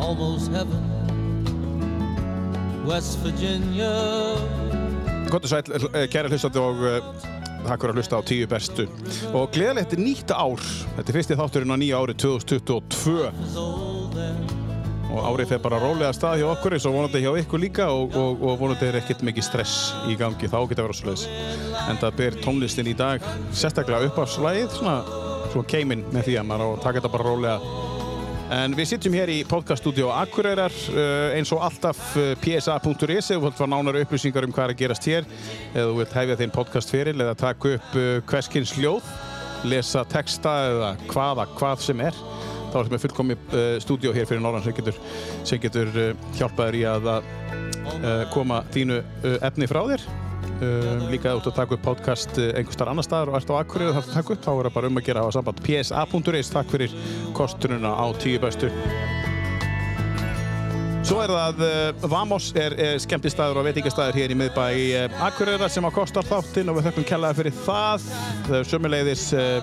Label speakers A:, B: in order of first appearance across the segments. A: almost heaven. West Virginia.
B: Kvotu sæl, eh, kæra hlustandi og eh, takk fyrir að hlusta á tíu bestu. Og gleðilegt er nýtt ár. Þetta er fyrsti þátturinn á nýja ári 2022 og árið fer bara rólega af stað hjá okkur eins og vonandi hjá ykkur líka og, og, og vonandi er ekkert mikið stress í gangi. Þá geta verið svoleiðis. En það ber tónlistin í dag sérstaklega upp af slæðið svona, svona keiminn með því að maður á að taka þetta bara rólega En við sittum hér í podcaststudió Akureyrar uh, eins og alltaf uh, psa.is ef þú vilt fá nánari upplýsingar um hvað er að gerast hér eða þú vilt hefja þinn podcastferil eða taka upp uh, hverskins ljóð lesa texta eða hvaða hvað sem er þá erum við fullkomi uh, stúdió hér fyrir Norðan sem getur, sem getur uh, hjálpaður í að að, uh, koma þínu uh, efni frá þér um, líka ef þú ert að taka upp podcast uh, einhvers staðar annar staðar og ert á Akureyri og þarf að taka upp þá er það bara um að gera að hafa samband psa.is, E takk fyrir kostununa á tíu bestu Svo er það, uh, Vamos er uh, skemmtistæður og veitingastæður hér í miðbæ uh, Akureyra sem að kostar þáttinn og við þökkum kellaði fyrir það. Það er sömuleiðis uh,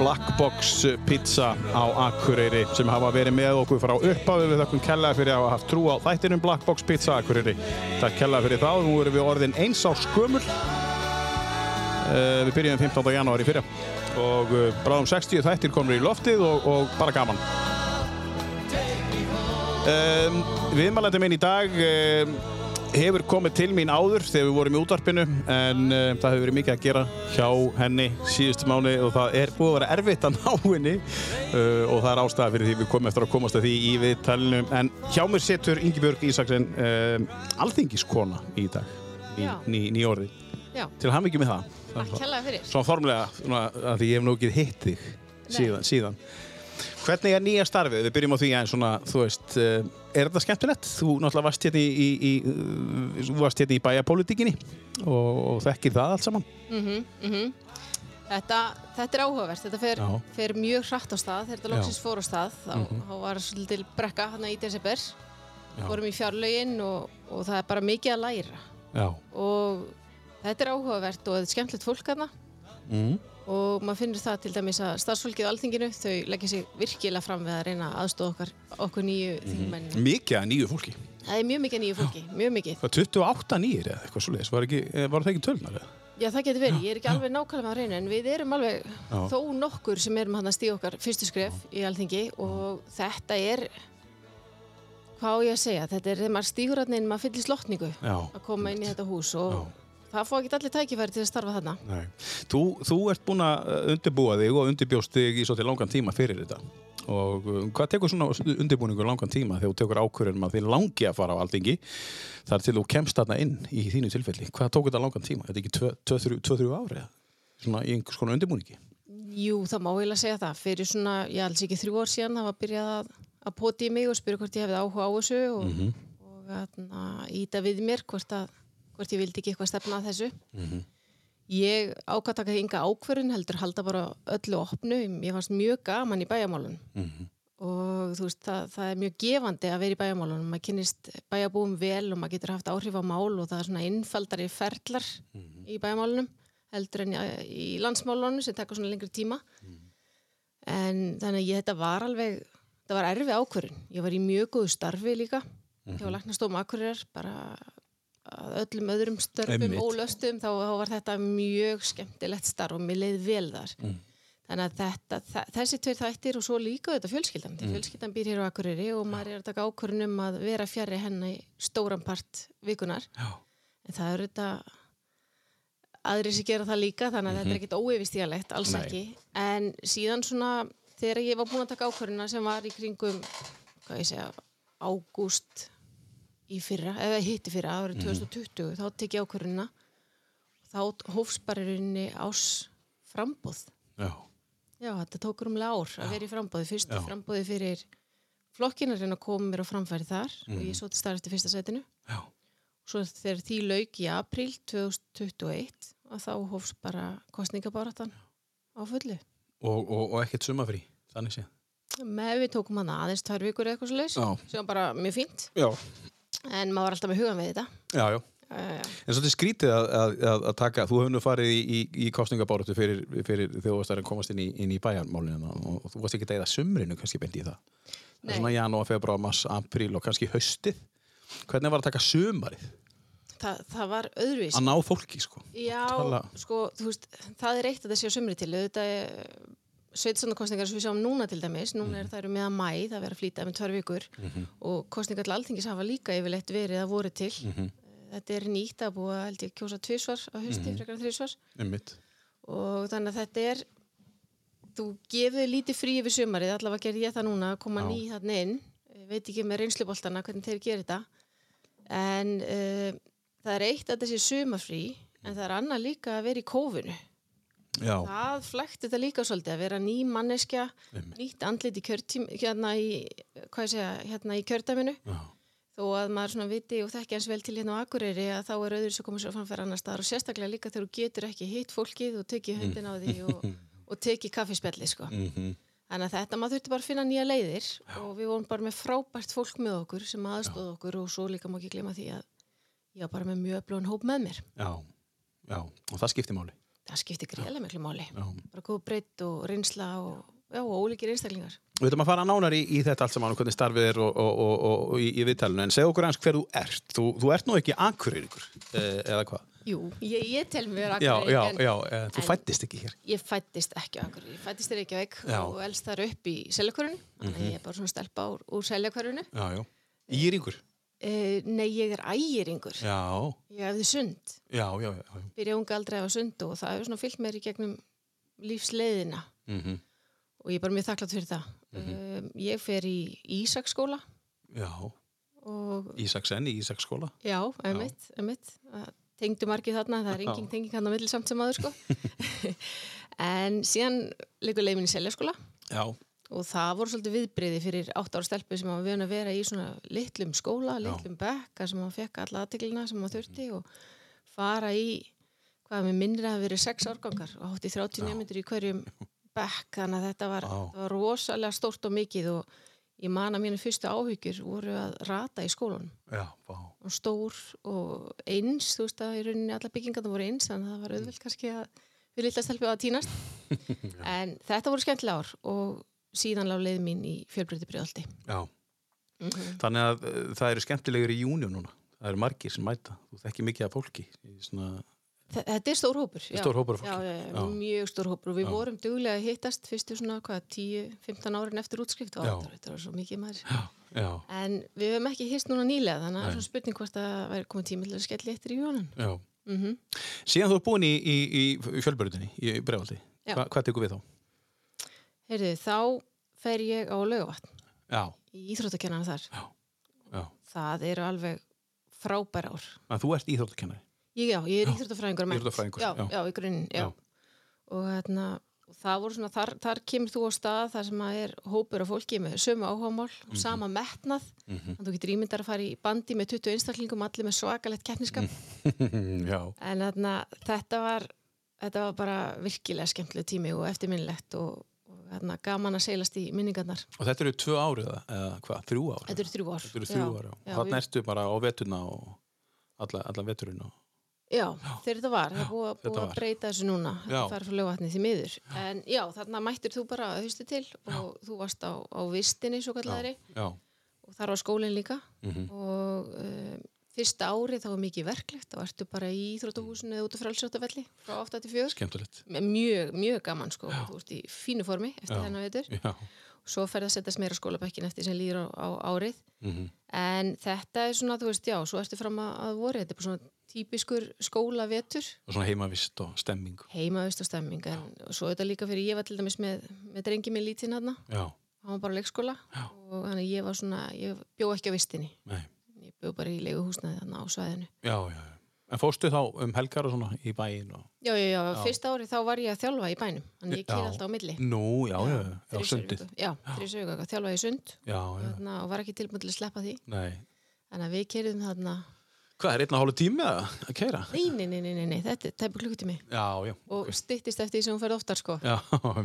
B: Black Box Pizza á Akureyri sem hafa verið með okkur frá upphafi. Við þökkum kellaði fyrir að hafa haft trú á þættinum Black Box Pizza Akureyri. Takk kellaði fyrir það. Nú erum við orðin eins á skumul. Uh, við byrjum 15. janúar í fyrra og uh, bráðum 60 þættir komur í loftið og, og bara gaman. Um, viðmælandi minn í dag um, hefur komið til mín áður þegar við vorum í útvarpinu en um, það hefur verið mikið að gera hjá henni síðustu mánu og það er búið að vera erfitt að ná henni uh, og það er ástæða fyrir því við komum eftir að komast að því í viðtalinu en hjá mér setur Ingibjörg Ísaksen um, alþingiskona í dag í
C: Já.
B: ný, ný orði
C: Já,
B: til hann ekki með það,
C: takk
B: það
C: hérlega fyrir.
B: Svona formlega, svona, að því ég hef nú ekki hitt þig síðan, síðan. Hvernig er nýja starfið? Við byrjum á því aðeins svona, þú veist, eh, er þetta skemmtilegt? Þú náttúrulega varst hérna í, í, í, eh, þú varst hérna í bæjarpolítikinni og, og þekkir það allt saman.
C: Þetta, þetta er áhugavert, þetta fer,
B: Já.
C: fer mjög hratt á stað, þegar þetta
B: Já. Mhm.
C: loksins fór á stað, þá, þá var svolítil brekka hann í desember, fórum í fjárlauginn og, og það er bara mikið að læra
B: Já.
C: og þetta er áhugavert og þetta er skemmtilegt fólk hana
B: Mm.
C: og maður finnur það til dæmis að starfsfólkið á alþinginu, þau leggja sig virkilega fram við að reyna að aðstofa okkar, okkur nýju
B: Mhm.
C: þingmenn.
B: Mikið að nýju fólki.
C: Það er mjög mikið nýju fólki, mjög mikið.
B: Það var 28 nýjir eða eitthvað svoleiðis, var, ekki, eh, var það ekki tölunar eða?
C: Já, það getur verið. Ég er ekki alveg nákvæmlega með á reynu en við erum alveg
B: Já.
C: þó nokkur sem erum hann að stíða okkar fyrstu skref í alþingi og þetta er, hvað á ég að segja, þetta er þegar maður stígur hann inn, maður fyllir slottningu
B: Já.
C: að koma inn í þetta hús og það fá ekki allir tækifæri til að starfa þarna.
B: Nei. Þú, þú ert búin að eh, undirbúa þig og undirbjóst þig í svolítið langan tíma fyrir þetta. Og eh, hvað tekur svona undirbúningur langan tíma þegar þú tekur ákvörðunum að þið langi að fara á aldingi þar til þú kemst þarna inn í þínu tilfelli? Hvað tók þetta langan tíma? Er Þetta ekki tvö- tvö, þrjú- tvö, þrjú ári eða? Svona í einhvers konar undirbúningi?
C: Jú, það má eiginlega segja það. Fyrir svona, ég alls ekki þrjú ár síðan, það var byrjað að, að poti í mig og spyrja hvort ég hefði áhuga á þessu og, mm og atna, íta við mér hvort, að, hvort ég vildi ekki eitthvað stefna að þessu. Ég ákvæmt taka enga ákverðin heldur halda bara öllu opnu. Ég fannst mjög gaman í bæjamálun og þú veist, það, það er mjög gefandi að vera í bæjamálunum. Maður kynnist bæjabúum vel og maður getur haft áhrif á mál og það er svona innfaldari ferlar í bæjamálunum heldur en í- í landsmálunum sem tekur svona lengri tíma. En þannig að ég, þetta var alveg, þetta var erfi ákvörðin. Ég var í mjög góðu starfi líka hjá Læknastóm Akureyrar, bara að öllum öðrum störfum
B: Einmitt.
C: ólöstum, þá, þá var þetta mjög skemmtilegt starf og mér leið vel þar. Þannig að þetta, þa- þessi tveir þættir og svo líka þetta fjölskyldan. Mm. Fjölskyldan býr hér á Akureyri og maður er að taka ákvörðin um að vera fjarri henni stóran part vikunar.
B: Já.
C: En það eru þetta aðrir sem gera það líka þannig að þetta er ekkit óevistíðalegt, alls
B: Mhm. Nei.
C: ekki en síðan svona þegar ég var búin að taka ákvörðuna sem var í kringum hvað ég segja, ágúst í fyrra, eða hitti fyrra
B: Mhm.
C: árið 2020, þá tek ég ákvörðuna þá hófst bara í rauninni ás frambóð
B: Já.
C: Já, þetta tók rúmlega ár að vera í frambóði. Fyrstu
B: Já.
C: frambóði fyrir flokkinn að reyna að koma mér á framfæri þar og
B: Mhm.
C: ég sótti starf eftir fyrsta sætinu.
B: Já.
C: Svo þegar því lauk í apríl 2021 að þá hófst bara kostningabaratan á fullu.
B: Og, og, og ekkert sumafrí, þannig séð.
C: Með við tókum hann aðeins tvær vikur eða eitthvað svo leys
B: Já.
C: sem var bara mjög fínt
B: Já.
C: en maður var alltaf með hugan við þetta.
B: Já, já.
C: já, já.
B: En svolítið skrítið að, að, að, að taka, þú hefur nú farið í, í, í kostningabáratu fyrir, fyrir þegar þú varst að komast inn í, inn í bæjarmálinu hérna og, og þú varst ekki að eða sumrinu kannski beint í það. Það er
C: Eh, Nei.
B: svona janúar, februar, mars, apríl og kannski haustið. Hvernig var að taka sumarið?
C: Þa, það var öðruvísi.
B: Að ná fólki, sko.
C: Já,
B: Tala-
C: sko, þú veist, það er eitt að það sé á sömri til, auðvitað eh, sveitarstjórnarkosningar sem við sjáum núna til dæmis, núna er það eru meða mæ, það verður að flýta með tvær vikur og kosningar til alþingis hafa líka yfirleitt verið að voru til. Eh, Þetta er nýtt að búa, held ég, kjósa tvisvar á hausti, frekar en þrisvar
B: Einmitt.
C: og þannig að þetta er, þú gefur lítið frí yfir sömarið, allavega gerði ég það núna að koma
B: Já.
C: ný þarna inn, Ég veit ekki með reynsluboltana hvernig þeir gerir þetta en uh, það er eitt að þessi sömarfrí en það er annað líka að vera í kófinu
B: Já,
C: Það flækti þetta líka svolítið að vera ný manneskja,
B: Einmitt.
C: nýtt andlit í kjörtím, hérna í, hvað ég segja, hérna í kjördæminu.
B: já,
C: Þó að maður svona viti og þekki eins vel til hérna á Akureyri að þá er öðru sem komið sér framfæra annar staðar og sérstaklega líka þegar þú getur ekki hitt fólkið og
B: Mm.
C: tekið höndin á því og, og tekið kaffispjalli, sko.
B: Mhm.
C: Þannig að þetta maður þurfti bara að finna nýja leiðir og við vorum bara með frábært fólk með okkur sem aðstóð okkur og svo líka má ekki glema því að ég var bara með mjög öflóðan hóp með mér.
B: já, já. Og það skiptir máli.
C: Það skipti greiðlega miklu máli
B: Já.
C: bara góð breytt og reynsla og, já, og ólíkir einstaklingar.
B: Við ætlum að fara nánar í, í þetta allt saman og hvernig starfið er og, og, og, og, og í, í viðtalinu. En segð okkur eins hver þú ert. Þú, þú ert nú ekki akureyringur, eh, eða hvað?
C: Jú, ég, ég tel mér
B: Já,
C: Akureyri,
B: já,
C: en
B: já, eh, þú
C: en-
B: fættist ekki hér.
C: ég fættist ekki á Akureyri. Ég fættist í Reykjavík
B: Já. Mhm.
C: og elst þar upp í Seljakörun. Þannig að ég er bara svona stelpa úr, úr Seljakörunu.
B: Já, já. Íringur?
C: Uh, nei, ég er ægiringur.
B: Já,
C: Ég hefði sund.
B: já, já, já. já.
C: Byrja unga aldrei að hafa sund og það hefur svona fyllt mér í gegnum lífsleiðina.
B: Mm
C: Og ég er bara mjög þakklátt fyrir það. Mm
B: Mhm.
C: ég fer í Ísaksskóla
B: já.
C: og
B: Ísaksen í Ísaksskóla.
C: Já, emitt, emitt. Tengdu margið þarna, það er
B: Já.
C: engin tenging hann á milli samt sem aður sko. en síðan leikur leið minn í seljaskóla
B: Já.
C: og það voru svolítið viðbriði fyrir átt ára stelpu sem var vön að vera í svona litlum skóla,
B: Já. Mhm.
C: litlum bekka sem hann fekk alla aðteglina sem hann þurfti og fara í, hvað með minnir að það hafi verið sex árgangar og átti 30 nefndur í hverjum bekk þannig að þetta var,
B: Vá.
C: þetta var rosalega stórt og mikið og ég man að mínu fyrstu áhyggjur voru að rata í skólanum
B: Já, vá.
C: og stór og eins, þú veist að í rauninni alla byggingarna voru eins, þannig að það var
B: Mm.
C: auðvelt kannski að við lilla stelpum að týnast. en þetta voru skemmtilega ár og síðan lág leið mín í fjölbreyti brjóðaldi.
B: Já. Þannig að eh, það eru skemmtilegur í júniu núna. Það eru margir sem mæta. Þú þekki mikið af fólki. í Svona...
C: Þetta er stór hópur. já.
B: Stór hópur af fólki.
C: Já, já, já,
B: Já.
C: mjög stór hópur og við
B: Já.
C: vorum duglega að hittast fyrstu svona, hvað, 10-15 árin eftir útskrift og
B: Já.
C: áttur, þetta var svo mikið maður.
B: Já, já,
C: En við höfum ekki hist núna nýlega, þannig að það
B: Nei.
C: er svona spurning hvort að væri komið tími til að skella eittir í jónan.
B: já.
C: Mm
B: Mhm. Síðan þú ert búin í, í, í fjölbörutinni, í bregvaldi.
C: Já.
B: Hva, hvað tekur við þá?
C: Heyrðu, þá fer ég á laugavatn
B: Já,
C: í íþróttakennana þar.
B: já.
C: það eru alveg frábær ár.
B: En þú ert íþróttakennari.
C: Ég, já, ég er
B: Já,
C: íþróttafræðingur mennt.
B: íþróttafræðingur,
C: já,
B: já.
C: já. í grunninn, já.
B: Já.
C: Og þarna, og það voru svona, þar, þar kemur þú á stað þar sem að er hópur af fólki með sömu áhugamál
B: Mhm.
C: og sama metnað. Mm -hmm. Þú getur ímyndar að fara í bandi með 20 einstaklingum, allir með svakalegt keppniskap.
B: Mhm. já.
C: En þarna, þetta var, þetta var bara virkilega skemmtileg tími og eftirminnilegt og, og þarna, gaman að seilast í minningarnar.
B: Og þetta eru tvö árið eða, eða hvað? Þrjú árið?
C: Þetta eru þrjú ár.
B: Þetta eru þrjú ár, já.
C: já
B: Þannig
C: við-
B: ertu bara á vetuna og alla, alla veturinn og...
C: Já, þegar þetta var, það er búið,
B: þetta
C: búið
B: var.
C: að breyta þessu núna,
B: Já.
C: þetta farið frá lögvatni því miður. En já, þarna mættir þú bara að haustu til og þú varst á, á vistinni svo kallari
B: Já,
C: og þar var skólinn líka
B: Mhm.
C: og um, fyrsta ári þá var mikið verklegt, þá ertu bara í Íþróttahúsinu eða út af frálsjóttafelli frá 8-4.
B: skemmtilegt.
C: Mjög, mjög gaman sko, þú ert í fínu formi eftir
B: Já.
C: þennan veitur.
B: Já,
C: Svo ferð að setjast meira á skólabekkin eftir sem líður á, á árið.
B: mm
C: En þetta er svona, þú veist, já, svo ertu fram að, að voru, þetta er bara svona típiskur skólavetur,
B: og svona heimavist og stemming.
C: heimavist og stemming, en svo þetta líka fyrir, ég var til dæmis með, með drengi minn lítinn hann,
B: Já,
C: hann var bara á leikskóla
B: Já.
C: og þannig ég var svona, ég bjó ekki á vistinni,
B: nei.
C: ég bjó bara í leiguhúsnaði hann á svæðinu.
B: Já, já, já. En fórstu þá um helgar og svona í bæinn og...
C: Já, já, já, fyrsta ári þá var ég að þjálfa í bænum, þannig ég
B: Já.
C: kýr alltaf á milli.
B: Nú, já, já, já, já
C: Þrisvar í
B: sundið.
C: viku. Já, þrísaugu, þjálfaði í sund
B: Já, já, já.
C: þarna, og var ekki tilbúin til að sleppa því,
B: nei.
C: þannig að við kýrðum þarna,
B: Hvað, er einn og hálf tími að, að keira?
C: nei, nei, nei, nei, nei, nei, þetta er tæpi klukkutími
B: Já, já.
C: og styttist eftir því sem hún ferð oftar sko.
B: Já,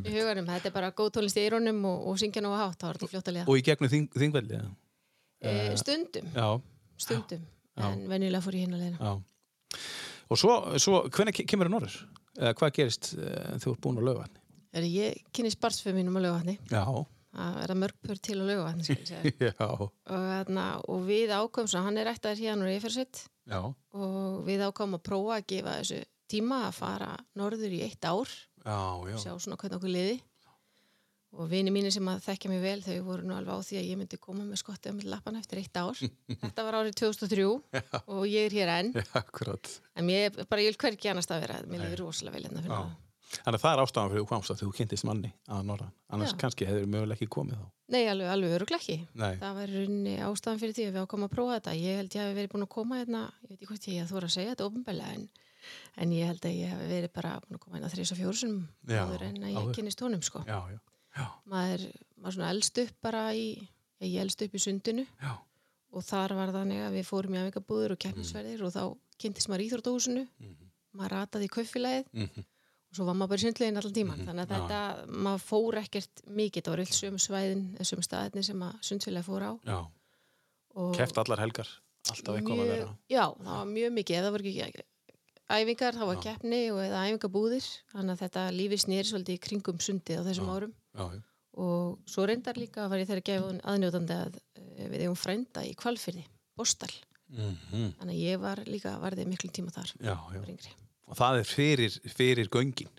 C: í huganum, þetta er bara góð tónlist í eirónum og, og syngja nógu hátt, þá er þetta fljótt að liða
B: eh, og í gegnum þing, þingvelli. eða?
C: e, Eh, stundum,
B: Já,
C: stundum
B: Já.
C: en venjulega fór ég hinn að leina.
B: Já. Og svo, svo hvernig ke- kemur það norður? Eða hvað gerist eh, þú ert búin á laugarni?
C: Ég kynist barsfið mínum á laugavatni,
B: Já,
C: það er að mörg pör til á laugavatni, skal ég segja.
B: já,
C: og, þarna, og við ákvæmum svo, hann er ættaður hérna úr Eifersveit
B: já,
C: og við ákvæmum að prófa að gefa þessu tíma að fara norður í eitt ár,
B: já,
C: sjá svona hvernig okkur liði. Og vini mínir sem að þekkja mig vel, þau voru nú alveg á því að ég myndi koma með skottið á milli lappan eftir eitt ár. Þetta var árið 2003 og ég er hér enn.
B: já, akkurat.
C: En ég er bara, ég vil hvergi annars að vera, mér líður rosalega vel hérna fyrir
B: Já.
C: það.
B: Þannig að það er ástæðan fyrir þú komst að þú kynntist manni að norðan. Annars
C: Já.
B: kannski hefur mögulega ekki komið þá.
C: Nei, alveg, alveg öruglega ekki.
B: Nei,
C: Það var í rauninni ástæðan fyrir því að við ákvæmum að prófa þetta. Ég held ég hafi verið búin að koma hérna, ég veit ekki hvort ég að þóra að segja þetta ofinbælega, en, en ég held að ég hafi verið bara búin að koma hérna þrís og fjórsum
B: Já,
C: áður en að ég
B: áður.
C: kynist honum, sko.
B: já, já,
C: Maður, maður svona elst upp bara í, ég elst upp í sundinu
B: já,
C: og þar var þannig að við fórum í afingabúður og keppnisverðir og þá kynntist maður íþrótahúsinu, maður rataði í kaufélagið
B: mhm,
C: og svo var maður bara í sundlegin allan tíman þannig að
B: Já,
C: þetta, maður fór ekkert mikið, það voru öll sömu svæðin, sömu staðinni sem að sundfélagi fór á
B: já.
C: og
B: Keft allar helgar, alltaf eitthvað að
C: mjög-
B: vera.
C: Já, það var mjög mikið, það voru ekki æfingar, það var keppni og eða æfingabúðir þannig að þetta lífi snýri svolítið í kringum sundið á þessum árum
B: Já, já,
C: og svo reyndar líka var ég þegar gefun aðnjótandi að eh, við eigum frænda í kvalfyrði, Bostal
B: mhm,
C: þannig að ég var líka, varðið miklu tíma þar
B: já, já.
C: var yngri.
B: Og það er fyrir, fyrir göngin.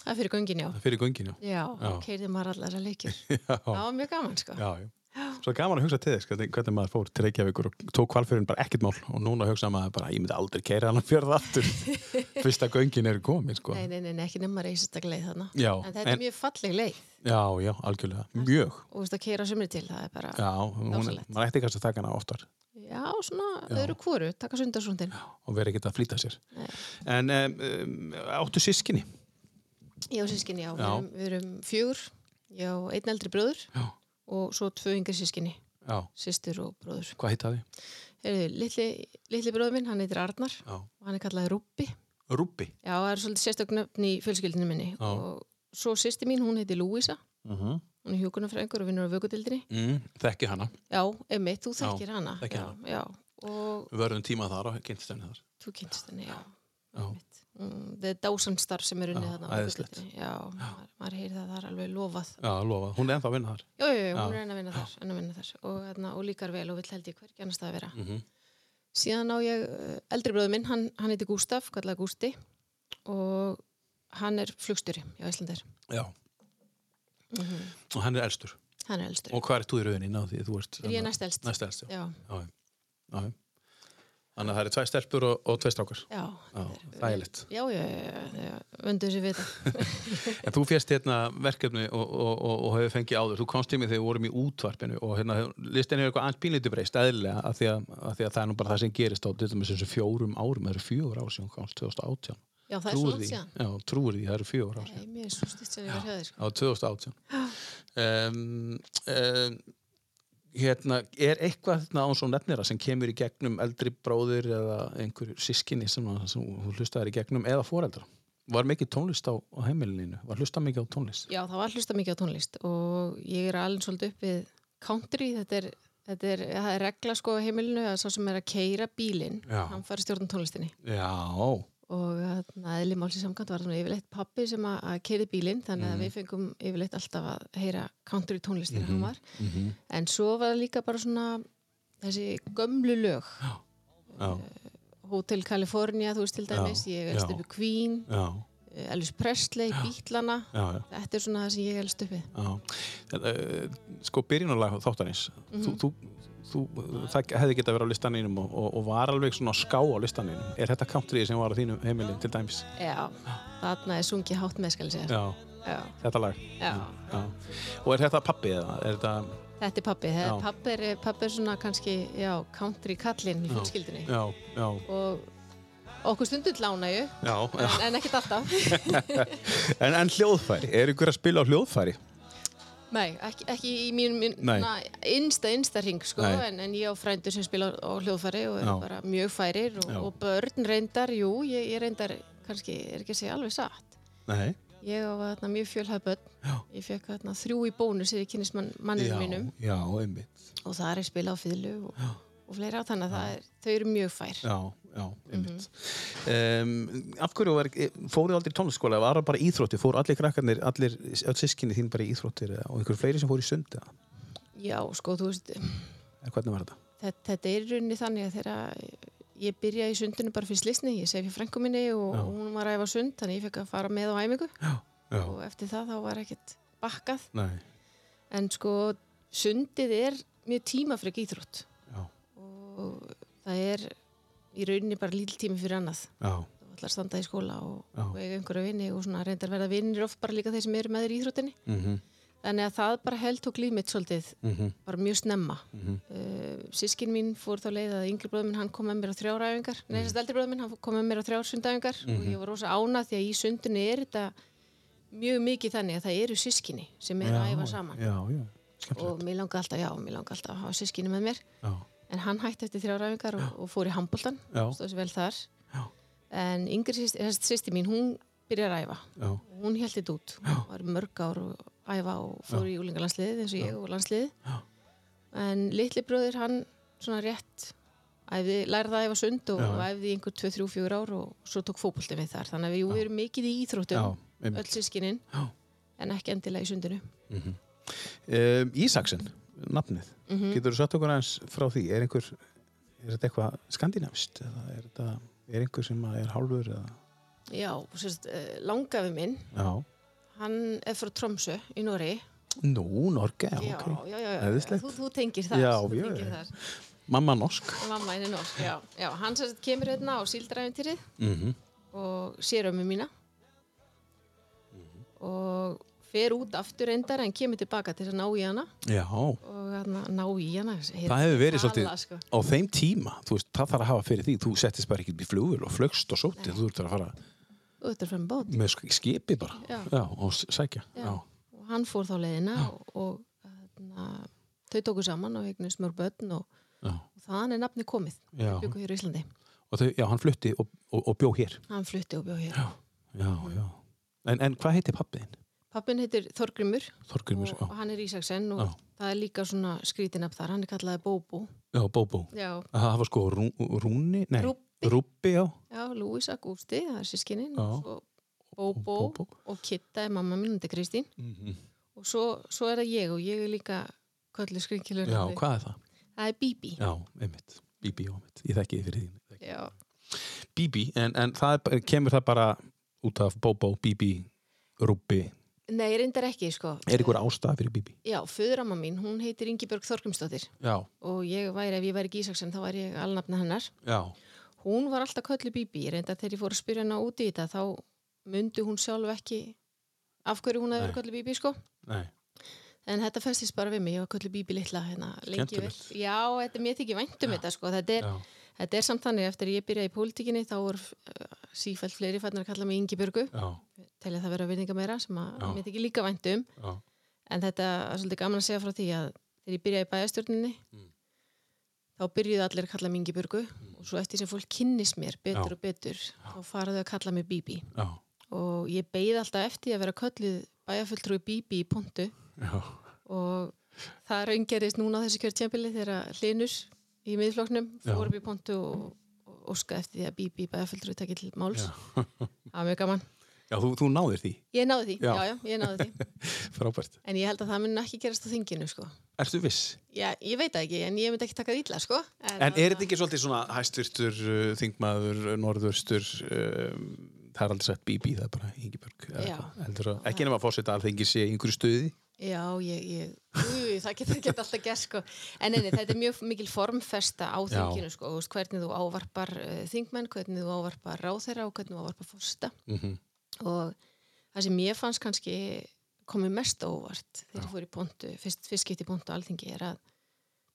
C: Það er fyrir göngin, já
B: Það er fyrir göngin, já.
C: Já,
B: Já.
C: keirði maður allar að leikir
B: Já,
C: Það var mjög gaman, sko
B: já, já. Svo gaman að hugsa til þess hvernig, hvernig maður fór til Reykjavíkur og tók hvalfjörðin bara ekkert mál og núna hugsa maður bara, ég myndi aldrei keira hann að fjörða aftur fyrst að göngin eru komin sko.
C: Nei, nei, nei, nei, ekki nema reysistaklega leið þarna.
B: Já,
C: En þetta er
B: en-
C: mjög falleg leið
B: Já, já, algjörlega, mjög
C: og þú veist að keira sömri til, það er bara,
B: Já, hún,
C: Dásamlegt.
B: maður ætti kannski að taka hana oftar
C: já, svona öðru hvoru, taka sundarsundin.
B: og vera ekkert að flýta sér
C: Nei.
B: En um, um, áttu sískinni
C: Ég og sískinni, já, Við,
B: Já.
C: erum, við erum fjögur, ég og einn eldri bróður
B: Já,
C: og svo tvö yngri sískinni,
B: já,
C: systur og bróður.
B: hvað heita þið?
C: Heyrðu, litli, litli bróður minn, hann heitir Arnar
B: Já,
C: og hann er kallaði Rúbbi.
B: Rúbbi
C: Já, það er svolítið sérstöknöfn í fjölskyldinu minni
B: Já.
C: og svo sýsti mín, hún heitir Lúísa,
B: uh -huh.
C: hún er hjókunarfræðingur og vinnur á vökudildinni.
B: mm, Þekki hana,
C: Já, emitt, þú þekkir hana.
B: þekki
C: já,
B: hana.
C: já, og
B: við verðum tíma þar og kynntist henni þar
C: Þú kynst henni, já.
B: Já.
C: Einmitt. Mm, Það er dásanstarf sem er unnið
B: Já,
C: þarna. á
B: æðislegt.
C: Víkurdeildinni. Já, maður, maður heyri það, það er alveg lofað.
B: Já, lofa, hún er ennþá að vinna þar
C: Jú, jú, jú, hún
B: Já.
C: er enn að vinna þar, enn að vinna þar. Og, þarna, og líkar vel og vill held ég hvergi annars það að vera.
B: mm
C: Síðan á ég, eh, eldri bróður minn, hann, hann heiti Gústaf, kallar Gústi og hann er flugstjóri hjá Íslandir.
B: Já
C: Mhm.
B: Og hann er elstur
C: Hann er eldstur.
B: Og hvað er þú í rauninni náð því? Þú ert
C: Er ég næst eldst?
B: Næst elst, já.
C: Já,
B: Já, já. já. já. Þannig að það eru tvær stelpur og, og tvei strákar.
C: já.
B: Já, þægilegt.
C: Já, já, já, já, já, vöndu þessi við það.
B: En þú fjast hérna verkefni og, og, og, og hefur fengið áður. Þú komst tímið þegar við vorum í útvarpinu og hérna, listin er eitthvað aðeins pínlítið breyst, eðlilega, af því, að, af því að það er nú bara það sem gerist á til dæmis þessu fjórum árum, það eru fjögur ár sem hún komst 2018.
C: Já, það er
B: Trúir
C: svo langt
B: því?
C: síðan.
B: Já, trúir því, það eru fjögur ár.
C: Nei, mér er svo stýtt sem ég var hjá þér, sko.
B: á 2018 um, um, hérna, er eitthvað þarna án svo nefnir að sem kemur í gegnum eldri bróðir eða einhver sískinni sem, að- sem þú hlustaðir í gegnum eða foreldra var mikið tónlist á, á heimilinu var hlustað mikið á tónlist
C: Já, það var hlusta mikið á tónlist og ég er alveg svolítið upp við country, þetta er, þetta er, það er regla sko á heimilinu að sá sem er að keira bílinn,
B: Já.
C: hann fari stjórnum tónlistinni
B: já,
C: og þarna eðli málsins samkvæmt var svona yfirleitt pappi sem að, að keiri bílinn þannig
B: Mhm.
C: að við fengum yfirleitt alltaf að heyra country tónlistina hann var
B: mhm,
C: en svo var það líka bara svona þessi gömlu lög
B: já,
C: Hotel California, þú veist til dæmis
B: Já,
C: ég elst
B: já.
C: upp í Queen,
B: já,
C: Elvis Presley, Bítlana
B: já, já.
C: þetta er svona það sem ég elst upp við
B: Já, En, eh, sko byrjunalag þáttanins þú, þú, þú, það hefði geta verið á listaninum og, og, og var alveg svona ská á listaninum er þetta country sem var á þínu heimilin til dæmis?
C: Já, þarna er sungi hátt með skal ég segja.
B: Já,
C: Já,
B: þetta lag
C: já.
B: Já. Og er þetta pappi eða? Er þetta,
C: Þetta er pappi.
B: Já.
C: Pappi er, pappi er svona kannski, já, country kallinn í fjölskyldinni.
B: já, já,
C: Og okkur stundur lána ju,
B: já, já.
C: en, en ekkert alltaf.
B: En, en hljóðfæri, er ykkur að spila á hljóðfæri?
C: Nei, ekki, ekki í mínum mín,
B: Nei.
C: na, innsta, innsta ring, sko,
B: Nei.
C: en, en ég á frændur sem spila á hljóðfæri og er
B: Já.
C: bara mjög færir og,
B: Já.
C: og börn reyndar, jú, ég, ég reyndar, kannski, er ekki að segja alveg satt.
B: Nei.
C: Ég á þarna mjög fjölhæð börn,
B: Já.
C: ég fekk þarna þrjú í bónus þegar ég kynist mann, manninu mínum.
B: já, einmitt.
C: og það er spila á fiðlu og, og fleira á þannig að það er, þau eru mjög fær.
A: Já, já, einmitt.
B: um, af hverju var, fóruð aldrei í tónlistskóla var það bara íþróttir, fóru allir krakkarnir allir, öll sískinni þín bara í íþróttir eða- og einhver fleiri sem fóru í sund eða
C: Já, sko, þú veist,
B: eða hvernig var þetta?
C: þetta, þetta er í rauninni þannig að þegar ég byrjaði í sundinu bara fyrir slisni, ég segi fyrir frængu minni og
B: Já.
C: hún var að æfa sund, þannig ég fekk að fara með á æmingu
A: Já,
C: og eftir það þá var ekkert bakkað.
A: nei,
C: En sko, sundið er mjög tímafrek íþrótt
A: já,
C: og það er í rauninni bara lítil tími fyrir annað.
A: já,
C: Þú ætlar að standa í skóla og,
A: Já.
C: og eiga einhverja vinni og svona reyndar verða vinnir oft bara líka þeir sem eru með þér í íþróttinni.
A: mhm,
C: Þannig að það bara held og glýmitt svolítið
A: mhm,
C: bara mjög snemma.
A: Mhm.
C: uh, sískin mín fór þá leið að yngri bróður minn hann kom með mér á þrjár æfingar.
A: Mhm.
C: Nei, þessi eldri bróður minn hann kom með mér á þrjár sundæfingar og ég var rosa ánað því að í sundinu er þetta mjög mikið þannig að það eru sískinni sem eru að æfa saman.
A: já, já, skemmtilegt.
C: og mér langaði alltaf, já, mér langaði alltaf að hafa sískinni með mér.
A: Já,
C: En hann hætti eftir þrjár æfingar og, og fór í handbóltan,
A: Já.
C: stóð sér vel þar.
A: Já.
C: En yngri sýsti, sýsti mín, hún byrjar að æfa.
A: já,
C: Og Hún held þetta út, hún var í mörg ár og æfa og fór í úlingalandsliðið eins og ég og landsliðið. En litli bróðir hann svona rétt æfði, lærði að æfa sund og
A: Já.
C: æfði í einhver 2-3-4 ár og svo tók fótbolti við þar. Þannig að við, jú, við erum mikið í
A: já,
C: íþróttum,
A: einmitt.
C: öll sískinin,
A: Já.
C: en ekki endilega í sundinu.
B: Um, Ísaksen, mhm. nafnið
C: Mhm.
B: getur þú satt okkur aðeins frá því er einhver, er þetta eitthvað skandinavist eða er þetta, er einhver sem að er hálfur eða,
C: Já, og sérst, eh, langafi minn,
B: já
C: hann er frá Tromsö í Nóri.
B: nú, Norge, já,
C: já,
B: ok
C: já, já, já, já.
B: Æðislegt.
C: Þú, þú tengir þar,
B: Já,
C: þú
B: já,
C: tengir
B: já.
C: þar.
B: mamma norsk
C: Mamma henni norsk, já. já hann sérst kemur hérna á síldræfintýrið
B: mm -hmm.
C: og sér ömmu mína og fer út aftur endar en kemur tilbaka til þess að ná í hana
B: já,
C: og hana, ná í hana hef,
B: það hefur verið
C: tala,
B: svolítið
C: sko.
B: á þeim tíma, þú veist, það þarf að hafa fyrir því þú settist bara ekki upp í flugul og flögst og sótið þú ert að fara
C: og þetta er fram bát
B: með sk- skipi bara
C: Já.
B: og s- sækja
C: Já.
B: já,
C: og hann fór þá leiðina og, og hana, þau tóku saman og eignist mörg börn og,
B: já,
C: og þaðan er nafni komið
B: já.
C: byggu hér í Íslandi,
B: og þau, já, hann flutti og, og, og bjó hér
C: hann flutti og bjó hér
B: já, já en, en hvað heitir pappiðin?
C: pappin heitir Þorgrymur
B: Þorgrymur,
C: og, og hann er Ísaksen og
B: Já.
C: það er líka svona skrítinab þar, hann er kallaði Bóbú
B: já, já, Bóbó
C: já,
B: Það var sko rú, Rúni, nei,
C: Rúbbi.
B: Rúbbi, já.
C: Já, Lúís Agústi, það er sískinin
B: Já.
C: og svo Bóbó
B: Og Bóbó.
C: og Kitta er mamma mín, þetta er Kristín
B: Mhm.
C: og svo, svo er það ég og ég er líka köllu skrinkilur
B: Já, hvað er það?
C: það er Bíbí
B: Já, einmitt, Bíbí, já, einmitt, ég þekki þið fyrir þín. ég þekki.
C: Já.
B: Bíbí, en, en það er, bara- kemur það bara út af Bóbó, Bíbí, Rúbbi,
C: Nei, reyndar ekki, sko
B: er ykkur ástæða fyrir Bíbí?
C: Já, föðuramma mín, hún heitir Ingibjörg Þorkumsdóttir
B: Já,
C: og ég væri, ef ég væri Gísaksen, þá væri ég alnafna hennar
B: já,
C: Hún var alltaf köllu Bíbí, reyndar þegar ég fór að spyrja hana út í þetta þá myndi hún sjálf ekki af hverju hún hefði verið köllu Bíbí, sko
B: nei,
C: En þetta festist bara við mig, ég var köllu bíbi litla hérna, lengi vel.
B: Skemmtilegt.
C: Já, þetta, mér þykir vænt um þetta sko, þetta er,
B: já,
C: þetta er samt þannig eftir að ég byrjaði í pólitíkinni þá voru uh, sífælt fleiri fannir að kalla mig Ingi Björgu,
B: já,
C: telja það vera vinninga meira sem að
B: Já.
C: mér þykir líka vænt um,
B: já,
C: en þetta er svolítið gaman að segja frá því að þegar ég byrjaði í bæjastjórninni
B: Mm.
C: þá byrjuðu allir að kalla mig Ingi Björgu og svo eftir sem fólk kynnist mér
B: Já.
C: betur og betur þá faraðu að kalla mig Bíbi
B: já,
C: og ég beigð alltaf eftir að vera kölluð bæjarfulltrúi Bíbi í pontu
B: já,
C: og það raungerist núna á þessu kjörtjambili þegar Hlinur í miðfloknum
B: Já.
C: fór upp í pontu og, og óskaði eftir því að Bíbí bæðaföldur taki til máls.
B: Já.
C: Það var mjög gaman.
B: já, þú, þú náðir því,
C: Ég náði því,
B: Já.
C: já. já, ég náði því.
B: frábært.
C: En ég held að það mun ekki gerast á þinginu, sko.
B: Ertu viss?
C: Já, ég veit það ekki, en ég myndi ekki taka það illa, sko.
B: En er þetta ekki svolítið svona hæstvirtur, uh, þingmaður, norðurstur, um, það er aldrei sagt BB, það er bara Ingibjörg. eða
C: Já.
B: eitthvað, heldur að- Ekki nema að fórseta alþengi sé í einhverju stuði.
C: Já, ég, ég, jú, jú, það getur ekki alltaf gerst, sko. En enni, þetta er mjög mikil formfesta á
B: Já.
C: þinginu, sko. Þú veist, hvernig þú ávarpar uh, þingmenn, hvernig þú ávarpar ráðherra og hvernig þú ávarpar fórsta.
B: Mm -hmm.
C: og það sem ég fannst kannski komið mest á óvart þegar ég fór í pontu, fyrst, fyrst skipt í pontu á alþingi er að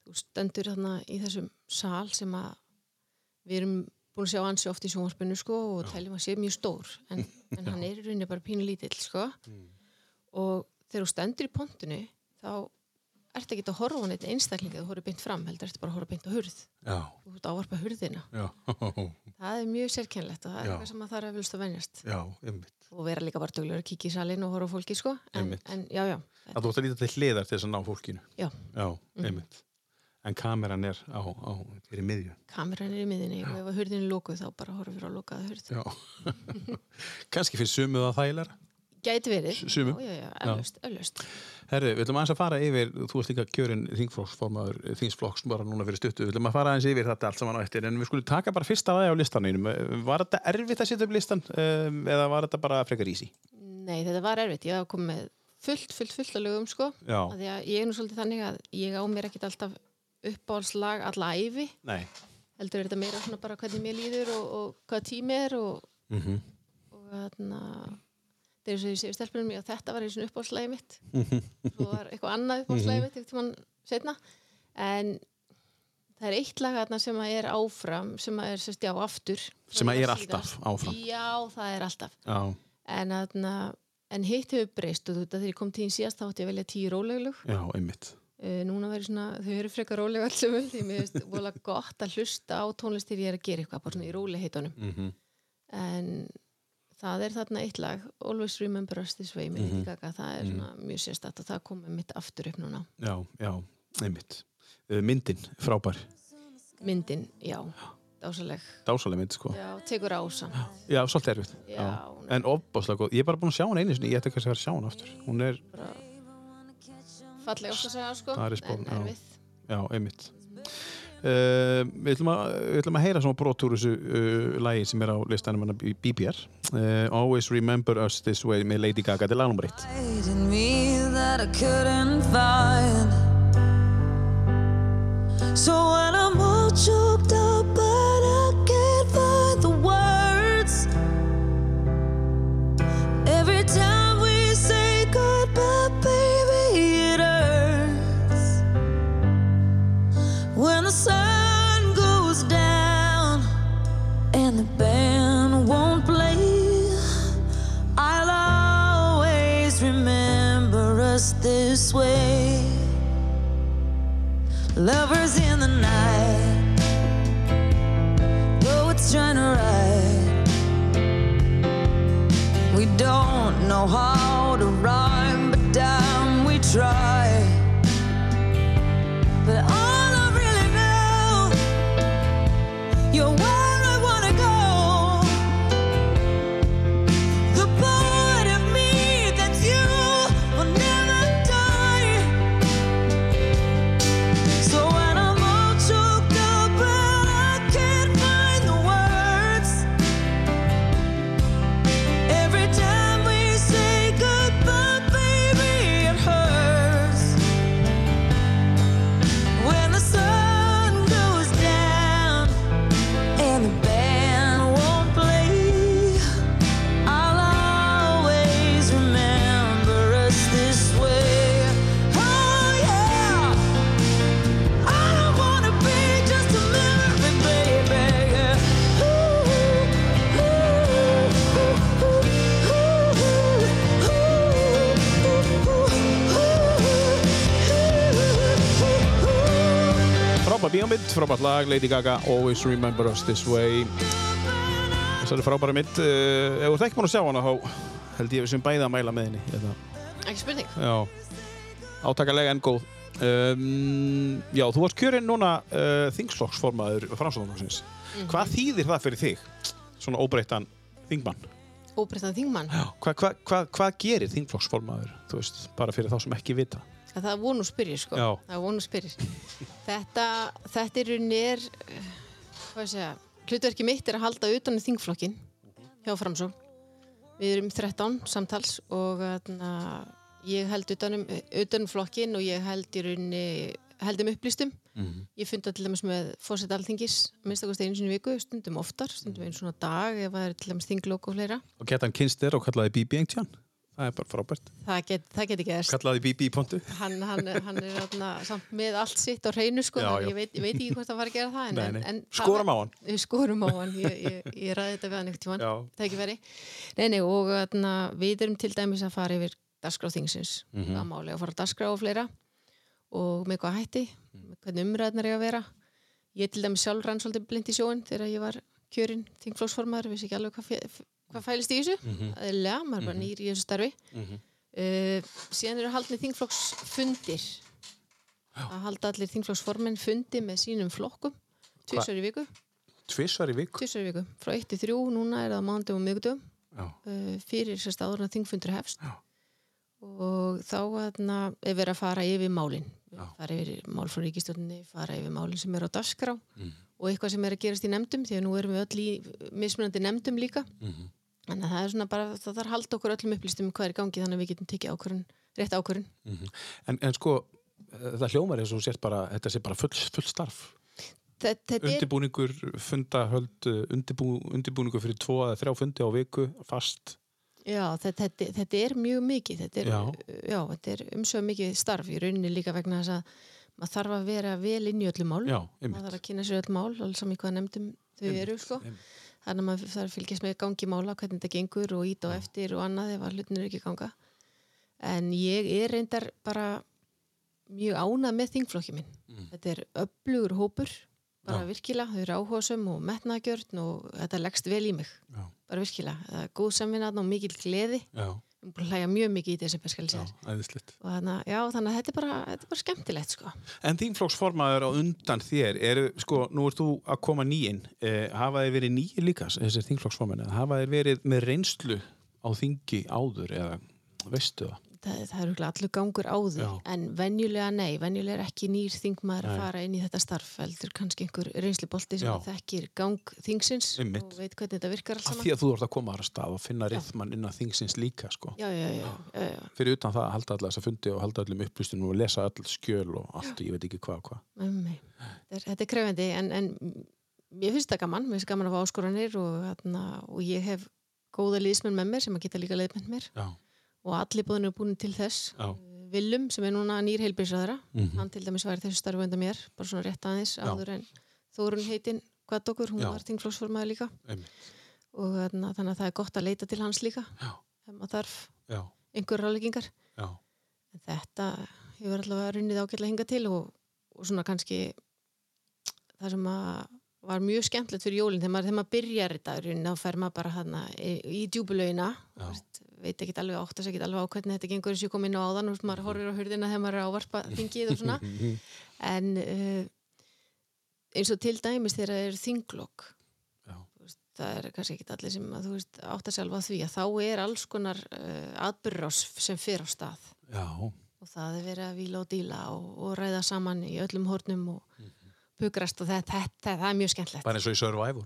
C: þú stendur þarna í þessum sal sem að við erum búin að sjá ansi oft í sjónvarpinu sko og teljum að sé mjög stór en, en hann er í rauninni bara pínu lítill sko og þegar þú stendur í pontunu þá ertu ekki að horfa á neitt einstaklinga þú horfir beint fram, heldur ertu bara að horfa beint á hurð
B: Já,
C: þú ert að ávarpa hurðina
B: já,
C: það er mjög sérkennlegt og það er
B: Já.
C: eitthvað sem að það er að vilst að venjast
B: já, einmitt.
C: og vera líka bara dögulegur að kíkja í salin og horfa á fólki sko en,
B: Einmitt.
C: en já, já,
B: Að þú ætti að líta til hliðar til þess að ná fólkinu.
C: já
B: Já, einmitt. en kameran er á, á fyrir miðju
C: kameran er í miðinni og ef að hurðin er lokuð þá bara horfir á lokaða hurð
B: Já Kanski fyrir sumuð að þægilega
C: gæti verið
B: sumum.
C: já, já, já, eflaust, eflaust
B: Herri, við ætlum aðeins að fara yfir, þú ert líka kjörin þingflokksformaður, þingsflokks bara núna fyrir stuttu, við ætlum að fara aðeins yfir þetta allt saman á eftir, en við skulum taka bara fyrst af aðeins á listanum. Var þetta erfitt að setja upp listan um, eða var þetta bara frekar easy?
C: nei, þetta var erfitt, ég hafði komið með fullt, fullt, fullt að lögum sko
B: Já.
C: Af því að ég er nú svolítið þannig að ég á mér ekkit alltaf uppáhalslag alla æfi
B: Nei.
C: heldur er þetta meira svona bara hvernig mér líður og, og hvað tími er og,
B: Mm -hmm.
C: og þarna þeir eru svo ég segir stelpunum mér að þetta var eins og uppáhalslæði mitt svo var eitthvað annað uppáhalslæði mitt eitthvað mann setna en það er eitt lag þarna sem að er áfram sem að er sérst já aftur frá
B: Sem að
C: því
B: er
C: síðast.
B: alltaf áfram.
C: já það er allaf
B: Já.
C: en, þarna, en hitt hefur breyst og þú veit að þegar ég kom til þín síðast þá átti ég að velja tíu róleglug
B: Já, einmitt.
C: uh, núna verður svona, þau eru frekar rólega allsum því mér finnst vola gott að hlusta á tónlist þegar ég er að gera eitthvað bara svona í róliheitunum
B: Mm
C: en það er þarna eitt lag Always Remember Us This Way með Lady
B: Mhm.
C: Gaga það er svona mjög sérstætt og það komið mitt aftur upp núna
B: Já, já, einmitt. Uh, myndin, frábær.
C: myndin, já, dásaleg
B: Dásaleg mynd, sko.
C: já, tekur ásan
B: Já, svolítið erfitt.
C: Já, hún er-
B: En ofbáslega góð. Ég er bara búin að sjá hún einu sinni, ég ætti kannski að vera að sjá hún aftur. Hún er,
C: bara falleg ást að segja sko
B: Það er í spórn,
C: en
B: já.
C: erfið
B: já, einmitt. Uh, við, ætlum að, við ætlum að heyra svona brot úr þessu uh, lægi sem er á listanum hana í BBR. Uh, Always Remember Us This Way með Lady Gaga. Þetta er lagnum reitt.
D: light in me that I couldn't find. So when I'm all choked up, but I can't find the words. Every time we say goodbye, baby, it hurts. When the sun goes down and the band won't play. I'll always remember us this way. Lovers in the night, though it's trying to ride. We don't know how to rhyme, but damn, we try. But all I really know, you're where I wanna go. The part of me that's you will never die. So when I'm all choked up and I can't find the words, every time we say goodbye, baby, it hurts. When the sun goes down and the band won't play. I'll always remember us this way. Oh yeah. I don't wanna be just a memory, baby.
B: Frábær bíómynd, frábært lag, Lady Gaga, Always Remember Us This Way. Þessari frábæri mynd, uh, ef þú ert ekki búin að sjá hana, þá held ég við sem bæða að mæla með henni. Þetta.
C: ekki spurning,
B: Já, átakalega en góð. Um, já, þú varst kjörinn núna uh, þingslokksformaður framsóðanlóksins. Hvað þýðir það fyrir þig, svona óbreyttan þingmann?
C: óbreyttan þingmann
B: Já. Hvað hva, hva, hva gerir þingflokksformaður, þú veist, bara fyrir þá sem ekki vita?
C: að það er vonu spyrir sko
B: Já.
C: það er vonu spyrir þetta, þetta er unir hvað ég segja, hlutverki mitt er að halda utan í þingflokkin hjá Framsó við erum 13 samtals og atna, ég held utan um, utan um flokkin og ég held í raunni heldum upplýstum ég funda til dæmis með fórsett alþingis minnstakosti einu sinni í viku, stundum oftar stundum einu svona dag ef það er til dæmis þinglok og fleira
B: Og geta hann kynst þér og kallaði BB engtján? Það er bara frábært.
C: það get- það geti gerst
B: Kallaði BB í pontu?
C: hann, hann, hann er atna, samt með allt sitt á hreinu sko,
B: Já,
C: já,
B: já.
C: Ég, veit, ég veit ekki hvort það var að gera það en,
B: Nei, nei.
C: En, en
B: Skorum á
C: það,
B: hann.
C: Við skorum á hann, ég, ég, ég ræði þetta við hann einhvern tímann,
B: Já.
C: það ekki veri nei, nei, og atna, við erum til dæmis að fara yfir dagskráð þingsins mm -hmm. að máli að fara á dagskrá og fleira og með hvað hætti, hvernig umræðnar er að vera ég til dæmis sjálf rann svolítið blind í sjóin þegar ég var kjörinn þingflóksformaður, vissi ekki alveg hvað, fe- hvað fælist í þessu mm maður er bara nýr Eh, í þessu starfi mm síðan eru haldni þingflokksfundir að halda allir þingflokksformin fundi með sínum flokkum tvisar í viku,
B: Tvissar í viku?
C: tvisar í viku frá 1 til 3, núna er það mándum og miðgudum
B: Já.
C: uh, fyrir sérst áður en að þingfundur hefst og þá þarna, er verið að fara yfir málin fara yfir mál frá ríkistjórninni fara yfir málin sem er á dagskrá og eitthvað sem er að gerast í nefndum því að nú erum við öll í mismunandi nefndum líka þannig að það er svona bara það þarf að halda okkur öllum upplýstum um hvað er í gangi þannig að við getum tekið ákvörun, rétt ákvörun
B: En, en sko, eh, það hljómar eins og þú sért bara, þetta sé bara full, full starf.
C: Þe- Þetta er
B: Undirbúningur, fundahöld, eh, undirbú, undirbúningur fyrir tvo eða þrjá fundi á viku, fast.
C: Já, þetta, þetta, þetta er mjög mikið, þetta er,
B: Já.
C: já, þetta er umsög mikið starf í rauninni líka vegna þess að maður þarf að vera vel inn í öllum mál,
B: Já,
C: maður Mm. þarf
B: einmitt.
C: að kynna sér öll mál, alveg saman í hvað nefndum þau eru, sko. Þannig að maður þarf að fylgjast með gangi mála, hvernig þetta gengur og ít á eftir og annað ef að hlutinir ekki ganga. En ég er reyndar bara mjög ánað með þingflokki minn.
B: Mm.
C: Þetta er öflugur hópur, bara virkilega, þau eru áhóðsum og metnagjörn og þetta leggst vel í mig,
B: Já.
C: bara virkilega. Það er góð samvinnaðn og mikil gleði
B: Já,
C: um búin að hlæja mjög mikið í desember skal ég
B: já,
C: segja þér.
B: æðislegt.
C: og þannig, að- já, þannig að þetta er bara, þetta er bara skemmtilegt sko.
B: En þingflokksformaður á undan þér, er, sko, nú ert þú að koma nýinn, eh, hafa þeir verið nýir líka, þessir þingflokksformaður, eða hafa þeir verið með reynslu á þingi áður eða veistu það?
C: það, það er örugglega allur gangur á því
B: Já.
C: en venjulega nei, venjulega er ekki nýr þingmaður
B: Nei.
C: að fara inn í þetta starf heldur kannski einhver reynslubolti sem
B: Já.
C: þekkir gang þingsins
B: Einmitt.
C: og veit hvernig þetta virkar allt
B: Af
C: saman
B: því að þú ert að koma aðra stað og finna rithmann innan þingsins líka, sko.
C: já, já, já, já, já.
B: Fyrir utan það að halda alla þessa fundi og halda öllum upplýstunum og lesa öll skjöl og allt, ég veit ekki hvað og hvað.
C: Nei, nei. um Þetta er- þetta er krefandi en, en mér finnst það gaman, mér finnst gaman að fá áskoranir og, þarna, og ég hef góða liðsmenn með mér sem að geta líka liðmenn mér
B: Já,
C: og allir búðin eru búin til þess
B: já,
C: Willum sem er núna nýr heilbíðsraðara
B: Mhm.
C: hann til dæmis var í þessu starfu undan mér bara svona rétt aðeins áður en Þórun heitin hvað okkur, hún
B: Já.
C: var þingflóksformaði líka
B: einmitt,
C: og þarna, þannig að það er gott að leita til hans líka
B: Já.
C: ef maður þarf
B: já,
C: einhver ráleggingar
B: já,
C: en þetta hefur allavega runnið ágætlega hinga til og, og svona kannski það sem að var mjög skemmtilegt fyrir jólinn þegar maður, þegar maður byrjar þetta í rauninni, þá fer maður bara hana í, í djúbulauina
B: Já.
C: veit ekki alveg átt að segja ekki alveg á hvernig þetta gengur þessi komin á áðan og maður horfir á hurðina þegar maður er að ávarpa þingið og svona en uh, eins og til dæmis þegar það er þinglokk
B: Já.
C: Þú veist, það er kannski ekki allir sem að þú veist átt að sjálfa því að þá er alls konar uh, atbyrrás sem fer á stað
B: já,
C: og það er verið að vila og díla og, og ræða saman í öllum hórnum og pukrast og þetta, þetta, þetta það er mjög skemmtilegt
B: Mhm. bara eins og í Survivor.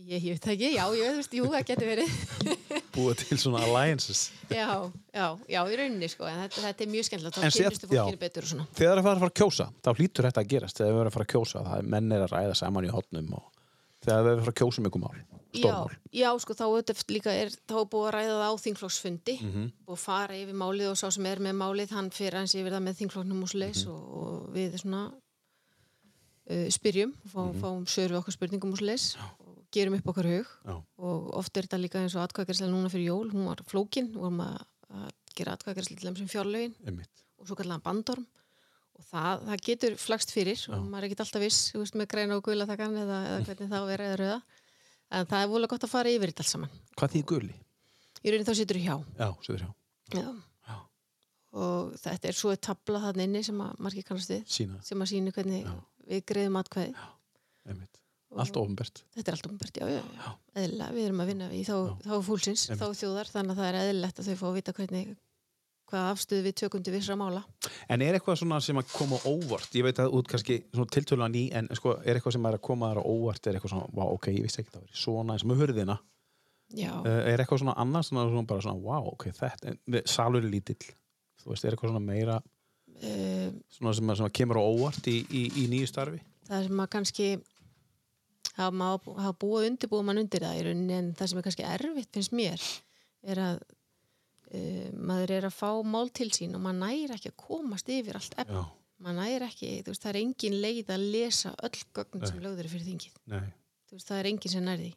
C: ég, ég veit það ekki, já, ég veist, jú, það getur verið
B: Búa til svona alliances.
C: já, já, já, í rauninni sko en þetta, þetta er mjög skemmtilegt,
B: En
C: þá
B: sér-
C: kynnistu fólkinu betur og svona
B: Þegar það er að fara að fara að kjósa, þá hlýtur þetta að gerast þegar það er að fara að kjósa, það er menn er að ræða saman í hotnum og þegar það er að fara að kjósa um ykkur mál,
C: Já,
B: stórmál.
C: já, sko, þá auðvitað líka er, þá er búið að ræða það á þingflokksfundi og fara yfir málið og sá sem er með málið hann fyrir hans yfir það með þingflokknum úr leis og, og við svona uh, spyrjum, fá, fáum svör við okkar spurningum úr leis og gerum upp okkar hug
B: Já.
C: og oft er þetta líka eins og atkvæðgærslega núna fyrir jól, hún var flókin og vorum að, að gera atkvæðgærslega til þeim sem fjárlögin
B: Einmitt.
C: og svo kallan bandorm og það, það getur flagst fyrir og maður er ekkert alltaf viss, þú veist, með græna og gula takkan eða, eða hvernig þá vera eða rauða en það er vola gott að fara yfir þetta alls saman
B: Hvað því guli?
C: í raunin þá situr þú hjá
B: Já, söður hjá.
C: Já. og þetta er svo eitt tabla þarna inni sem að margir kannast við
B: Sína,
C: sem að sínu hvernig við greiðum atkvæði
B: einmitt. Allt ofinbært.
C: þetta er allt umbært, já, já, já. eðlilega, við erum að vinna í þá, þá fúlsins, þá þjóðar þannig að það er eðlilegt að þau fá að vita hvernig hvaða afstöðu við tökum til vissra mála
B: En er eitthvað svona sem að koma á óvart? Ég veit að út kannski svona tiltölu ný, en sko, er eitthvað sem er að koma þar á óvart? Er eitthvað svona, vá, ok, ég vissi ekki það verið svona eins og með hurðina.
C: já,
B: Uh, er eitthvað svona annars svona, svona bara svona, vá, ok, þetta, en- salur er lítill. Þú veist, er eitthvað svona meira,
C: um,
B: svona sem, að- sem að kemur á óvart í, í, í nýju starfi?
C: það sem að kannski hafa maður- hafa búið undirbúið mann undir það í rauninni en það sem er kannski erfitt finnst mér er að uh, maður er að fá mál til sín og maður nægir ekki að komast yfir allt efni
B: Já,
C: maður nægir ekki, þú veist, það er engin leið að lesa öll gögn sem lögður eru fyrir þingið
B: nei.
C: þú veist, það er engin sem nærði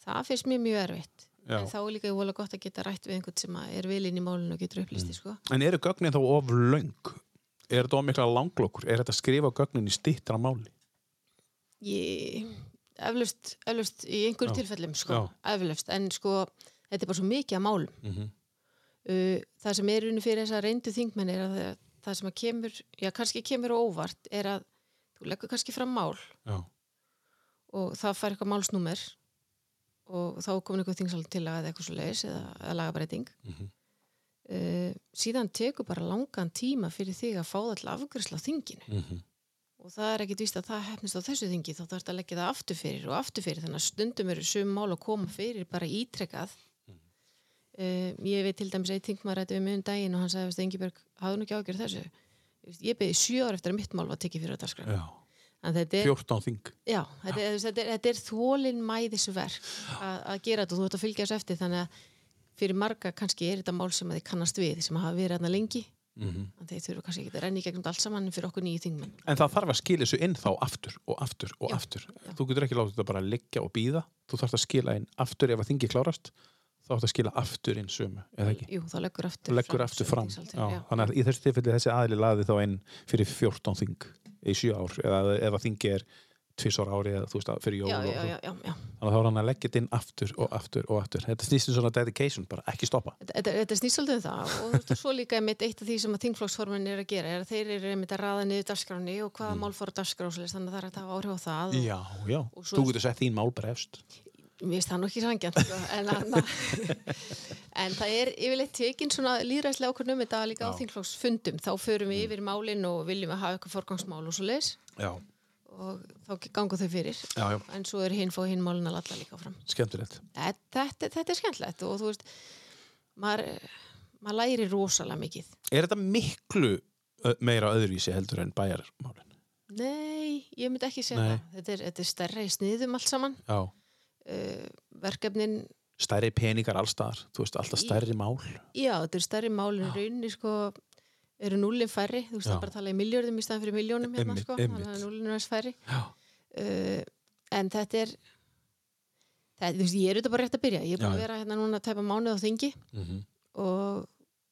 C: það finnst mér mjög erfitt
B: Já.
C: en þá er líka vola gott að geta rætt við einhvern sem að er vilinn í málinu og getur
B: Mm.
C: upplýsti sko.
B: En eru gögnin þá of löng? Er þetta of mikla langlokkur? Er þetta að skrifa gögnin í stýttra máli?
C: Ég, eflaust, eflaust í einhverju tilfellum sko,
B: Já.
C: eflaust, en sko þetta er bara svo mikið að málum
B: Mhm.
C: uh, það sem er unni fyrir þess að reyndu þingmenn er að það- það sem að kemur, já kannski kemur á óvart er að þú leggur kannski fram mál
B: Já.
C: og það fær eitthvað málsnúmer og þá er komin eitthvað þingsalum til að eitthvað svo leiðis eða, eða lagabreiting mm
B: Mhm.
C: síðan tekur bara langan tíma fyrir þig að fá það til afgjörsla þinginu
B: Mhm.
C: og það er ekkit víst að það hefnist á þessu þingi þá þarf að leggja það aftur fyrir og aftur fyrir þannig að stundum eru sum mál að koma fyrir bara ítrekkað um, ég veit til dæmis eitt þingmaður þetta við mjög um daginn og hann sagði að Engibjörg hafði nú ekki ágjör þessu ég beði sjö ár eftir að mitt mál var tekið fyrir að dagskrá
B: Já.
C: en þetta er
B: 14 þing.
C: Já, þetta, er, þetta, er, þetta er þólin mæðisverk að, að gera þetta og þú ert að fylgja þessu eftir þannig að fyrir marga kannski er þetta mál sem að þið kannast við sem hafa verið hérna lengi mm
B: Mhm.
C: -hmm. þannig að þeir þurfa kannski ekki að renni í gegnum þetta allt saman en fyrir okkur nýju þingmenn
B: En það þarf að skila þessu inn þá aftur og aftur og
C: Já,
B: aftur. Þú getur ekki látið þetta bara liggja og býða. Þú þarfst að skila inn aftur ef að þingi klárast. Þá þarfst að skila aftur inn sömu, eða ekki?
C: Jú, þá leggur aftur
B: Þú leggur aftur
C: sömu
B: fram.
C: þingsályktun,
B: Já,
C: já.
B: þannig að í þessu tilfelli þessi aðli laði þá inn fyrir 14 þing í 7 ár eða ef að þingi er tvisar ári eða þú veist að fyrir jól
C: Já,
B: og-
C: já, já, já, já.
B: þannig að þá er hann að leggja þetta inn aftur og aftur og aftur þetta snýst um svona dedication, bara ekki stoppa
C: Þetta, þetta, þetta snýst svolítið um það og þú veist, og svo líka einmitt eitt af því sem að þingflokksformin er að gera er að þeir eru einmitt að raða niður dagskráni og hvaða mál fór á dagskrá og svoleiðis, þannig að það er hægt að hafa áhrif á það og,
B: Mm. já, já,
C: Og svo-
B: þú getur sett þín mál brefst
C: Mér finnst það nú ekki sangjant sko, en, anna, en það er yfirleitt tekin svona líðræðslega okkur um þetta líka á þingflokksfundum þá förum
B: Mm.
C: við yfir málin og viljum að hafa eitthvað forgangsmál og svo leis
B: já,
C: og þá ganga þau fyrir
B: já, já,
C: en svo er hinn fá hinn málin að lalla líka fram
B: skemmtilegt
C: þetta, þetta, þetta er skemmtilegt og þú veist maður, maður læri rosalega mikið
B: er þetta miklu ö, meira öðruvísi heldur en bæjarmálin
C: Nei, ég myndi ekki segja
B: Nei.
C: það þetta er, þetta er stærra í sniðum allt saman
B: já,
C: uh, verkefnin
B: stærri peningar allstaðar þú veist, alltaf
C: Í-
B: stærri mál
C: Já, þetta eru stærri mál en rauninni sko eru núlinn færri, þú veist
B: Já.
C: það er bara að tala í miljörðum í staðan fyrir miljónum hérna
B: Einmitt,
C: sko,
B: einmitt.
C: þannig að núlinn er aðeins færri
B: já,
C: uh, en þetta er það, þú veist, ég er þetta bara rétt að byrja ég er búin
B: Já,
C: að
B: já.
C: vera hérna núna að tæpa mánuð á þingi
B: mm -hmm.
C: og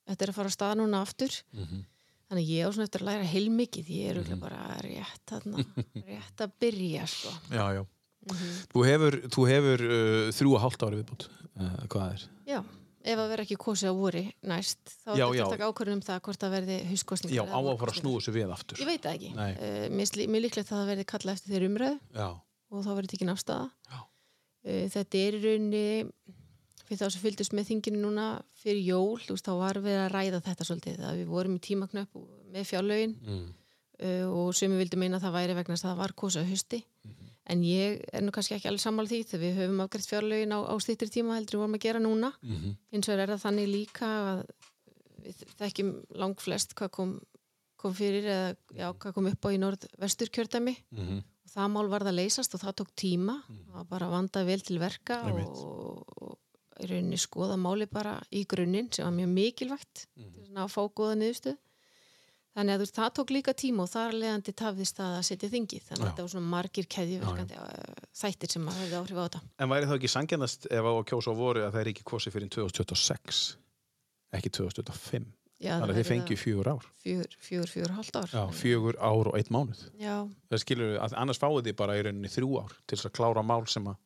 C: þetta er að fara á stað núna aftur
B: Mhm.
C: þannig að ég á svona eftir að læra heilmikið ég er mm bara rétt þarna, rétt að byrja sko
B: já, já þú hefur, þú hefur uh, þrjú og hálft ári viðbútt uh, hvað er?
C: Já, ef að vera ekki kosið á vori næst, þá
B: Já,
C: er
B: já.
C: þetta taka ákvörðum um það hvort það verði hauskostningar
B: já, á
C: eða
B: að fara að
C: vorkosningar.
B: snúa þessu við aftur
C: Ég veit það ekki.
B: Nei.
C: Uh, mér, slí- mér líklegt að það verði kallað eftir þeirri umræðu
B: já,
C: og þá verði tekin afstaða.
B: Já.
C: Uh, þetta er í rauninni, fyrir þá sem fylgdist með þinginu núna fyrir jól, þú veist, þá var við að ræða þetta svolítið, að við vorum í tímaknöpp og- með fjárlaugin
B: mm.
C: uh, og sem við vildum meina að það væri vegna þess að það var kosa hausti. En ég er nú kannski ekki alveg sammála því þegar við höfum afgreitt fjárlaugin á, á stýttri tíma heldur en við vorum að gera núna.
B: Mm
C: Hins vegar er það þannig líka að við þekkjum langflest hvað kom, kom fyrir eða já, hvað kom upp á í norðvestur kjördæmi
B: mhm,
C: og það mál varð að leysast og það tók tíma það var bara að vanda vel til verka
B: Einmitt.
C: og, og í rauninni skoða máli bara í grunninn sem var mjög mikilvægt
B: mhm.
C: til að ná að fá góða niðurstöð þannig að þú veist, það tók líka tíma og þar leðandi tafðist það að setja þingið þannig að
B: Já.
C: þetta var svona margir keðjuverkandi eh, þættir sem að hefði áhrif á þetta
B: En væri það ekki sangjannast ef á að kjósa á voru að það er ekki kosið fyrir 2026 ekki 2025
C: já,
B: þannig að þið fengju fjögur ár
C: fjögur, fjögur, fjögur, hálft ár
B: Já, fjögur ár og eitt mánuð
C: já,
B: það skilur við, annars fáið þið bara í rauninni þrjú ár til þess að klára mál sem að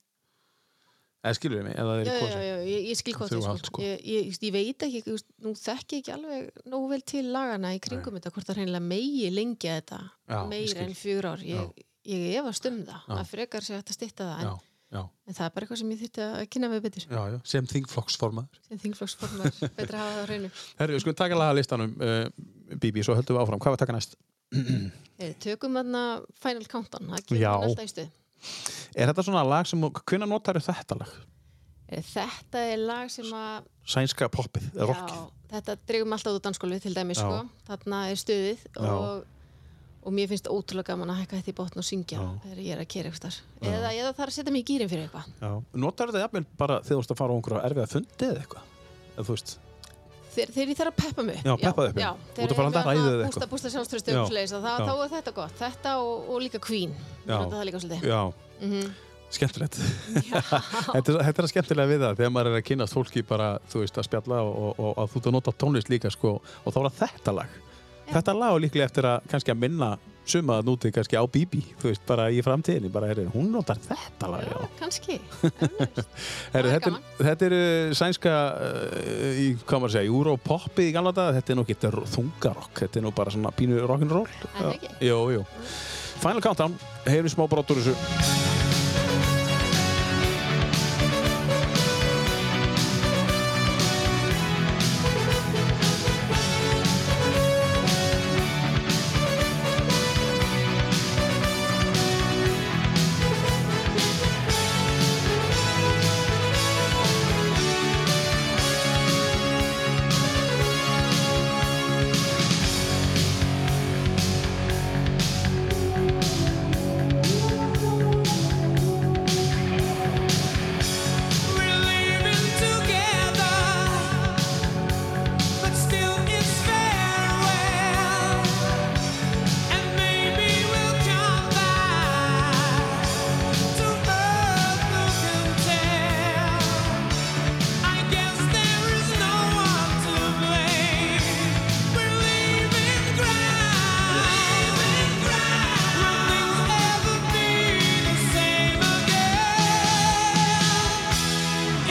B: eða skilur við mig, eða það
C: já,
B: er
C: já,
B: kosið
C: já, ég, ég skil hvað
B: Þrjú
C: þér
B: allt, sko.
C: sko. ég, ég, ég- ég veit ekki, ég, nú þekki ég ekki alveg nógu vel til lagana í kringum þetta hvort það hreinlega megi lengja þetta
B: Já, ég
C: meira
B: skil.
C: en fjör ár ég, ég efast um það, að frekar sér hægt að stytta það
B: Já,
C: en,
B: já,
C: en það er bara eitthvað sem ég þýtti að kynna mig betur
B: já, já, sem þingflokksformaður
C: sem þingflokksformar, betur að hafa það á hreinu
B: Herru, við skulum taka laga listanum uh, Bibi, svo höldum við áfram, hvað var að taka næst?
C: Heyrðu, tökum þarna Final Countdown það kemur
B: Já.
C: næsta í stuð
B: Er þetta svona lag sem, hvenær notar þetta lag?
C: Heyrðu, Eh, þetta er lag sem að
B: Sænska poppið, eða rockið
C: Já, þetta dreigum alltaf út danskólfið til dæmis
B: Já.
C: sko. þarna er stuðið
B: Já.
C: og, og mér finnst ótrúlega gaman að hækka þetta í botn og syngja
B: Já.
C: þegar ég er að kera eitthvað eða, eða þarf að setja mig í gýrin fyrir eitthvað
B: Já. Notar þetta jafnvel bara þegar þú ert að fara á einhverja erfiða fundi eða eitthvað? Eða þú veist,
C: þegar, þegar ég þarf að peppa mig
B: Já, peppa þig upp, já.
C: já.
B: Út
C: þegar
B: að fara
C: ég
B: handa
C: verð
B: ræðu eða
C: að
B: eitthvað.
C: bústa bústa
B: Já.
C: sjálfströstum þá,
B: Já.
C: þá er þetta gott, þetta og, og líka Queen
B: Já.
C: Mér finnst það líka svolítið
B: já, skemmtilegt. þetta, er, þetta er skemmtilega við það, þegar maður er að kynast fólki bara, þú veist, að spjalla og, og, og að þú ert að nota tónlist líka, sko, og þá er það þetta lag. Þetta lag er líklega eftir að kannski að minna suma að núti kannski á Bibi, þú veist, bara í framtíðinni, bara, herri, hún notar þetta lag, já.
C: kannski
B: Herri,
C: það
B: Ah,
C: er
B: þetta,
C: gaman.
B: er- þetta er uh, sænska, uh, í, hvað maður að segja, Europoppið í gamla dag, þetta er nú ekki þetta er þungarokk, þetta er nú bara svona pínu rock'n'roll.
C: Er það ekki?
B: Jó, jó. Final Countdown, heyrum smá brot úr þessu.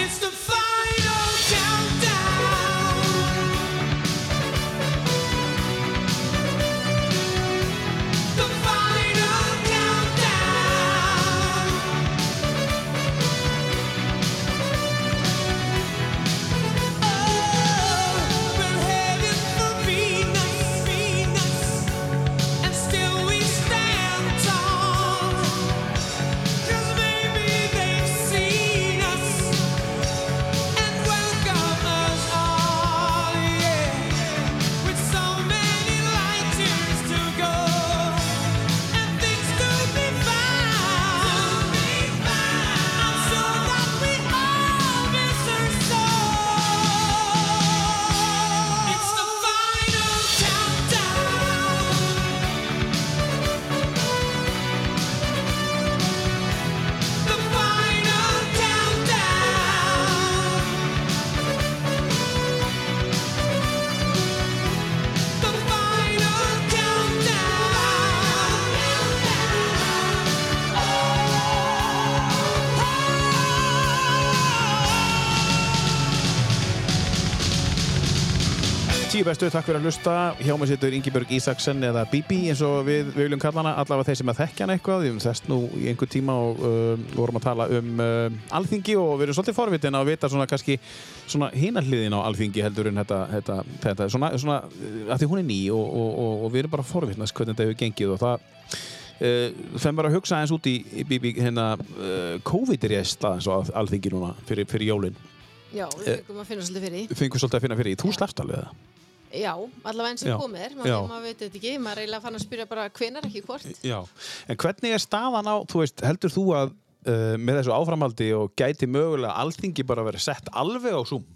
D: It's the final countdown. The final countdown. Oh, we're headed for Venus, Venus, and still we stand tall. 'Cause maybe they've seen us. And welcome us all, yeah. With so many light years to go, and things to be found. I'm sure that we all miss her so. It's the final countdown. The final countdown. The final Oh, oh. countdown.
B: Tíu bestu, takk fyrir að hlusta. Hjá mig situr Ingibjörg Ísaksen eða Bibi eins og við, við viljum kalla hana, allavega þeir sem að þekkja hana eitthvað. Við höfum þess nú í einhver tíma og um, vorum að tala um um, alþingi og við erum svolítið forvitin að vita svona kannski svona hina hliðin á alþingi heldur en þetta, þetta, þetta svona, svona uh, að því hún er ný og, og, og, og við erum bara forvitnast hvernig þetta hefur gengið og það Uh, þeim bara að hugsa eins út í, í, í, í hérna, uh, COVID-rest aðeins á alþingi núna fyrir, fyrir jólin
C: já,
B: Eh.
C: við fengum að finna svolítið fyrir því
B: fengur svolítið að finna fyrir því, þú slast alveg það
C: já, allavega eins
B: Já.
C: og komið er
B: Já.
C: maður, maður veit þetta ekki, maður er eiginlega fann að spyrja bara hvenar ekki hvort
B: Já, en hvernig er staðan á, þú veist, heldur þú að uh, með þessu áframhaldi og gæti mögulega alþingi bara verið sett alveg á Zoom?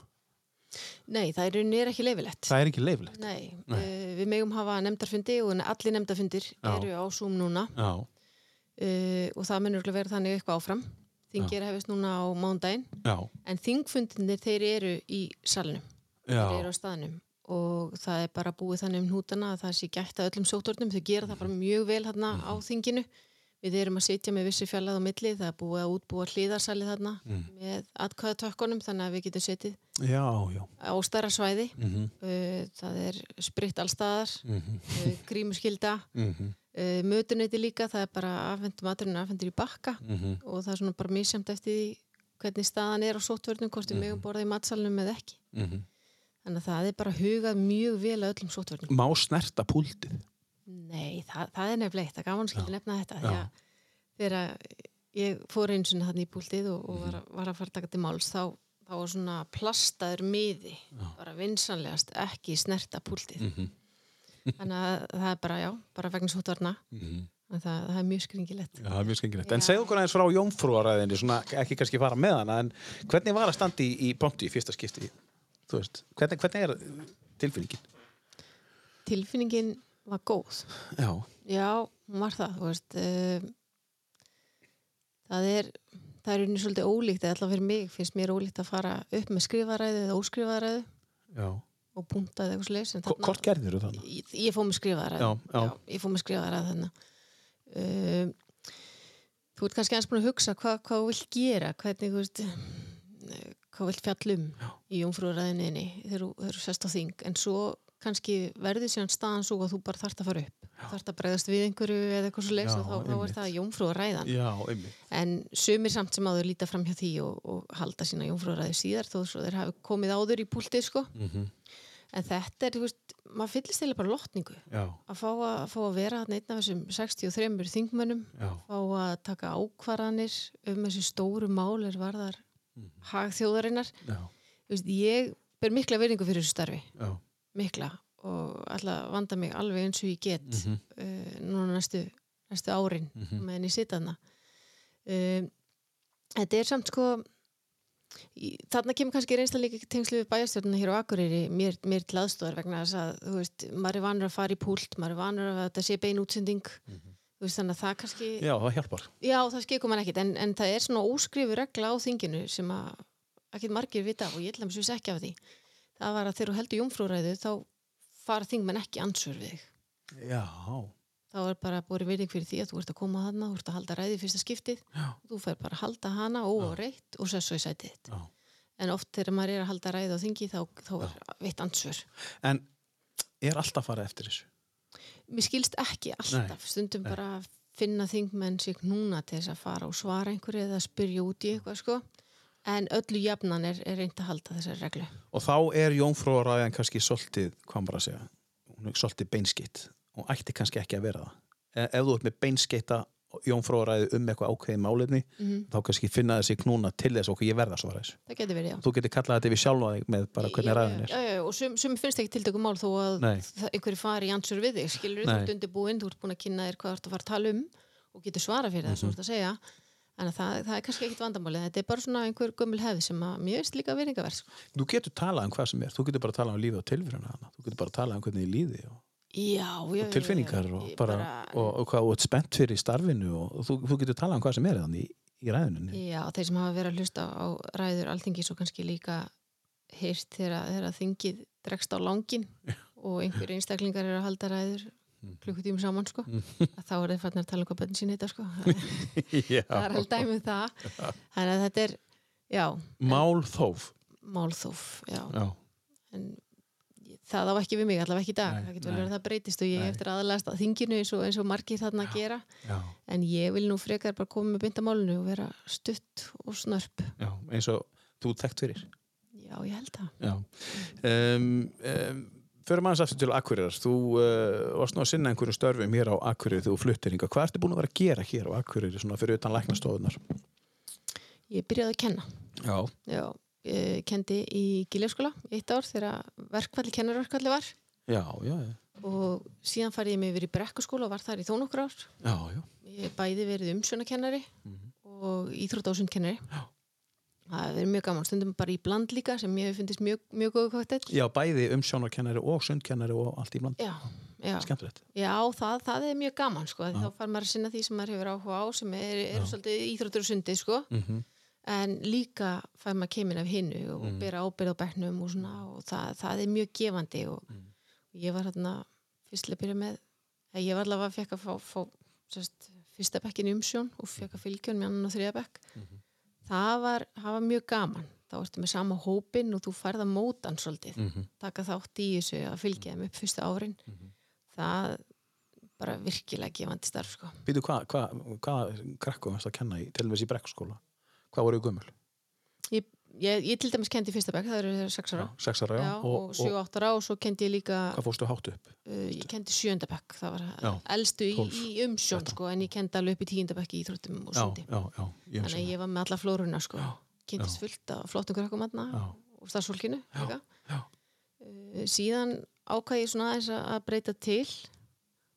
C: nei, það er unni er ekki leifilegt
B: Það er ekki leifilegt.
C: nei, uh, við megum hafa nefndarfundi og allir nefndarfundir
B: Já.
C: eru á Zoom núna
B: Já,
C: uh, og það munur örugglega vera þannig eitthvað áfram þingir hefist núna á mándaginn
B: já,
C: en þingfundinir þeir eru í salnum þeir
B: já,
C: eru á staðnum og það er bara búið þannig um hnútana að það sé gætt að öllum sóttórnum, þau gera það bara mjög vel þarna á þinginu við erum að sitja með vissi fjallega á milli það er búið að útbúa hlýðarsali þarna með atkvæðatökkunum þannig að við getum setið
B: já, já.
C: á stærra svæði
B: Mm -hmm.
C: uh, það er spritt allstaðar
B: Mm -hmm.
C: uh, grímuskilda
B: mhm,
C: uh, mötuneyti líka, það er bara afhendur maturinn afhendur í bakka
B: Mhm.
C: og það er svona bara mísjæmt eftir því hvernig staðan er á sóttvörnum, hvort við megum borða í matsalunum eða ekki
B: mhm.
C: Þannig að það er bara hugað mjög vel að öllum sótvörnum.
B: Má snerta púltið?
C: Nei, það, það er nefnilegt, það er gaman skil nefna þetta. því að Þegar að ég fór einu sinni þannig í búltið og, og var, að- var að fara að taka til máls, þá, þá var svona plastaður miði, bara vinsanlegast, ekki snerta púltið.
B: Mm. Mhm,
C: Þannig að það er bara, já, bara vegna sótvörna.
B: mhm.
C: Þannig að það, það er mjög skringilegt.
B: Já, það er mjög skengilegt. En
C: Já.
B: segðu okkur aðeins frá jómfrúaræðinni, svona ekki kannski fara með hana, en hvernig var að standa í, í pontu í fyrsta skipti? Þú veist, hvernig, hvernig er tilfinningin?
C: Tilfinningin var góð.
B: Já,
C: Já, hún var það, þú veist um, það er það er unni svolítið ólíkt, eða allavega fyrir mig finnst mér ólíkt að fara upp með skrifaræði eða óskrifaræði
B: já,
C: og punta eða eitthvað slags
B: Ko- Hvort gerðir þú þannig?
C: ég, ég fór mig skrifaðara
B: Já, já.
C: ég fór mig skrifaðara þannig um, þú ert kannski aðeins búin að hugsa hvað, hvað þú vilt gera hvernig þú veist eh, hvað þú vilt fjallum já. í jómfrúræðinni þegar þú- þegar þú sest á þing en svo kannski verður síðan staðan svo að þú bara þarft að fara upp þarft að bregðast við einhverju eða eitthvað svo leys
B: Já,
C: og þá, þá
B: einmitt.
C: er það jómfrúræðan
B: Já, einmitt.
C: en sumir samt sem áður líta fram hjá því og, og halda sína jómfrúræði síðar þó svo þeir hafi komið áður í púltið sko
B: Mhm.
C: en þetta er, þú veist, maður fyllist eða bara lotningu
B: Já,
C: að fá að, fá að vera þarna einn af þessum 63 þingmönnum
B: já,
C: fá að taka ákvarðanir um þessi stóru mál er varðar hag þjóðarinnar
B: já,
C: Þú veist, ég ber mikla veringu fyrir þessu starfi
B: já.
C: mikla og ætla að vanda mig alveg eins og ég get mm núna næstu, næstu árin mm -hmm. meðan ég sita hana um, Þetta er samt sko í- þarna kemur kannski reynsla líka í tengslu við bæjarstjórnuna hér á Akureyri mér, mér til aðstóðar vegna þess að þú veist, maður er vanur að fara í púlt maður er vanur að þetta sé bein útsending þú veist þannig að það kannski
B: Já, það hjálpar.
C: Já, það skekur mann ekkit, en, en það er svona óskrifu regla á þinginu sem að ekkit margir vita af og ég ætla mér svo ekki af því. Það var að þegar þú heldur jómfrúræðu þá fara þingmenn ekki ansvör við þig.
B: Já,
C: Þá er bara borin virðing fyrir því að þú ert að koma þarna, þú ert að halda ræði í fyrsta skiptið, Já. þú fer bara að halda hana óreitt og sess og í sætið þitt.
B: já.
C: En oft þegar maður er að halda ræði á þingi þá, þá er veitt ansvör.
B: En er alltaf farið eftir þessu?
C: Mér skilst ekki alltaf, stundum bara finna þingmenn sig núna til þess að fara og svara einhverju eða spyrja út í eitthvað sko. En öllu jafnan er, er reynd að halda þessari reglu.
B: Og þá er jónfrúaræðan kannski svolítið, hvað maður að segja, hún er svolítið beinskitt. Hún ætti kannski ekki að vera það. E- Ef þú ert með beinskitta jónfrúaræði um eitthvað ákveðið málefni, þá kannski finna þessi knúna til þess okkur ég verða að svara þessu.
C: Það getur verið, já.
B: Þú getur kallað þetta við sjálfa þig með bara hvernig
C: Já,
B: ræðin er.
C: Já, já, já, og sum, sum finnst ekki tiltökum mál þó að
B: Nei.
C: það- einhverju fari í ansur við þig, skilur þú
B: Nei.
C: ert undirbúinn, þú ert búin að kynna þér hvað þú ert að fara að tala um og getur svara fyrir
B: Mhm.
C: það sem þú ert að segja. En það, það er kannski ekkit vandamálið, þetta er bara svona einhver gömul hefð sem að mér veist líka veringaverð, sko.
B: Þú getur talað um hvað sem er. Þú getur bara talað um lífið og tilfyrirna hana. Þú getur bara talað um hvernig þið líði og,
C: Já, já, já,
B: og tilfinningar
C: já,
B: og,
C: ég
B: bara, og, og hvað þú ert spennt fyrir í starfinu og, og þú, þú getur talað um hvað sem er þannig í, í ræðinu.
C: Já, þeir sem hafa verið að hlusta á ræður alþingis og kannski líka heyrt þegar að- þegar að þingið dregst á langin og einhver einstaklingar eru að halda ræður klukkutíum saman sko að þá er þeir farnir að tala um hvað bönn sín heita sko það
B: Já.
C: er alveg dæmið það þannig að þetta er, já,
B: Málþóf.
C: málþóf já.
B: Já.
C: en ég- það á ekki við mig, allavega ekki í dag
B: Nei,
C: það getur vel
B: nei.
C: verið að það breytist og
B: Nei.
C: ég nei. eftir aðalegast að þinginu eins og, eins og margir þarna gera
B: Já.
C: en ég vil nú frekar bara koma með bindamálinu og vera stutt og snörp
B: Já. Eins og þú ert þekkt fyrir.
C: já, ég held það
B: Já. Um, um, Förum aðeins aftur til Akureyrar. Þú uh, varst nú að sinna einhverjum störfum hér á Akureyri þegar þú fluttir hingað. Hvað ertu búin að vera að gera hér á Akureyri svona fyrir utan læknastofunar?
C: ég byrjaði að kenna
B: Já.
C: já, ég kendi í Gilefskóla eitt ár þegar verkfalli kennarverkfalli var
B: Já, já, já.
C: og síðan farið ég mig yfir í brekkuskóla og var þar í þó nokkur ár
B: Já, já.
C: ég hef bæði verið umsjónakennari og íþrótt ásundkennari
B: Mhm. Já.
C: það hefur verið mjög gaman stundum bara í bland líka sem ég hef fundist mjög, mjög góðu kvartett
B: Já, bæði umsjónarkennari og sundkennari og allt í bland.
C: já, já.
B: Skemmtilegt.
C: já það, það er mjög gaman sko. því þá far maður að sinna því sem maður hefur áhuga á sem er, er svolítið íþróttur og sundið sko.
B: Mhm.
C: en líka fær maður kemur af hinnu og bera ábyrð á bernum og, svona, og það, það er mjög gefandi og ég var hérna fyrst til að byrja með eða ég var allavega fekk að fá, fá sérst, fyrsta bekkin umsjón og fekk að fylgjón með annan og þriða bekk það var, það var mjög gaman þá ertu með sama hópin og þú færð að móta hann svolítið, taka þátt í þessu að fylgja þeim upp fyrsta árin það bara virkilega gefandi starf sko.
B: Býtu, hvað hva, hva krakkum varst að kenna í, til og meðs í brekkskóla? Hvað voru gömul?
C: ég, ég, ég til dæmis kendi í fyrsta bekk, það eru þeir sex ára
B: Sex ára, já.
C: Já, og 7-8 ára og svo kendi ég líka
B: hvað fórstu hátt upp?
C: uh, ég kendi sjöndabekk, það var
B: Já,
C: elstu í,
B: 12,
C: í umsjón sko, en ég kendi alveg upp í tíundabekk í Íþróttum og
B: Já,
C: sundi
B: já, já. Ég
C: þannig að
B: umsjón.
C: ég var með alla flóruna sko. kynntist fullt af flottum krakkum aðna
B: Já.
C: og starfsfólkinu líka
B: já.
C: Uh, síðan ákvað ég svona aðeins að að breyta til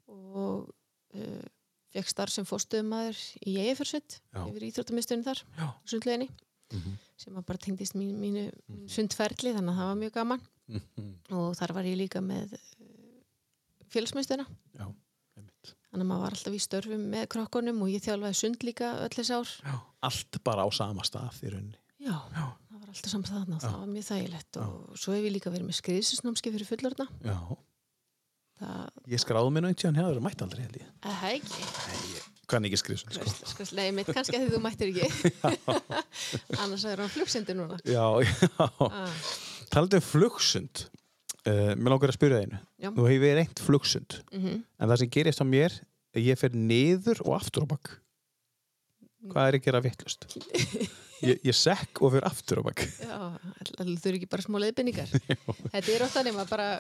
C: og uh, fekk starf sem fórstuðumæður í Eifjörsveit
B: Já.
C: yfir íþróttamistunni þar
B: Já.
C: sundleginni
B: Mhm.
C: sem að bara tengdist mín, mínu mínu sundferli þannig að það var mjög gaman
B: Mhm.
C: og þar var ég líka með félagsmyndstuna
B: Já, einmitt.
C: þannig að maður var alltaf í störfum með krökkunum og ég þjálfaði sund líka öll þess ár
B: Já. Allt bara á sama stað í rauninni.
C: Já,
B: Já.
C: það var alltaf saman þarna og það var mjög þægilegt og svo hef ég líka verið með skriðsusnámski fyrir fullorðna
B: Já.
C: það
B: Ég skráði mér nú einhvern tíðan hefur mætt aldrei held ég.
C: er það ekki
B: Kann ekki skrifa svona, sko.
C: Veist- sko, Nei, mitt kannski að því þú mættir ekki annars er hann flugsendur núna
B: Já, já.
C: ah,
B: Taldu um flugsund. Uh, mér langar að spyrja það einu.
C: Já.
B: Nú hefur ég reynt flugsund.
C: mhm.
B: En það sem gerist á mér, er ég fer niður og aftur á bakk. Hvað er ég að gera vittlust? Ég, ég sekk og fer aftur á bakk.
C: Já, þú eru ekki bara smá leiðbendingar Þetta er ofta nema bara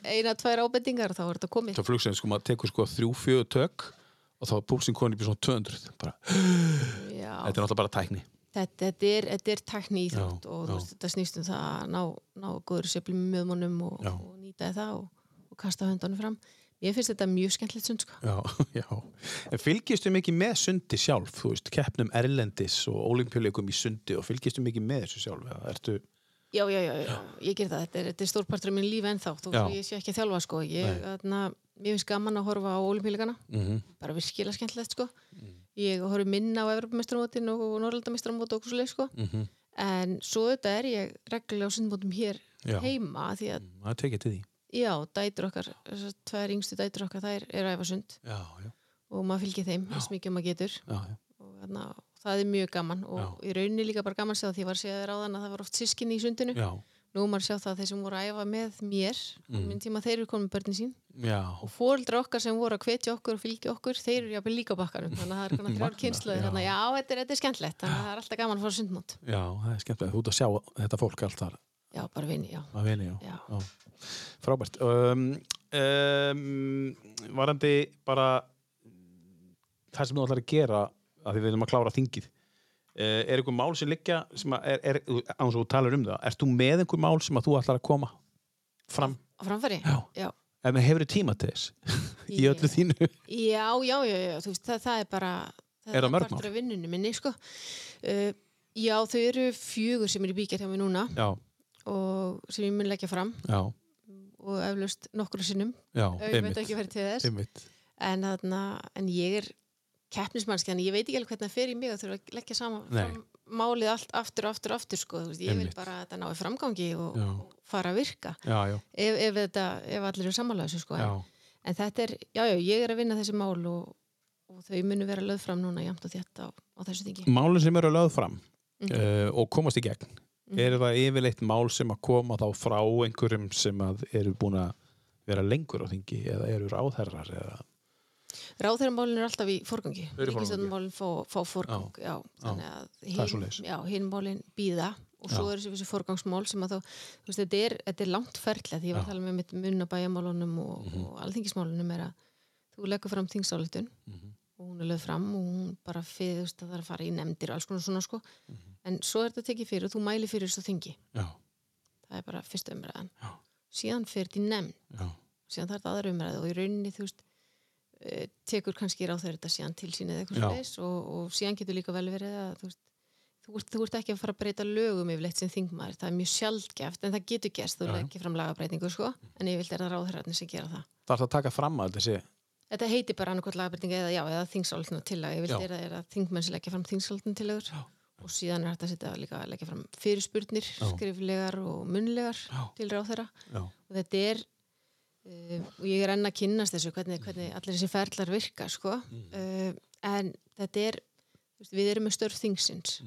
C: eina, tvær ábendingar og þá er þetta komið
B: Það flugsend, sko, maður tekur sko þrjú, fjögur tök og þá er púlsinn konið byrjum svona 200. Bara,
C: Já,
B: þetta er náttúrulega bara tækni.
C: þetta, þetta er, þetta er tækni íþrótt
B: Já,
C: og
B: já.
C: þú veist, þetta snýst um það að ná, ná góður sjöflum með mönnum og,
B: Já.
C: og nýta það og, og kasta höndunum fram Ég finnst þetta mjög skemmtilegt sund sko.
B: Já, já. En fylgistu mikið með sundi sjálf, þú veist, keppnum erlendis og olimpíuleikum í sundi og fylgistu mikið með þessu sjálf, eða ertu...
C: já, já, já, já, ég ger það, þetta er, þetta er stórpartur af minn lífi ennþá, þú
B: Já.
C: veist, ég sé ekki að þjálfa sko. ég, þarna, ég finnst gaman að horfa á olimpílikana,
B: Mm -hmm.
C: bara virkilega skemmtilegt sko.
B: Mm.
C: ég horf minna á Evropamestramótin og Norrlandamestramót og okkur svo leik sko.
B: mhm,
C: en svo þetta er ég reglulega á sundmótum hér
B: Já.
C: heima því að,
B: Það tekið til því.
C: já, dætur okkar þessar tvær yngstu dætur okkar, þær eru að æfa sund
B: Já, já,
C: og maður fylgir þeim eins mikið og maður getur
B: já, já.
C: og þarna, það er mjög gaman og í rauninni líka bara gaman að sjá það því ég var að segja þér áðan að það var oft sískinni í sundinu
B: Já, Mhm.
C: nú er maður að sjá það að þeir sem voru að æfa með mér mm. minn tíma þeir eru komin með börnin sín
B: já.
C: og fóreldra okkar sem voru að hvetja okkur og fylgja okkur, þeir eru jafnvel líka á bakkanum þannig að það er konar þrjár kynslaðir þannig að já, þetta er, þetta er skemmtlegt, þannig að það er alltaf gaman að fara á sundmót
B: Já, það er skemmtilega. Þú ert að sjá þetta fólk allt þar
C: já, bara vinni, já,
B: að vini, já.
C: já.
B: já. Frábært. Um, um, varandi bara það sem þú ætlar að gera að því við erum að klára þingið. Uh, er einhver mál sem liggja sem að er, er, án svo þú talar um það, ert þú með einhver mál sem að þú ætlar að koma fram?
C: á framfæri
B: Já.
C: já,
B: Ef maður hefur tíma til þess í
C: Ég-
B: öllu þínu
C: já, já, já, já, þú veist, það, það er bara það
B: Er það mörg
C: partur
B: mál?
C: af vinnunni minni, sko uh, já, þau eru fjögur sem eru í bíkjar hjá mig núna
B: Já,
C: og sem ég mun leggja fram
B: já,
C: og eflaust nokkru sinnum,
B: já,
C: ég veit ekki verið til þess
B: einmitt.
C: en, þarna, en ég er keppnismannski, þannig ég veit ekki alveg hvernig það fer í mig að þurfa að leggja saman
B: Nei.
C: fram, málið allt aftur og aftur og aftur sko, þú veist, ég vil
B: Einmitt.
C: bara að þetta nái framgangi og,
B: Já.
C: og fara að virka
B: Já, já,
C: ef, ef, þetta, ef allir eru sammálaðis sko.
B: já,
C: en, en þetta er, já, já, ég er að vinna þessi mál og, og þau munu vera löð fram núna jæmt og þétt á, á þessu þingi
B: málin sem eru lögð fram uh, og komast í gegn er það yfirleitt mál sem að koma þá frá einhverjum sem að eru búin að vera lengur á þingi eða eru ráðherrar eða
C: Ráðherramálin eru alltaf í forgangi
B: Þau eru í forgangi.
C: Ríkistjórnarmálin fá, fá forgang já, þannig að
B: Það er svoleiðis.
C: hin- já, hinn málin býða og svo eru þessi forgangsmál sem að þá, þú veist, þetta er, þetta er langt ferli að því ég var að tala um með mitt munna bæjamálunum og,
B: Mhm.
C: og alþingismálunum er að þú leggur fram þingsáletun
B: Mhm.
C: og hún er lögð fram og hún bara fyrir, þú veist, að það er að fara í nefndir og alls konar svona sko
B: Mhm.
C: en svo er þetta tekið fyrir og þú mæli fyrir þessu þingi
B: Já,
C: það er bara fyrsta umræðan
B: Já.
C: síðan fyrir til nefnd
B: já,
C: síðan þarf það aðra umræðu og í rauninni þú veist eh, tekur kannski ráð þegar þetta síðan til sín eða eitthvað
B: Já.
C: svoleiðis og, og síðan getur líka vel verið að þú veist þú ert, þú ert ekki að fara að breyta lögum yfirleitt sem þingmaður, það er mjög sjaldgæft en það getur gerst, þú
B: Já, já.
C: er ekki fram lagabreitingu sko, en yfirleitt er það ráðherrarnir sem gera það
B: það er það að taka fram að þessi
C: Þetta heitir bara annarkvæmt lagabreitinga eða já, eða þingsáldinu tillaga, yfirleitt
B: Já.
C: er, það- er að þingmenn sem leggja fram þingsáldinu tillagur
B: Já.
C: og síðan er hægt að setja líka að leggja fram fyrirspurnir, skriflegar og munnlegar
B: Já.
C: til ráðherra
B: Já,
C: og þetta er uh, og ég er enn að kynnast þessu hvernig, hvernig allir þessi ferlar virka sko. uh, en þetta er þú veist, við erum með störf þingsins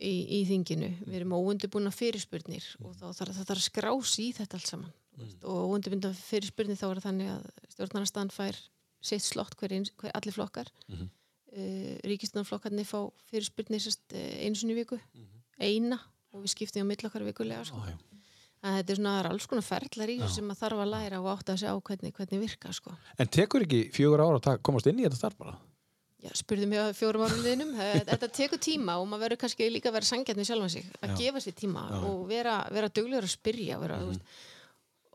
C: í, í þinginu við erum óundubúna fyrirspurnir og þá þarf, það þarf að skrási í þetta allt saman mm -hmm. og óundubúna fyrirspurnir þá er það þannig að stjórnarnastaðan fær sitt slott hver, eins, hver allir flokkar mm
B: Mhm.
C: ríkistunarflokkarnir fá fyrirspurnir sérst, eh, einu sinni í viku eina og við skiptum á milli okkar vikulega sko.
B: já, já.
C: En þetta er svona, það er alls konar ferlar í þessu sem maður þarf að læra og átta sig á hvernig, hvernig virka, sko.
B: En tekur ekki fjögur ára að ta- komast inn í þetta starf bara?
C: Já, spurðu mig á fjórum árum liðnum. Eh, Þetta tekur tíma og maður verður kannski líka að vera sangjarn við sjálfan sig, að gefa sér tíma og vera, vera duglegur að spyrja, vera, þú veist,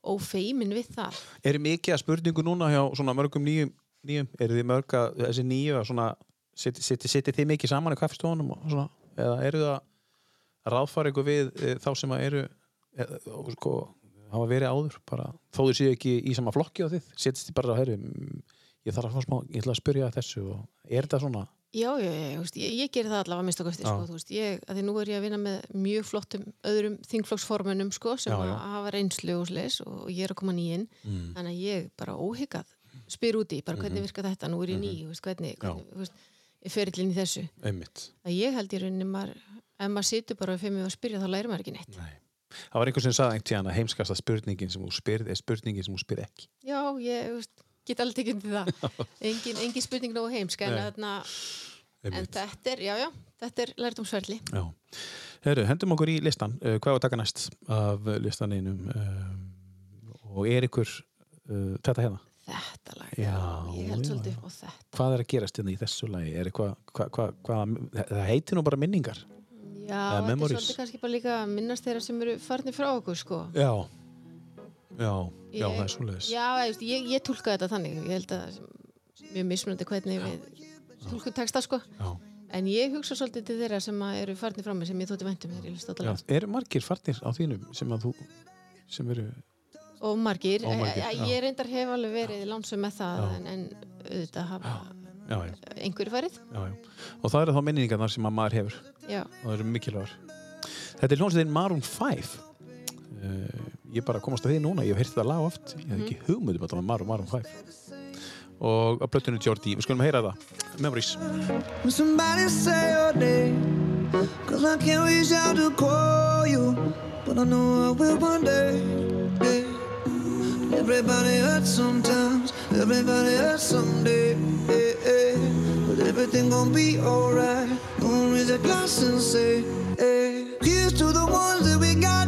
C: ófeimin við það.
B: Er mikið að spurningu núna hjá svona mörgum nýjum, nýjum? er þið mörg að þessi nýju að svona setji seti, seti þið mikið saman í kaffistofunum og svona, eða eru það að ráðfara ykkur við e, þá sem að eru e, og sko, hafa verið áður bara, þó þið séu ekki í sama flokki á þið setjast þið bara að herri mm, ég þarf að fá smá, ég ætla að spyrja að þessu og er þetta svona,
C: Já, já, já, já, þú veist, ég, ég gerir það allavega minnst okkur eftir, sko, þú veist, ég, að því nú er ég að vinna með mjög flottum öðrum þingflokksformunum, sko, sem
B: Já, Mm. já.
C: að hafa reynslu og slis og ég er að koma nýinn, þannig að ég bara óhyggað spyr úti, bara hvernig
B: Mhm.
C: virkar þetta, nú er ég ný, þú veist, hvernig, hvernig þú veist, ég fer illin í þessu.
B: einmitt.
C: Að ég held í rauninni, maður, ef maður situr bara fyrir mig og spyrja, þá lærir maður ekki neitt.
B: Nei. Það var einhver sem sagði einhvern tíðan að heimskasta spurningin sem hún spyrð er spurningin sem hún spyr ekki.
C: Já, ég, þú veist, get aldrei tekið undir það. Engin, engin spurning nógu heimsk, en,
B: Nei.
C: þarna, en
B: Einmitt.
C: þetta er, já, já, þetta er lærdomsverli.
B: Já. Heru, hendum okkur í listan. Uh, hvað var taka næst af uh, listaninum? Um, og er ykkur uh, þetta hérna?
C: Þetta lag,
B: Já,
C: ég held
B: já,
C: svolítið
B: já.
C: upp á þetta.
B: Hvað er að gerast hérna í þessu lagi? Er eitthvað, hvað, hvað, hvað, það heitir nú bara minningar.
C: Já,
B: Eða
C: þetta er
B: memories.
C: svolítið kannski bara líka að minnast þeirra sem eru farnir frá okkur, sko.
B: Já. Já, já,
C: Ég-
B: það er svoleiðis.
C: Já, ég, veist, ég, ég tólka þetta þannig, ég held að það er mjög mismunandi hvernig við tólkum texta, sko.
B: Já.
C: En ég hugsa svolítið til þeirra sem að eru farnir frá mig sem ég þótti um væntum þegar ég list
B: Já.
C: alltaf.
B: Eru margir farnir á þínum sem að þú, sem eru,
C: Og margir,
B: Og margir,
C: eh, eh,
B: já.
C: ég reyndar hef alveg verið lánsum með það,
B: Já.
C: en, en auðvitað hafa
B: já, já,
C: einhverju farið.
B: já, já. Og það eru þá minningarnar sem að maður hefur.
C: Já,
B: og það eru mikilvægar Þetta er hljómsveitin Maroon 5 uh, Ég bara komast að því núna ég hef heyrt það lág oft, ég hef ekki hugmynd um að það var Maroon, Maroon 5 og að blöttunum Jordi, við skulum heyra það Memories
E: When somebody say your name, cause I can't reach out to call you, but I know I will one day. yeah. Everybody hurts sometimes, everybody hurts someday. yeah, yeah. But everything gon' be alright. Gonna raise a glass and say, hey. Here's to the ones that we got.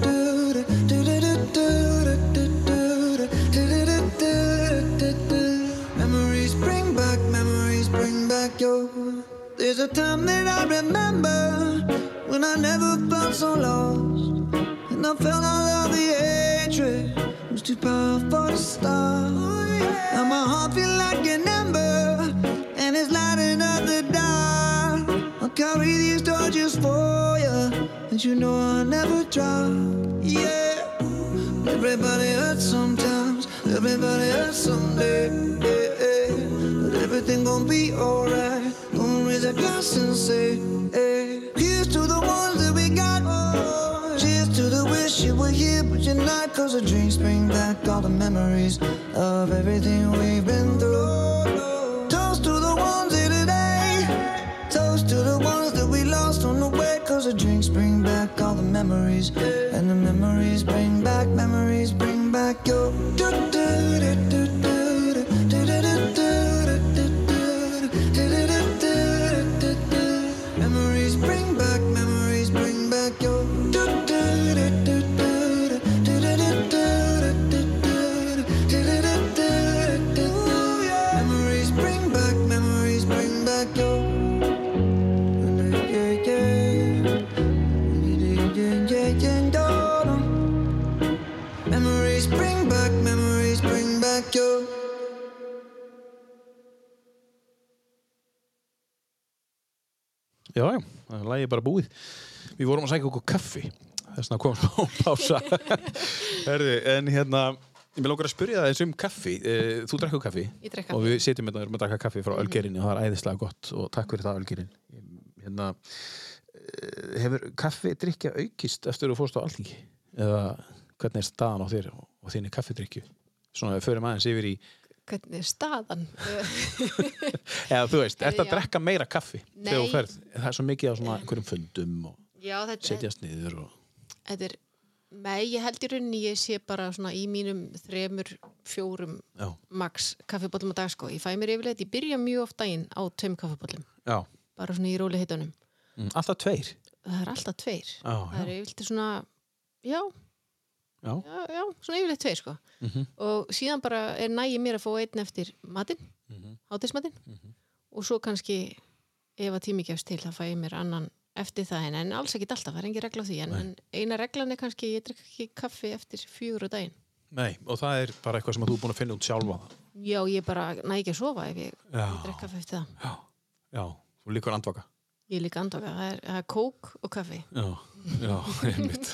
E: do, do, do, do, do, do, do, do, do, do, do, do, do, do. Memories bring back, memories bring back your. There's a time that I remember when I never felt so lost. And I felt all of the hatred It was too powerful to stop Now my heart feel like an ember And it's lighting up the dark I'll carry these torches for you And you know I'll never drop Yeah Everybody hurts sometimes Everybody hurts someday yeah, yeah. But everything gon' be alright Gonna raise a glass and say hey. Here's to the ones that we got Cheers to the wish you were here but you're not Cause the drinks bring back all the memories Of everything we've been through Toast to the ones here today Toast to the ones that we lost on the way. Cause the drinks bring back all the memories. And the memories bring back, memories bring back your. Do, do, do, do, do, do, do, do, do, do, do, do, do, do, do, do, do. Memories bring back, memories bring back your. Do, do, do, do, do, do, do, do, do, do, do, do, do, do, do, do, do. Memories bring back, memories bring back your. Memories bring back, memories bring back your
B: Já, já, það er lagið bara búið Við vorum að sækja okkur kaffi þess vegna komum við á pása Herðu, en hérna Ég vil okkur að spyrja það eins um kaffi Eh, Þú drekkur kaffi
C: Ég
B: og
C: drekk kaffi. Mhm.
B: við sitjum hérna og erum að drakka kaffi frá Ölgerinni og það er æðislega gott og takk fyrir það Ölgerin hérna, eh, Hefur kaffi drikja aukist eftir þú fórst á alþingi? Eða hvernig er staðan á þér og þinni kaffidrykju? Svona við förum aðeins yfir í
C: hvernig er staðan?
B: eða þú veist, ertu að
C: Já.
B: drekka meira kaffi
C: Nei.
B: þegar þú ferð? Það er svo mikið á svona einhverjum fundum og
C: já, þetta,
B: setjast niður og
C: þetta er nei, ég held í rauninni ég sé bara svona í mínum þremur, fjórum
B: Já,
C: max kaffibóllum á dag sko ég fæ mér yfirleitt, ég byrja mjög oft daginn á tveim kaffibóllum,
B: já.
C: bara svona í róli hittunum
B: Mm, alltaf tveir
C: það er alltaf tveir
B: Já,
C: það er yfirleitt svona já,
B: Já.
C: já, já, svona yfirleitt tveir sko
B: Mhm.
C: og síðan bara er nægi mér að fá einn eftir matinn, mm
B: Mhm.
C: og svo kannski ef að tími gefst til, þá fæ ég mér annan eftir það, en, en alls ekki alltaf, það er engin regla á því en, en eina reglan er kannski, ég drikk ekki kaffi eftir fjögur á daginn
B: Nei, og það er bara eitthvað sem þú er búin að finna út sjálfa
C: Já, ég bara næ ekki að sofa ef ég
B: Já,
C: drekka kaffi eftir það.
B: já, já, þú líkur andvaka
C: Ég er líka andvaka, það er, það er kók og kaffi.
B: Já, já, einmitt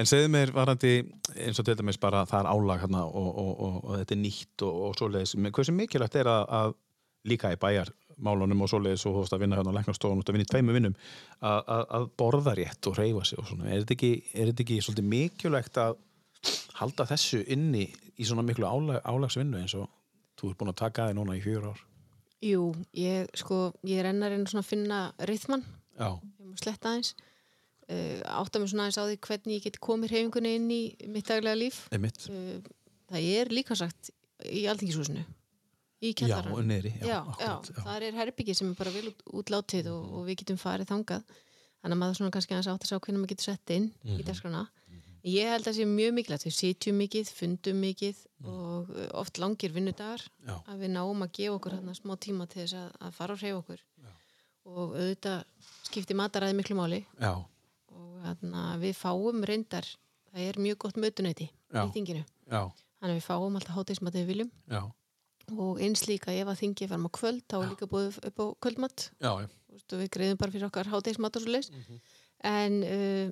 B: En segðu mér varandi eins og til dæmis bara það er álag hérna og, og, og, og þetta er nýtt og, og svoleiðis Men hversu mikilvægt er að, að líka í bæjarmálunum og svoleiðis og þú veist að vinna hérna á læknastofun og að vinna í tveimu vinnum að, að, að borða rétt og reyfa sig og svona Er þetta ekki, er þetta ekki svolítið mikilvægt að halda þessu inni í svona miklu álag, álagsvinnu eins og þú ert búin að taka þig núna í fjör ár
C: Jú, ég, sko, ég er ennar einn svona að finna rithman,
B: Já,
C: ég má sletta aðeins. Uh, átta mig svona aðeins á því hvernig ég get komið hreyfingunni inn í mitt daglega líf.
B: einmitt
C: Uh, það er líka sagt í alþingishúsinu, í
B: Já,
C: kjallaranum.
B: og niðri, já,
C: já,
B: akkurat,
C: já, þar er herbyggi sem er bara vel út, útlátið og, og við getum farið þangað þannig að maður svona kannski aðeins átt að sjá hvernig maður getur sett inn
B: Mhm.
C: í dagskrana ég held að það sé mjög mikilvægt, við sitjum mikið fundum mikið og uh, oft langir vinnudagar
B: Mhm. Já.
C: að við náum að gefa okkur hérna smá tíma til þess að, að fara og hreyfa okkur og auðvitað skipti mataræði miklu máli
B: Já,
C: og hérna við fáum reyndar það er mjög gott mötunæti
B: Já.
C: í þinginu
B: já,
C: þannig að við fáum alltaf hátísmatið við viljum
B: já,
C: og eins líka ef að þingið varum á kvöld þá er líka búið upp á kvöldmatt
B: já, já.
C: Þú veist, og við greiðum bara fyrir okkar hátegismat og svo leist
B: Mhm.
C: en uh,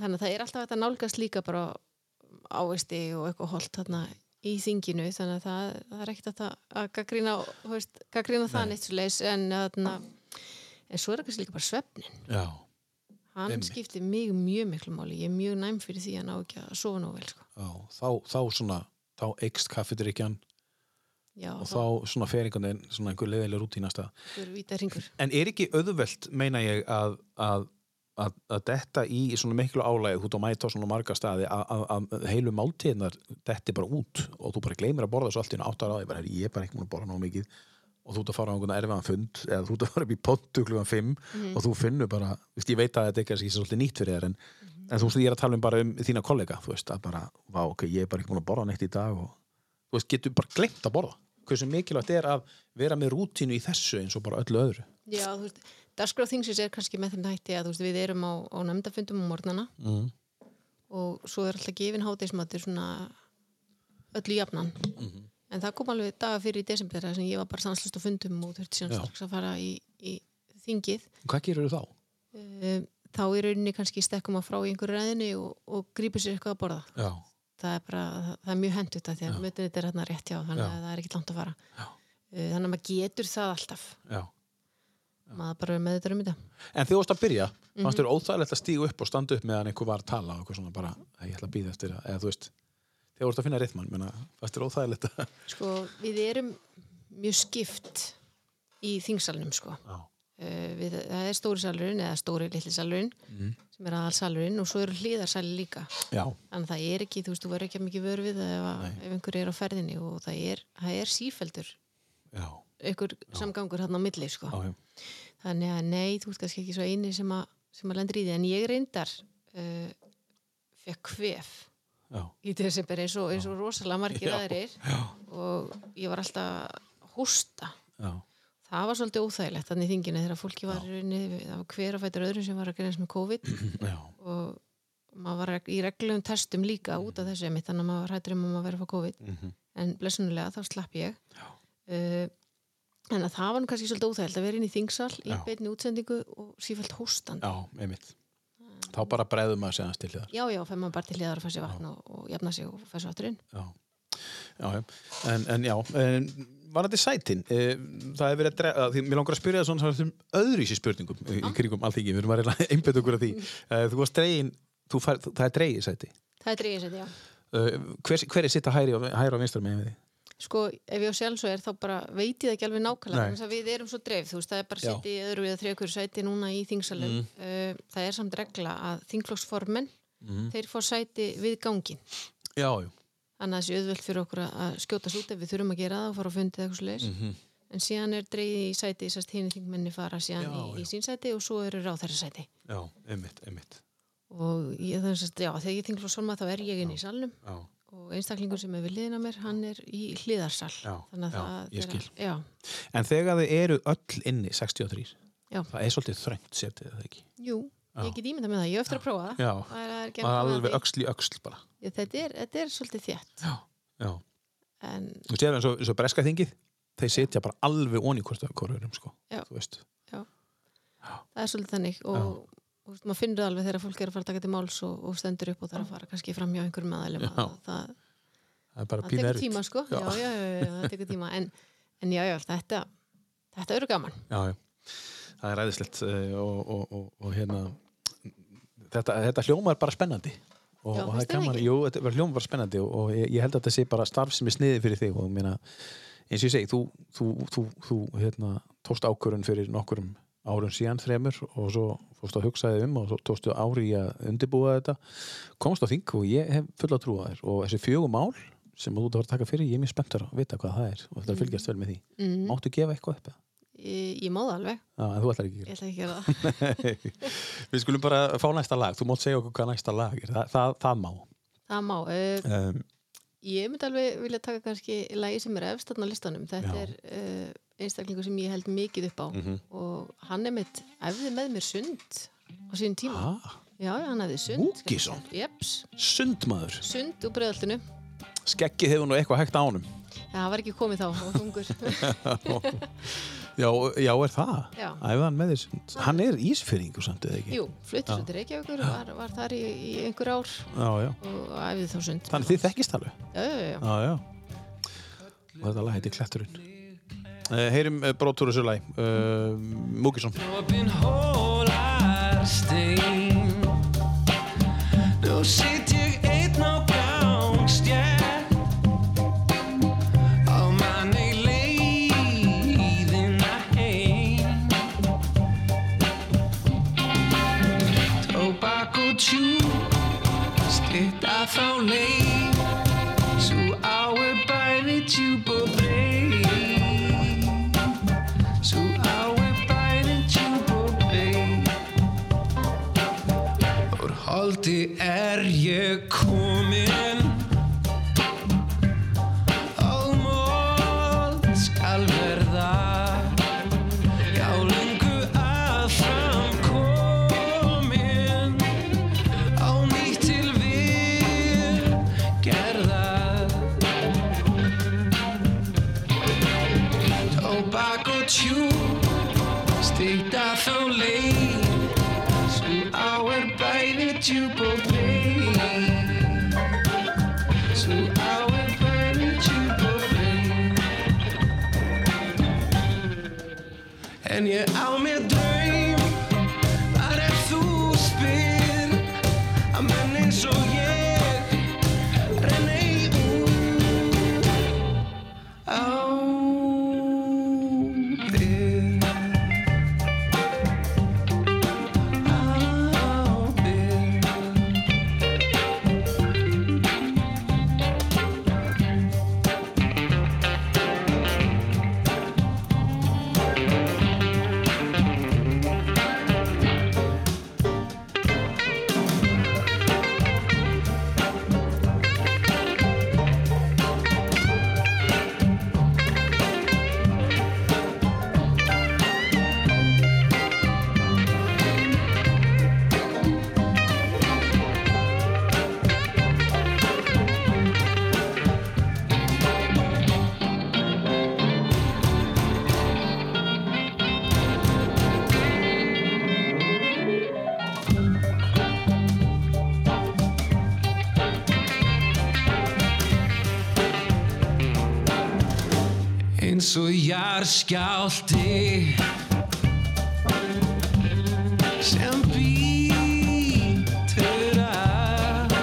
C: þannig að það er alltaf hægt að nálgast líka bara ávesti og eitthvað holt þarna í þinginu þannig að það, það er ekkert að, það- að gaggrína, þú veist, gaggrína það neitt svo leis en, þarna, en svo er það kannski líka bara svefnin
B: Já,
C: hann
B: Einmitt.
C: skiptir mig mjög miklu máli ég er mjög næm fyrir því að ná ekki að sofa nóg vel sko.
B: já, þá, þá svona, þá eikst kaffidrykjan
C: já,
B: og
C: þá
B: þá svona feringunin, svona einhver leiðileg rútínasta.
C: er vita hringur
B: En er ekki auðvelt, meina ég, að, að, að, að detta í svona miklu álægið, þú ert að mæta á svona marga staði, að, að, að heilu máltíðnar detti bara út og þú bara gleymir að borða svo allt í einu áttar á því, bara, "Herri, ég er bara ekki múin að borða nóg mikið og þú ert að fara á einhvern erfiðan fund eða þú ert að fara upp í pontu klugan 5 og þú finnur bara, veist, ég veit að þetta er kannski svolítið nýtt fyrir þér en, en þú veist, ég er að tala um bara um þína kollega, þú veist, að bara, vá, ok, ég er bara ekki múin að borða neitt í dag og þú veist, getur bara glemt að borða hversu mikilvægt er að vera með rútínu í þessu eins og bara öllu öðru
C: Já, þú veist, dagskráð þingsins er kannski með þeim hætti að þú veist, við erum á, á nefndafundum um morgnana
B: Mm.
C: og svo er alltaf gefin hátismatur svona öllu jafnan.
B: Mhm.
C: En það kom alveg daga fyrir í desember þar sem ég var bara stanslust á fundum og þurfti síðan
B: Já.
C: strax að fara í, í þingið.
B: Hvað gerur þú þá?
C: Um, Þá er rauninni kannski stekkum að frá í einhverju ræðinni og, og grípur sér eitthvað að borða.
B: Já,
C: Það er bara, það, það er mjög hendt þetta því að mötunni þetta er hérna rétt hjá þannig
B: Já.
C: að það er ekkert langt að fara.
B: Já.
C: Uh, Þannig að maður getur það alltaf.
B: já.
C: Maður bara er með þetta um þetta.
B: En þegar þú varst að byrja, fannst þér óþægilegt að stíga upp og standa upp meðan einhver var að tala og eitthvað svona bara, "Æ, ég ætla að býða eftir að, eða þú veist, þegar þú varst að finna rithmann, menna, fannst þér óþægilegt að...
C: Sko, við erum mjög skipt í þingsalunum, sko.
B: Já,
C: Uh, við, það er stóri salurinn eða stóri litli salurinn
B: Mhm.
C: sem er aðalsalurinn og svo eru hliðarsali líka.
B: já,
C: Þannig að það er ekki, þú veist, þú verður ekki að mikið vör við það ef, að- ef einhver er á ferðinni og það er, það er sífeldur
B: já,
C: einhver samgangur hann á milli, sko.
B: já, já.
C: Þannig að nei, þú veist kannski ekki svo eini sem að, sem að lendir í því, en ég reyndar uh, fekk kvef
B: já.
C: í desember eins og, eins og rosalega margir aðrir og ég var alltaf að hósta
B: Já,
C: Það var svolítið óþægilegt þannig í þinginu þegar fólki var í rauninni, það var hver að fætur öðrum sem var að greinast með COVID
B: já,
C: og maður var reg- í reglulegum testum líka út
B: Mhm.
C: af þessu emitt, þannig að maður var hættur um að maður verið að fá COVID en blessunulega þá slapp ég uh, en að það var nú kannski svolítið óþægilegt að vera inn í þingsal í
B: Já.
C: beinni útsendingu og sífælt hóstand
B: já, einmitt. Þá bara bregðum maður séðan til þér.
C: Já, já, fær maður bara til hliðar að fæ sér vatn og, og jafna sig og fæ sér vatturinn
B: Já, já, já. En, en já, en, var þetta sætin? Eh, Það hefur verið að drefa, því mér langar að spyrja það svona svona um öðruvísi spurningum í- í kringum allt ekki, við erum að reyna að einbetta okkur að því. Eh, Þú varst dregin, þú fær, þú- það er dregið sæti.
C: Það er dreigisætt, já
B: Eh, Hver, hver er sitt að hæri og, hæri og vinstra með því?
C: sko, ef ég á sjálf svo er þá bara veit ég það ekki alveg nákvæmlega
B: Nei.
C: þannig að við erum svo dreif, þú veist, það er bara
B: Já. Mhm.
C: sitt í öðru eða þrjökur sæti núna í þingsalum uh, það er samt regla að þingflokksformen
B: Mhm.
C: þeir fór sæti við gangin
B: Já, já,
C: þannig að það sé auðvelt fyrir okkur að- að skjótast út ef við þurfum að gera það og fara á fundið eða eitthvað slags
B: Mhm.
C: en síðan er dreigið í sæti sérst hinn þingmenni fara síðan
B: Já,
C: í, í sín sæti og svo eru ráþæra sæti
B: já, einmitt, einmitt.
C: og ég, þannig að, já, þegar ég þingflokksforma þá er ég inn í salnum
B: Já,
C: og einstaklingur sem er við liðina mér, hann er í hliðarsal
B: Já,
C: þannig að
B: já,
C: það
B: ég
C: þegar-
B: skil.
C: já,
B: en þegar þið eru öll inni, 63,
C: Já.
B: það er svolítið þröngt setið, er það ekki?
C: Jú, Ég get ímynda með það, ég hef eftir að prófa það.
B: Já,
C: Það er- það er ekki
B: maður
C: hægt að
B: alveg
C: því.
B: öxl í öxl bara.
C: Ég- Þetta er, þetta er svolítið þétt.
B: Já.
C: En,
B: Þú sér eins og, eins og breska þingið, þeir sitja bara alveg onni hvort að korðurum, sko.
C: Já.
B: Þú veist.
C: það er svolítið þannig og, og, og maður finnur það alveg þegar fólk er að fara að taka til máls og, og stendur upp og þarf að fara kannski fram hjá einhverjum aðalum.
B: Já.
C: að Það,
B: Það er bara
C: það
B: pínu
C: tekur
B: erfitt.
C: tíma sko.
B: Já.
C: Já, já, já, já, já það tekur tíma. En, en já, já, þetta, þetta eru gaman.
B: já, já. það er ræðislegt og, og, og, og hérna þetta, þetta hljómar bara spennandi og, og
C: Já,
B: það
C: finnst
B: er
C: þér
B: gaman,
C: ekki?
B: jú, þetta var hljómar bara spennandi og, og ég, ég held að þetta sé bara starf sem er sniðið fyrir þig og ég meina, eins og ég segi þú, þú, þú, þú hérna, tóst ákvörun fyrir nokkurum árum síðan þremur og svo fórstu að hugsa þig um og svo tóstu ári í að undirbúa þetta komst á þing og ég hef fulla trú að þér og þessi fjögum ál sem þú ert að fara að taka fyrir, ég er mjög spenntur að vita hvað það er og þetta fylgjast vel með því
C: Mm,
B: Máttu gefa eitthvað upp? eða?
C: ég, ég má það alveg.
B: Já, en þú ætlar ekki að gera
C: Ég ætla ekki að gera það.
B: Við skulum bara fá næsta lag, þú mátt segja okkur hvað næsta lag er, það, það, það má.
C: Það má. Uh,
B: Um,
C: ég myndi alveg vilja taka kannski lagi sem er efst þarna á listanum. Þetta
B: Já. Mhm.
C: er uh, einstaklingu sem ég held mikið upp á og hann er mitt efði með mér sund á sínum tíma.
B: ah,
C: Já, já, hann hefði sund.
B: Múkisson?
C: Jeps,
B: sundmaður,
C: sund úr bregðaltinu.
B: skeggið hefur nú eitthvað hægt á honum.
C: Já, það var ekki komið þá, það var þungur.
B: Já, já er það?
C: Já.
B: Æfðan með þér sund. Hann er ísfyrringu samt eða ekki?
C: Jú, fluttur svo til Reykjavíkur og var, var þar í, í einhver ár
B: Já, já.
C: og æfði þá sund.
B: Þannig þið þekkist alveg?
C: Já, já, já.
B: Já, já. Og þetta lag heiti Kletturinn. Uh, heyrim uh, bróttúru sér lag, uh, Múkisson.
F: Open whole lot of steam. No city ain't no gangst, yeah. All my leið in my hand. Tobacco chew, stitt að þá leið. Svo á er bæði tjúb og bleið. So I went by the tube bay Úr holdi er ég komin Almól skal verða Já, lengu að fram komin Á nýtt til við gerðar Tobacco tube Steigt að þá leið Svo á er bæði tjúb og bleið Svo á er bæði tjúb og bleið En ég á mér draum Þar ef þú spyr Að menn eins og ég Renni úr á þig á þig eins og jarðskjálti sem býtur að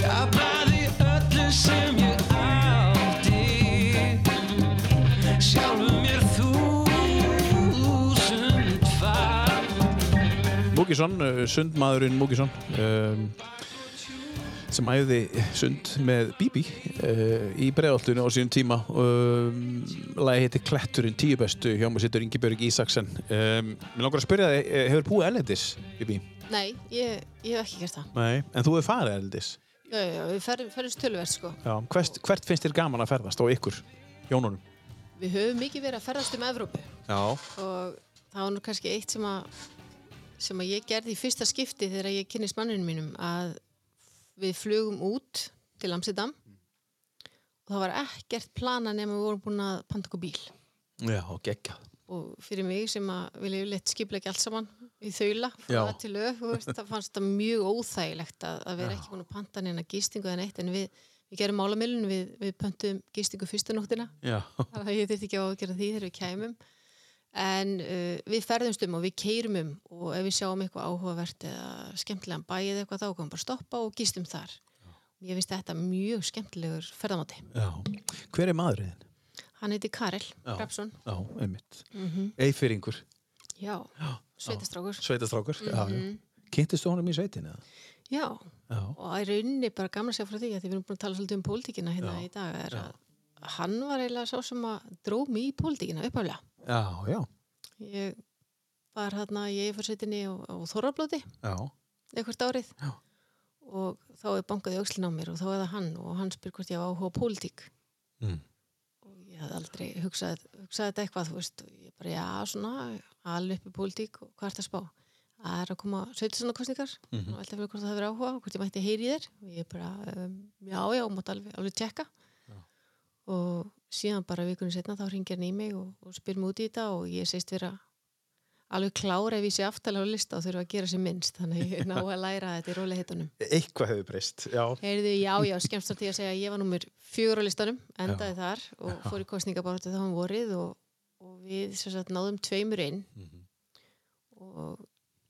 F: gapaði öllu sem ég átti sjálfum mér þúsund fag
B: Múkisson, uh, sundmaðurinn Múkisson um, sem æði sund með Bíbí uh, í bregðaltunni á sínum tíma um, lagi heiti Kletturinn tíu bestu hjá mér sittur Ingibjörg Ísaksen um, Mér langar að spyrja þig, eh, hefur búið erlendis Bíbí?
C: Nei, ég, ég hef ekki gert það.
B: Nei En þú hefur farið erlendis?
C: Já, já, já, við ferðum, ferðum stöluvert sko.
B: Já Hvert, hvert finnst þér gaman að ferðast á ykkur? Jónunum?
C: Við höfum mikið verið að ferðast um Evrópu
B: Já
C: og það var nú kannski eitt sem að sem að ég gerði í fyrsta skipti þegar ég kynnist mannunum mínum að við flugum út til Amsterdam og það var ekkert plana nema við vorum búin að panta okkur bíl
B: Já, geggjað.
C: og fyrir mig sem að vilja yfirleitt skipla ekki allt saman í þaula frá
B: Já.
C: að til lög, þú veist, það fannst það mjög óþægilegt að, að vera ekki búin að panta neina gistingu eða neitt en við, við gerum málamilun, við, við pöntum gistingu fyrstu nóttina
B: Já,
C: þannig að ég þurfti ekki á að gera því þegar við kæmum en uh, við ferðumst um og við keyrum um og ef við sjáum eitthvað áhugavert eða skemmtilegan bæ eða eitthvað þá komum við bara að stoppa og gistum þar ég finnst þetta mjög skemmtilegur ferðamáti
B: já. Hver er maðurinn? þinn?
C: hann heiti Karel
B: Já.
C: Rapsson
B: Já, einmitt. Mm -hmm. Eifyringur,
C: já, sveitastrákur
B: sveitastrákur. Já, já. Kynntistu honum í sveitin eða?
C: já,
B: Já.
C: og í rauninni bara gamla sér frá því að því við erum búin að tala svolítið um pólitíkina hérna í dag er að hann var eiginlega sá sem að dró mig í pólitíkina uppaflega
B: Já, já,
C: ég var hérna í Eifursveitinni og, og Þorrablóti
B: já.
C: einhvert árið
B: Já.
C: og þá er bankað í öxlin á mér og þá er það hann og hann spyr hvort ég hafa áhuga á pólitík
B: Mm.
C: og ég hafði aldrei hugsað, hugsað þetta eitthvað þú veist, og ég bara já svona alveg upp í pólitík og hvað er það spá það er að koma sveitlisannarkostningar mm
B: Mhm.
C: -hmm. og alltaf fyrir hvort það hefur áhuga og hvort ég mætti heyri í þér og ég bara um, já já, mátt alveg, alveg tjekka og síðan bara vikunum setna þá ringir hann í mig og, og spyr mig út í þetta og ég segist vera alveg klára ef ég sé aftalega á lista og þurfa að gera sem minnst þannig að ég ná að læra þetta í róliheitunum
B: Eitthvað hefur breyst, já.
C: Heyrðu, já, já, skemmst að því að segja að ég var nummer fjögur á listanum, endaði þar og fór í kostningabaratu þá hann vorið og, og við sem sagt náðum tveimur inn og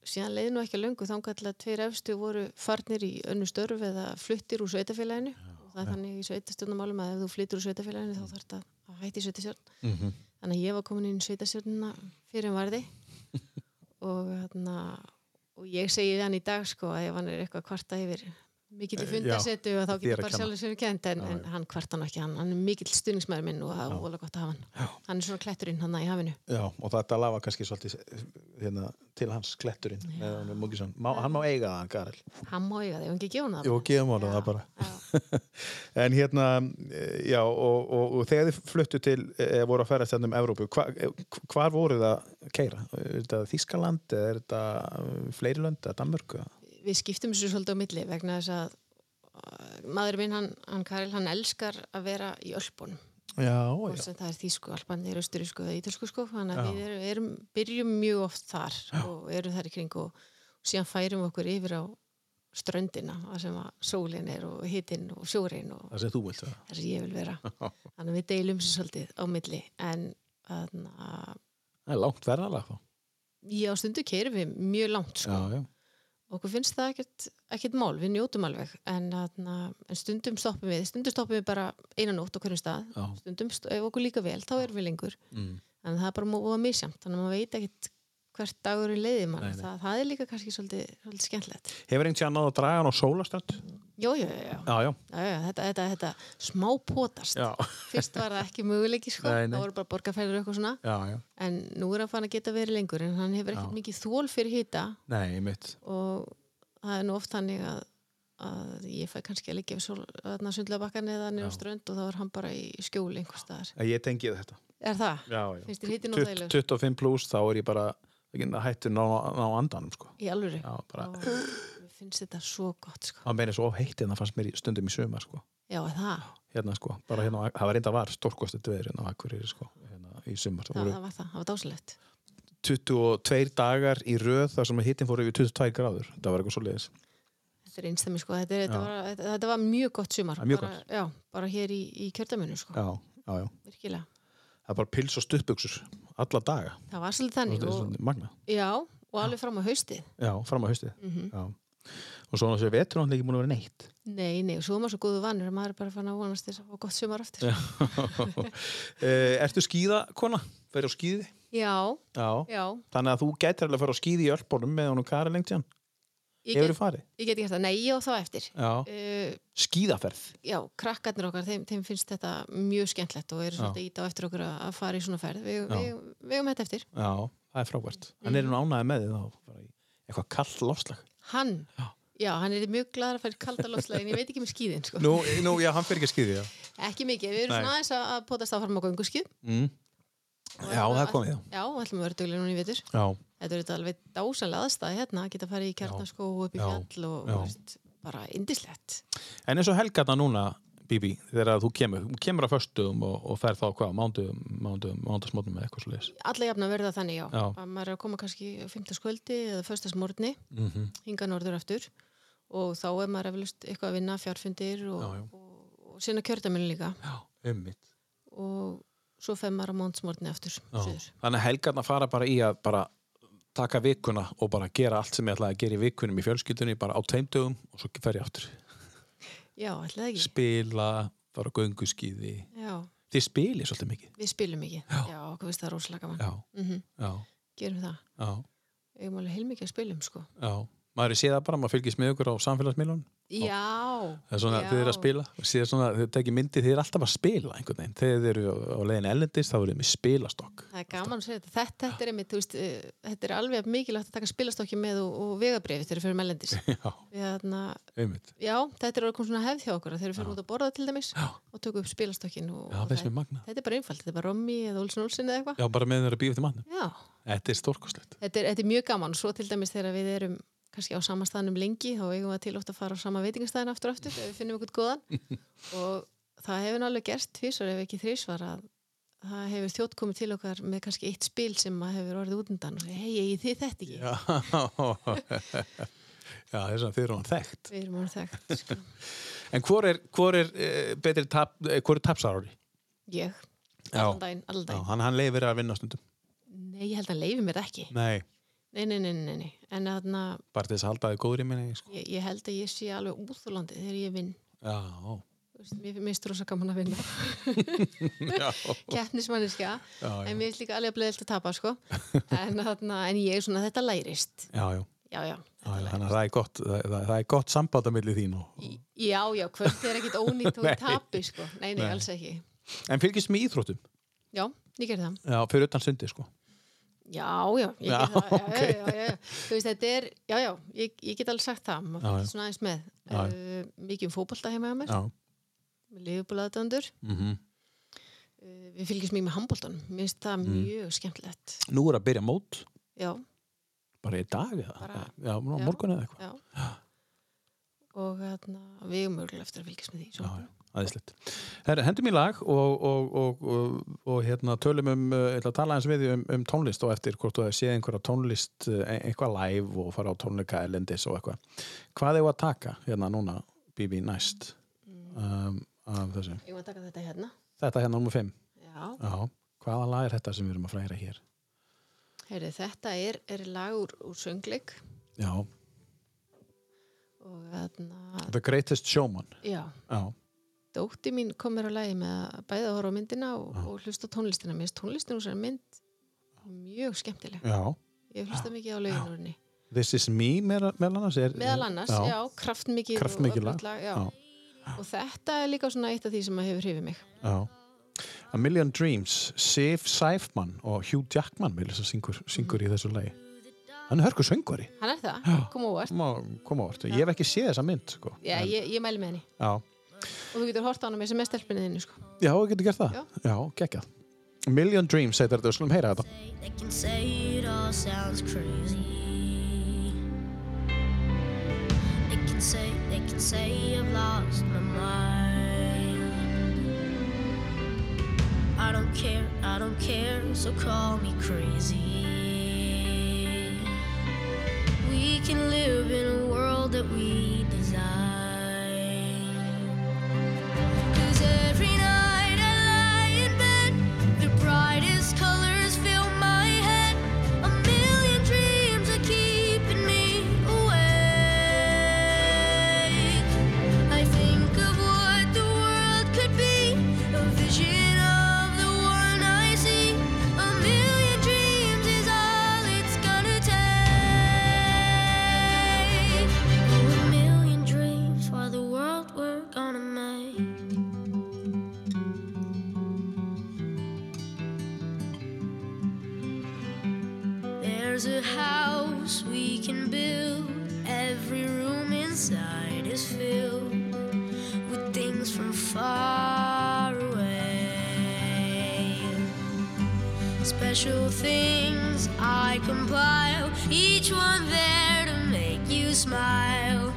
C: síðan leiði nú ekki að löngu þangatlega tveir efstu voru farnir í önnu störf eða fluttir úr sveitafélaginu og það er þannig í sveitastjórnumálum að ef þú flyttir úr sveitafélaginu þá þarf það að hætti sveitastjórn
B: Mhm.
C: þannig að ég var komin inn í sveitastjórnina fyrir um varði og, hana, og ég segi hann í dag sko að ef hann er eitthvað kvarta yfir mikill í fundarsetu og þá
B: þér Eh,
C: getur
B: að
C: bara
B: kenna.
C: sjálfur sér kent en, en hann kvarta hann ekki, hann, hann er mikill stuðningsmæður minn og það er ólega gott að hafa hann hann er svona kletturinn hann í hafinu
B: Já, og þetta lafa kannski svolítið hérna, til hans kletturinn með honum Múkisson. Má, hann má eiga það, hann Karel.
C: hann má eiga þig, hann ekki gefa hann það
B: Jú,
C: bara.
B: gefum honum það bara. en hérna, eh, já, og, og, og þegar þið fluttu til, eða voru að ferðast hérna um Evrópu, hva, eh, hvar voru það að keira? Er þetta Þískaland, eða er þetta eh, fleiri lönd, eða Danmörku?
C: við skiptum þessu svolítið á milli vegna þess að uh, maður minn, hann, hann Karel, hann elskar að vera í ölpunum
B: Já,
C: og sem það er þýsku, albanir, austurísku eða ítalsku sko, þannig að við erum, erum, byrjum mjög oft þar og erum þar í kring og, og síðan færum við okkur yfir á ströndina, það sem að sólin er og hitinn og sjórin og
B: Það sem þú vilt það.
C: það sem ég vil vera þannig að við deilum sér svolítið á milli en þannig að
B: Það er langt verðalega þá.
C: ég á stundu keirum við mjög langt sko.
B: já.
C: okkur finnst það ekkert, ekkert mál, við njótum alveg en, þarna, en stundum stoppum við stundum stoppum við bara einan nótt á hverjum stað
B: Já.
C: stundum, st- ef okkur líka vel, þá erum við lengur
B: Mm.
C: en það er bara móða misjamt þannig að maður veit ekkert hvert dagur í leiði mann Það, það er líka kannski svolítið, svolítið skemmtilegt
B: Hefur einhvern tíðan náðu að draga hann á sólaströnd?
C: Jó, jó, jó, jó.
B: Já, já.
C: Já, já, þetta, þetta, þetta smá potast
B: Já.
C: fyrst var það ekki möguleiki sko.
B: Nei, nei.
C: þá voru bara borgarferður og eitthvað svona
B: Já, já.
C: en nú er hann fann að geta verið lengur en hann hefur ekkert mikið þól fyrir hýta
B: Nei, mitt.
C: og það er nú oft þannig að, að ég fæ kannski að liggja við sól, sundlabakkan eða niður á strönd og þá er hann bara í skjóli einhvers staðar.
B: Ég tengi þetta.
C: Er það?
B: Já, já.
C: Finnst þér hittin og
B: Tutt-
C: þægilegur?
B: 25 pluss þá er ég bara ekki hættur ná, ná andanum sko.
C: Í alvöru?
B: já, bara,
C: Ó, mér finnst þetta svo gott sko.
B: það meina svo heitt en það fannst mér í- stundum í sumar sko.
C: Já, er það,
B: hérna sko, bara hérna, á- það var reynda var stórkosti dveður hérna á Akureyri sko hérna, í sumar, það
C: það,
B: voru
C: það var það, það var dásilegt
B: 22 dagar í röð þar sem hittin fór yfir 22 gráður það var eitthvað svo leiðis
C: Þetta er einstæmi sko, þetta, er, þetta, var, þetta, þetta var mjög gott sumar
B: Já, mjög
C: bara, Já, bara hér í, í kjördaminu sko,
B: já, já, já.
C: virkilega
B: það er bara pils og stuttbuksur alla daga,
C: Það var svolítið þannig
B: það er
C: og,
B: svona magna
C: Já, og alveg fram á haustið
B: já, fram á haustið já. og svo þessi vetur hann ekki búin að vera neitt
C: Nei, nei, og svo er maður svo góðu vanur að maður er bara fann að vonast þess að fá gott sumar aftur Já,
B: Eh, ertu skíða kona? Fyrir á skíði?
C: já,
B: Já, Þannig að þú gætir alveg að fara á skýði í Ölbornum með honum Kari lengt síðan.
C: Ég,
B: Hefur
C: get,
B: þið farið?
C: ég get gert það, nei, ég á þá eftir
B: Já.
C: uh,
B: Skýðaferð.
C: Já, krakkarnir okkar, þeim, þeim finnst þetta mjög skemmtlegt og eru svolítið ít á eftir okkur að að fara í svona ferð Við,
B: Já.
C: við, við um þetta eftir
B: Já, það er frábært. Hann er nú ánæði með þið þá. bara í Eitthvað kall lofslag.
C: Hann,
B: Já.
C: já, hann er mjög gladur að fara í kalda loftslagin, ég veit ekki með skíðin sko.
B: Nú, nú, já, hann fyrir ekki að skýði, já.
C: Ekki mikið, við erum
B: Nei.
C: svona aðeins að að potast áfram á gönguskið
B: Mm. Já, það er komið, já.
C: Já, ætlum að vera duglega núna í vetur.
B: Já,
C: Þetta er þetta alveg dásanlega aðstæði hérna, að geta farið í kjarnaskó og upp í
B: Já.
C: fjall og
B: Já.
C: veist, bara indislegt.
B: en eins og helgarna núna Bibi, þegar þú kemur, þú kemur að föstum og, og fer þá hvað, mándum, mándum, mándasmótnum eða eitthvað svo leis.
C: Alla jafn að verða þannig, já.
B: Já.
C: Að maður er að koma kannski fymtaskvöldi eða föstasmórni,
B: Mm -hmm.
C: hinga norður aftur og þá er maður eflust eitthvað að vinna fjárfundir og,
B: Já, já.
C: og, og sinna kjördaminu líka
B: Já, ummitt.
C: og svo fer maður á mándsmórni aftur. suður.
B: Þannig að helgarna fara bara í að bara taka vikuna og bara gera allt sem ég ætlaði að gera í vikunum í fjölskyldunni bara á tveimdögum og svo fer ég aftur.
C: Já, ætli það ekki.
B: Spila, fara á gönguskíði.
C: Já,
B: Þið spilið svolítið mikið.
C: við spilum ekki. Já, já okkur veist það er rosalega gaman.
B: Já,
C: Mhm,
B: já,
C: Gerum það.
B: já,
C: Við erum alveg heilmikið að spilum, sko.
B: já. Maður er séð það bara, maður fylgist með ykkur á samfélagsmiðlunum.
C: Já.
B: Það er svona,
C: já.
B: þið eru að spila og síðan svona, þið tekið myndið, þið eru alltaf að spila einhvern veginn, þegar þið eru á- á leiðin ellendist þá eru þið með spilastokk
C: Það er gaman að segja þetta. Þetta, þetta er einmitt, þú veist, eh, þetta er alveg mikilvægt að taka spilastokki með og, og vegabrifið þegar við fyrir mellendis.
B: Já,
C: Þarna,
B: einmitt
C: já, þetta er orðið svona hefð hjá okkur að þegar við fyrir út að borða til dæmis
B: Já.
C: og tökum upp spilastokkin. Og,
B: Já,
C: og
B: finnst
C: það-
B: mér magna.
C: Þetta er bara einfalt, þetta er bara Rommi eða Olsson Olsson eða eitthvað.
B: Já, bara með þeirra bíu eftir matnum
C: Já,
B: Þetta er stórkoslegt
C: þetta er, þetta er mjög gaman. Svo til dæmis þegar við erum kannski á sama staðnum lengi, þá eigum við til oft að fara á sama veitingastæðin aftur og aftur ef við finnum eitthvað góðan. og það hefur nú alveg gerst tvísvar ef ekki þrísvar að það hefur þjótt komið til okkar með kannski eitt spil sem maður hefur orðið útundan og segja, hei, ég þið þetta ekki.
B: Já, Já þess að þið eru hann þekkt
C: Við erum orðin þekkt, sko.
B: En hvor er, hvor er eh, betri tap, eh, hvor er tapsarári?
C: Ég,
B: Já.
C: allan daginn, allan
B: Já,
C: daginn.
B: hann, hann leifir að vinna stundum
C: Nei, ég held að hann leifi mér það ekki.
B: Nei,
C: Nei, nei, nei, nei, nei. En þarna,
B: bara til þess að halda þið góðri minni sko.
C: ég, ég held að ég sé alveg úþúlandi þegar ég vinn.
B: Já,
C: Þú veist, Mér mér finnst rosa gaman að vinna.
B: já,
C: Keppnismanniska.
B: já, já,
C: En mér finnst líka alveg að bleðilt að tapa, sko. En þarna, en ég er svona, þetta lærist.
B: já, já.
C: Já, já.
B: Já, já, Þannig að það er gott, það, það, það er gott sambandamilli þín og,
C: Í- Já, já, kvöld er ekkit ónýtt og
B: Nei.
C: ég tapi, sko. Nei, nei,
B: Nei.
C: alls ekki.
B: En fylgist með íþróttum?
C: Já, ég ger það.
B: Já, fyrir utan sundi sko
C: Já, já, ég
B: Já,
C: ger það. Já,
B: ok.
C: já, já, já. Þú veist, þetta er, já, já, ég, ég get alveg sagt það. Maður
B: Já,
C: fyrir
B: já.
C: svona aðeins með.
B: Já, já.
C: Uh, mikið um fótbolta heima hjá mér.
B: Já,
C: með liðbúlaðdöndur.
B: mm -hmm.
C: Uh, við fylgjast mikið með handbóltanum. Mér
B: Mm.
C: finnst það mjög skemmtilegt.
B: Nú er að byrja mót
C: Já,
B: bara í dag eða
C: Bara-
B: já, nú á
C: já.
B: morgun eða eitthvað
C: já. Og hérna, við erum mörgulega eftir að fylgjast með því.
B: Já,
C: Svo.
B: já, aðeinslegt. Herra, hendum í lag og, og, og, og, og hérna, tölum um, uh, ætla að tala eins við þig um, um tónlist og eftir hvort þú hefur séð einhverja tónlist, uh, ein- eitthvað live og fara á tónleika elendis og eitthvað. Hvað hefur að taka hérna núna, Bibi, næst um, af þessu?
C: Ég var að taka þetta hérna.
B: Þetta hérna nummer 5.
C: Já,
B: Já, hvaða lag er þetta sem við erum að fræra hér?
C: heyrðu, þetta er, er lag úr, úr söngleik
B: Já,
C: og hérna,
B: The Greatest Showman.
C: já,
B: Já,
C: dótti mín kom mér á lagi með að bæða að horfa á myndina og, og hlusta á tónlistina. Mér finnst tónlistin úr þessari mynd mjög skemmtileg.
B: já.
C: Ég hef hlusta mikið á löginurinn.
B: This is me meira- meðal annars er,
C: Meðal annars, já, kraftmikið og
B: Kraftmikið lag,
C: öflugt já.
B: já.
C: Og þetta er líka svona eitt af því sem að hefur hrifið mig.
B: já. A Million Dreams Sif Sæfmann og Hugh Jackman vil þess að syngur, syngur í þessu lagi hann er hörku söngvari
C: Hann er það, koma úr.
B: Má koma á orð. ég hef ekki séð þessa mynd sko.
C: Já, ég, ég mæli með henni.
B: já.
C: Og þú getur hort á henni með sem er stelpunni þinni, sko.
B: já, ég getur gert það
C: Já.
B: já, geggjað A Million Dreams heitir þetta, við slum heyra þetta
D: They can say it all sounds crazy. They can say, they can say I've lost my mind. I don't care, I don't care, so call me crazy. We can live in a world that we design. Cause every night I lie in bed, the brightest colors fill my head. A million dreams are keeping me awake. I think of what the world could be, a vision of the one I see. A million dreams is all it's gonna take. Oh, a million dreams for the world we're gonna make. There's a house we can build. Every room inside is filled with things from far away. It's
G: special things I compile, each one there to make you smile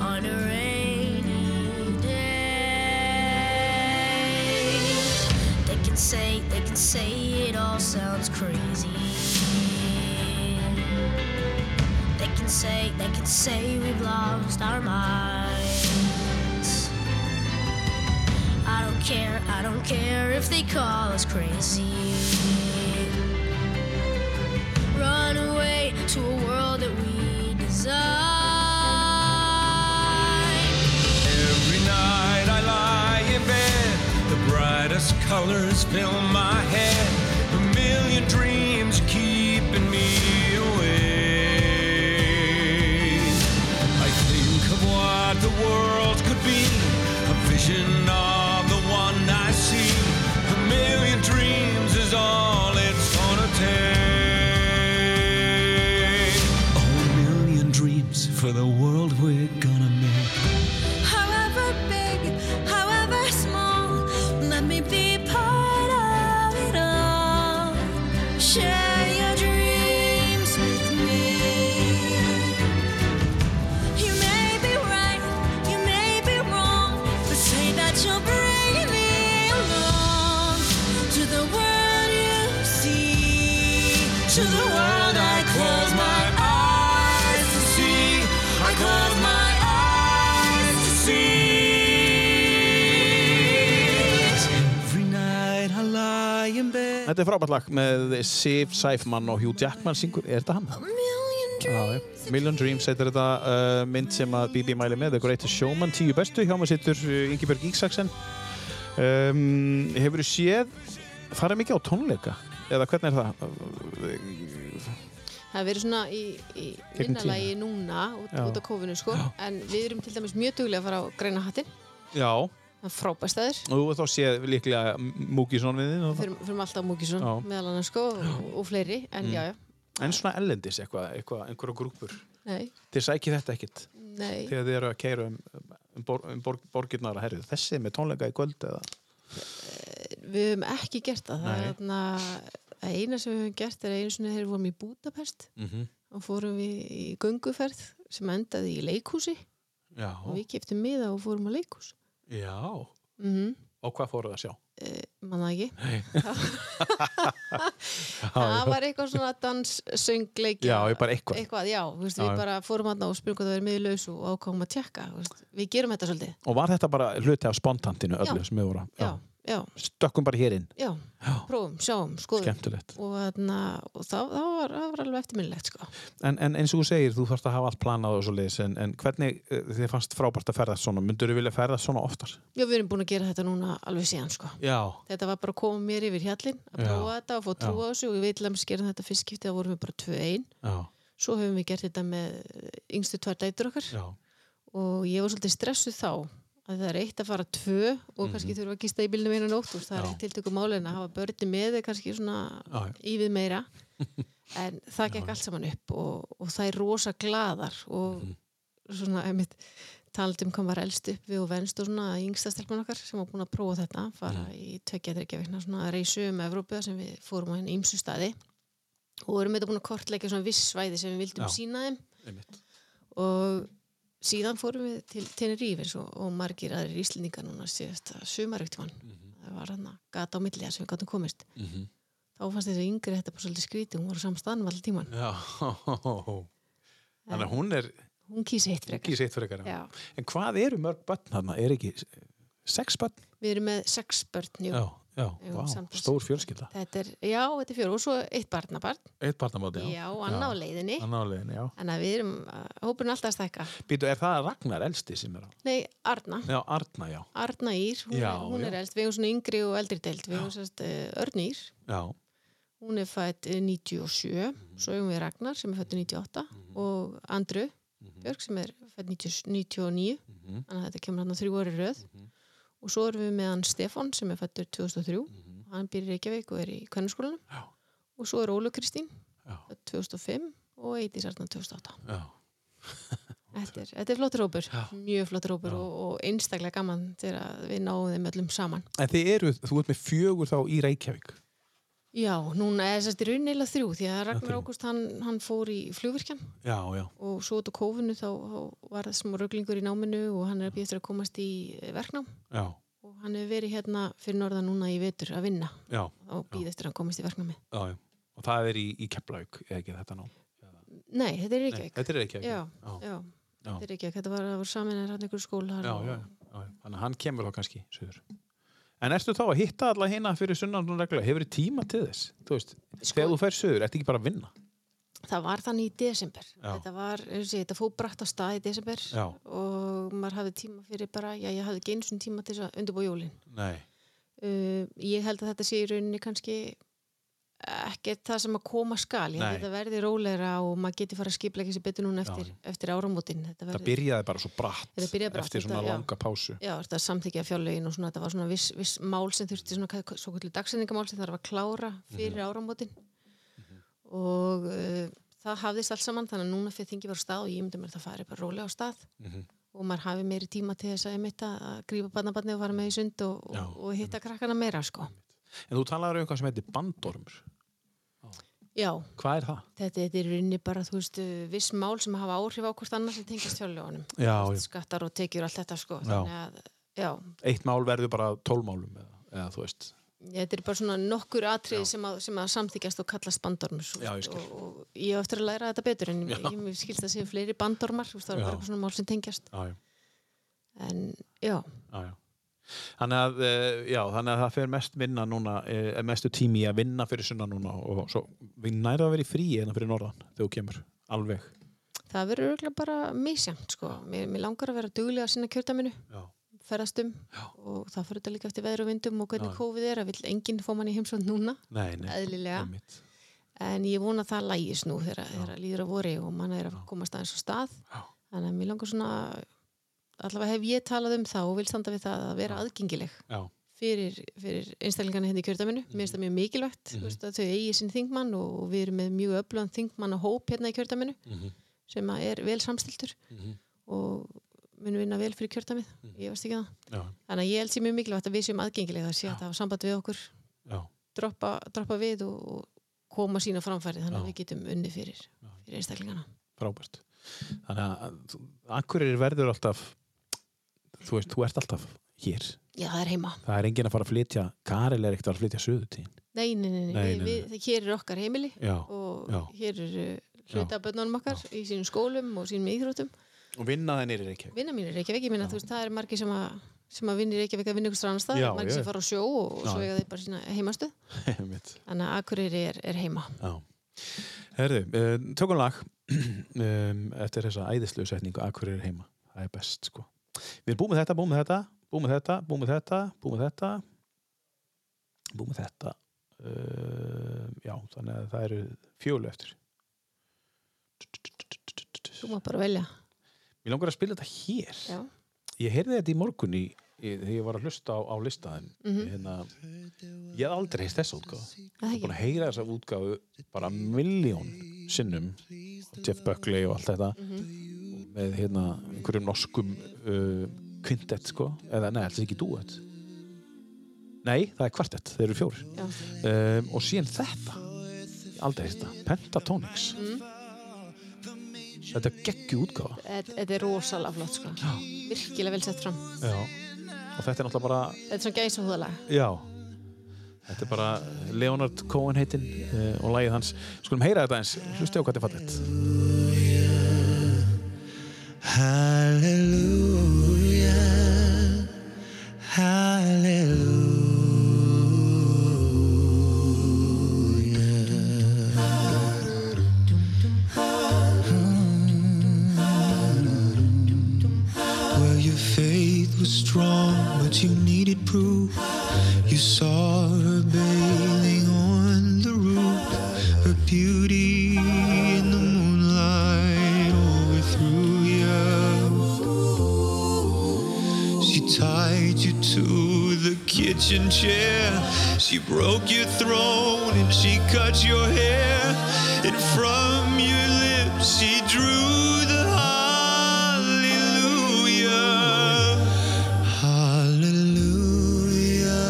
G: on a rainy day. They can say, they can say it all sounds crazy. They can say, they can say we've lost our minds. I don't care, I don't care if they call us crazy. Run away to a world that we design.
H: Every night I lie in bed, the brightest colors fill my head, a million dreams keeping me awake. I think of what the world could be, a vision of the one I see. A million dreams is all it's gonna take. A million dreams for the world we're gonna make.
D: However big, however small, let me be part of it all. Share your dreams with me. You may be right, you may be wrong, but say that you'll bring me along to the world you see, to the world I close my eyes to see. I close my eyes to see.
H: Every night I lie in bed.
B: Þetta er frábært lag með Sif Sæfmann og Hugh Jackman syngur, er þetta hann? Já, já. Million Dreams heitir þetta uh, mynd sem að BB mæli með The Greatest Showman, tíu bestu, hjá maður sittur uh, Ingibjörg Íksaksen um, Hefur þú séð farið mikið á tónleika? Eða hvernig er það?
C: Það hefur verið svona í, í
B: Gegnum
C: vinnalagi núna út,
B: Já.
C: út á kofinu sko en við erum til dæmis mjög duglega að fara á græna hattin
B: Já,
C: það er frábæstaður
B: og þú þá séð líklega Múkisson við þinn og það.
C: fyrir, fyrir alltaf múkisum
B: Já. Mm.
C: meðal annars sko og, og fleiri en já, já,
B: En svona ellendis eitthvað, eitthvað, einhverja grúpur
C: nei,
B: Þið sækið þetta ekkit
C: nei
B: þegar þið eru að keira um, um, bor, um bor, borgirnar að herrið Þessi er með tónleika í kvöld eða
C: við höfum ekki gert það það
B: Nei.
C: er þarna að eina sem við höfum gert er að einu sinni þegar við vorum í Budapest
B: Mhm.
C: og fórum við í gönguferð sem endaði í leikhúsi
B: Já,
C: og við keftum miða og fórum á leikhús
B: já
C: mm -hmm.
B: Og hvað fóruð að sjá?
C: manna ekki það var eitthvað svona dans, söngleikja
B: Já, ég bara eitthvað.
C: já, þú veist,
B: Já, já.
C: við bara fórum hann og spurðum hvað það er miðlaus og ákváðum að tjekka þú veist, við gerum þetta svolítið
B: Og var þetta bara hluti af spontantinu öllu
C: Já.
B: sem við voru að-
C: já, já,
B: Stökkum bara hér inn,
C: já, prófum, sjáum, skoðum
B: skemmtilegt
C: og, þarna, og það, það, var, það var alveg eftirminnilegt sko.
B: en, en eins og þú segir, þú þarfst að hafa allt planað og svo leiðis en, en hvernig eh, þið fannst frábært að ferðast svona Myndur þið vilja ferðast svona oftar?
C: já, við erum búin að gera þetta núna alveg síðan sko.
B: Já
C: þetta var bara að koma mér yfir hjallin að
B: Já.
C: prófa þetta og fá trú á
B: Já.
C: þessu og ég veit að gerum þetta fyrst skipti að vorum við bara 2-1
B: Já,
C: svo höfum við gert þetta með eh, yngstu tvær dætur okkar
B: já,
C: og ég var svolítið stressuð þá að það er eitt að fara tvö og kannski þurfa að gista í bílnum einu nótt og það er
B: Mhm. Já.
C: eitt tiltöku málin að hafa börni með er kannski svona
B: Já, já.
C: ívið meira en það gekk allt saman upp og, og það er rosa gladar og
B: Mhm.
C: svona einmitt talandi um hvað var elst upp við og venst og svona að yngsta stelpan okkar sem var búin að prófa þetta fara
B: Mm.
C: í tveggja þryggja vikna svona reysu um Evrópu þar sem við fórum á henni ímsu staði og erum þetta búin að kortleika svona viss svæði sem við
B: Já.
C: vildum sína þeim
B: einmitt
C: og síðan fórum við til Tenerife eins og, og margir aðrir íslendingar núna síðasta sumarugtjumann mm
B: Mhm.
C: það var hann að gata á milli þar sem við gátum komist þá fannst þessi yngri þetta bara svolítið skrítið hún var á samstæðan allir tíman
B: Já, þannig að hún er
C: hún kýsi heitt frekar
B: ekki sitt fyrir
C: Já.
B: ykkar En hvað eru mörg börn þarna? Er ekki sex börn?
C: við erum með sex börn jú.
B: Já, já,
C: Jú,
B: vá,
C: samtals.
B: stór fjölskylda
C: þetta er, já, þetta er fjóru og svo eitt barnabarn
B: Eitt barnamáti,
C: já, já annað á leiðinni
B: Annáliðin, já
C: en að við erum, að- hópurinn er alltaf að stækka
B: Býtu, er það Ragnar elsti sem er á?
C: nei, Arna
B: Já, Arna, já
C: Arna Ír, hún,
B: Já,
C: er, hún er
B: já.
C: elst við erum svona yngri og eldri deild við erum sérst uh, Örn Ír
B: Já,
C: hún er eh, fætt 97
B: Mhm.
C: svo erum við Ragnar sem er fætt 98 og Andru
B: Mhm.
C: Björg sem er fætt 99 þannig að þetta kemur hann að þrjú orði röð
B: Mhm.
C: og svo erum við með hann Stefan sem er fættur 2003 hann býr í Reykjavík og er í kvennskólanum
B: Mhm. Já.
C: og svo er Ólu Kristín
B: Já.
C: fædd 2005 og Eiti Sartna 2008
B: já
C: þetta er, þetta er flottur hópur, mjög flottur hópur og, og einstaklega gaman þegar að við náum þeim öllum saman
B: En þið eru, þú ert með fjögur þá í Reykjavík
C: Já, núna er sérst í raunilega þrjú því að Ragnar Ágúst hann, hann fór í flugvirkjan
B: Já, já.
C: og svo út á kófinu þá, þá var það smá röglingur í náminu og hann er að býja eftir að komast í eh, verknám
B: Já,
C: og hann hefur verið hérna fyrir norða núna í vetur að vinna
B: já,
C: og býða eftir að hann komast í verknámi.
B: já, já. Og það er í, í Keflavík, eða ekki þetta nú?
C: Nei, þetta er
B: Nei,
C: Reykjavík.
B: þetta er Reykjavík.
C: Já,
B: já.
C: já,
B: Já.
C: þetta er Reykjavík. Þetta var, það voru samin er hann einhverju skólar
B: já,
C: og-
B: já, já, já. Þannig að hann kemur þá kannski söður. En ertu þá að hitta alla hérna fyrir sunnan og reglulega? Hefur þið tíma til þess? Þú veist,
C: Sko-
B: þegar þú fer söður, ertu ekki bara að vinna?
C: það var þannig í desember
B: Já.
C: þetta var, eins og sé, þetta fór bratt á stað í desember
B: Já.
C: og maður hafði tíma fyrir bara, já ég hafði ekki eins og tíma til þess að undirbúa jólin
B: Nei.
C: uh, ég held að þetta sé í rauninni kannski ekkert það sem að koma skal ég held
B: Nei.
C: að þetta verði rólegra og maður geti fara að skipleika sér betur núna eftir, eftir áramótin þetta
B: Það
C: verði,
B: byrjaði bara svo bratt,
C: Þetta byrjaði bratt,
B: eftir svona
C: þetta- já.
B: langa pásu.
C: já, þetta samþykja fjárlegin og svona, þetta var svona viss, viss mál sem þurfti svona, hvað- svo kvöldu dagsendingamál sem þarf að klára fyrir
B: Mhm.
C: mm áramótin og uh, það hafðist allt saman þannig að núna fyrir þingi var á stað og ég myndi mér að það fari bara rólega á stað
B: Mhm.
C: og maður hafi meiri tíma til þess að einmitt að að grípa barnabarni og fara með í sund og,
B: Já,
C: og, og hitta krakkana meira sko.
B: En þú talaður um eitthvað sem heitir bandormur.
C: Já,
B: Hvað er það?
C: Þetta, þetta er í rauninni bara, þú veist, viss mál sem hafa áhrif á hvort annars sem tengist fjárljóðanum.
B: Já,
C: Skattar og tekjur allt þetta, sko.
B: Já.
C: Þannig að, já,
B: Eitt mál verður bara tólmálum, eða, eða þú veist.
C: þetta er bara svona nokkur atrið sem að, sem að samþykjast og kallast bandormus.
B: Já, ég skil.
C: Og, og ég á eftir að læra þetta betur, en ég, ég mér skilst að séu fleiri bandormar, þú veist, það
B: Já.
C: er bara eitthvað svona mál sem tengjast.
B: Já, já.
C: En, já,
B: Já, já. Þannig að, eh, já, þannig að það fer mest vinna núna, eh, mestu tími í að vinna fyrir sunna núna og svo við nærið að vera í fríi hérna fyrir norðan þegar þú kemur, alveg.
C: það verður örgulega bara misjant, sko. Mér, mér langar að vera duglega að sinna kjördaminu,
B: Já,
C: ferðast um, og það fyrir þetta líka eftir veður og vindum og hvernig COVID er, að vill enginn fá mann í heimsókn núna,
B: nei, nei.
C: eðlilega.
B: einmitt.
C: En ég vona að það lægis nú þegar, þegar líður að vori og manna er að komast aðeins á stað.
B: Já.
C: Þannig að mér langar svona, allavega hef ég talað um það og vil standa við það að vera aðgengileg
B: Já,
C: fyrir, fyrir einstaklingarna hérna í kjördaminu. Mér finnst það mjög mikilvægt
B: Mhm.
C: mm -hmm. að þau eigi sinn þingmann og og við erum með mjög öflugan þingmann og hóp hérna í kjördaminu
B: Mhm.
C: sem að er vel samstiltur og mun vinna vel fyrir kjördamið. Ég veist ekki það.
B: Mhm. já,
C: Þannig að ég held sér mjög mikilvægt að við séum aðgengileg að sé að hafa samband við okkur
B: já.
C: droppa, droppa við og, og koma sína framfæri þannig
B: Já.
C: að við getum unni fyrir, fyrir einstaklingana.
B: frábært þannig að Akureyri verður alltaf þú veist, þú ert alltaf hér
C: Já, það er heima.
B: það er enginn að fara að flytja, Karel er ekkert að fara að flytja söðu tíðin
C: Nei, nei, nei, nei.
B: Nei, nei,
C: við,
B: nei.
C: Við, það- hér er okkar heimili
B: já.
C: og
B: Já.
C: hér eru hlutaböndunum okkar í sínum skólum og sínum íþróttum.
B: og vinna þennir er ekki
C: Vinna mínir Reykjavík, ég minna, þú veist, það er margir sem að sem að vinni Reykjavík að vinna ykkur strannast það,
B: Já,
C: margir
B: já.
C: sem fara á sjó og, og svo
B: Já.
C: eiga þeir bara sína heimastuð. Þannig að Akureyri er, er heima.
B: herðu, uh, tökum lag um, eftir þessa æðislu setningu Akureyri er heima, það er best sko við erum búið með þetta, búið með þetta búið með þetta, búið með þetta, búið með þetta búið með þetta uh, já, þannig að það eru fjólu eftir
C: Þú maður bara velja.
B: Mér langar að spila þetta hér.
C: Já.
B: Ég heyrði þetta í morgun í, í, þegar ég var að hlusta á, á listaðin. hérna, ég hef aldrei heist þessa útgáfu. Ég
C: Það
B: hef
C: ekki.
B: búin að heyra þessa útgáfu bara miljón sinnum. Jeff Buckley og allt þetta. Með hérna einhverjum norskum uh, kvintett sko. Eða nei, þetta er ekki duett. Nei, það er kvartett. Þeir eru fjórir
C: Já.
B: um, og síðan þetta Ég aldrei þetta, Pentatonix þetta er geggju útgáfa
C: Þetta þetta er rosalega flott, sko. Virkilega vel sett fram.
B: já. og þetta er náttúrulega bara
C: Þetta er svona gæsa
B: já. þetta er bara Leonard Cohen heitinn uh, og lagið hans, skulum heyra þetta eins hlusti á hvað þetta er fallegt
E: Hallelujah,
F: Hmm. Well, your faith was strong, but you needed proof. You saw her bathing on the roof, her beauty in the moonlight overthrew you. She tied you to the kitchen chair, she broke your throne and she cut your hair, and from your lips she drew the hallelujah. Hallelujah.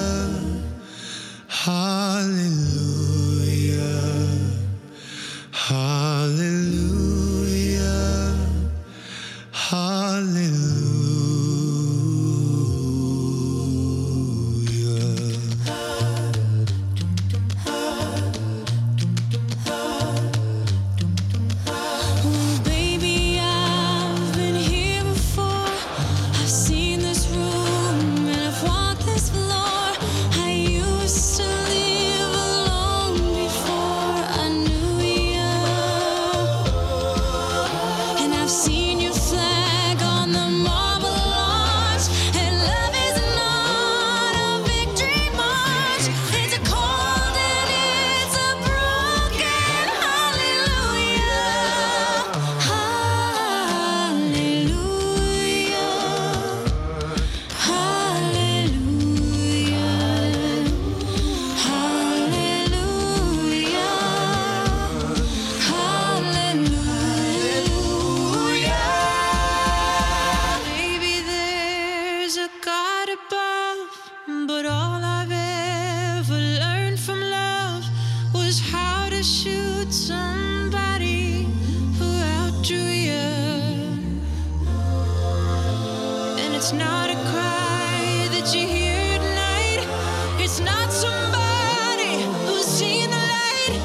F: Hallelujah.
H: Hallelujah.
D: Baby, I've been here before. I've seen this room and I've walked this floor. I used to live alone before I knew you. And I've seen your flag on the marble arch. And love is not a victory march. It's a cold and it's a broken hallelujah. Hallelujah. Hallelujah. Hallelujah. Hallelujah. Maybe there's a God above, but all I've ever learned from love was how to shoot somebody who outdrew you. And it's not a cry that you hear at night. It's not somebody who's seen the light.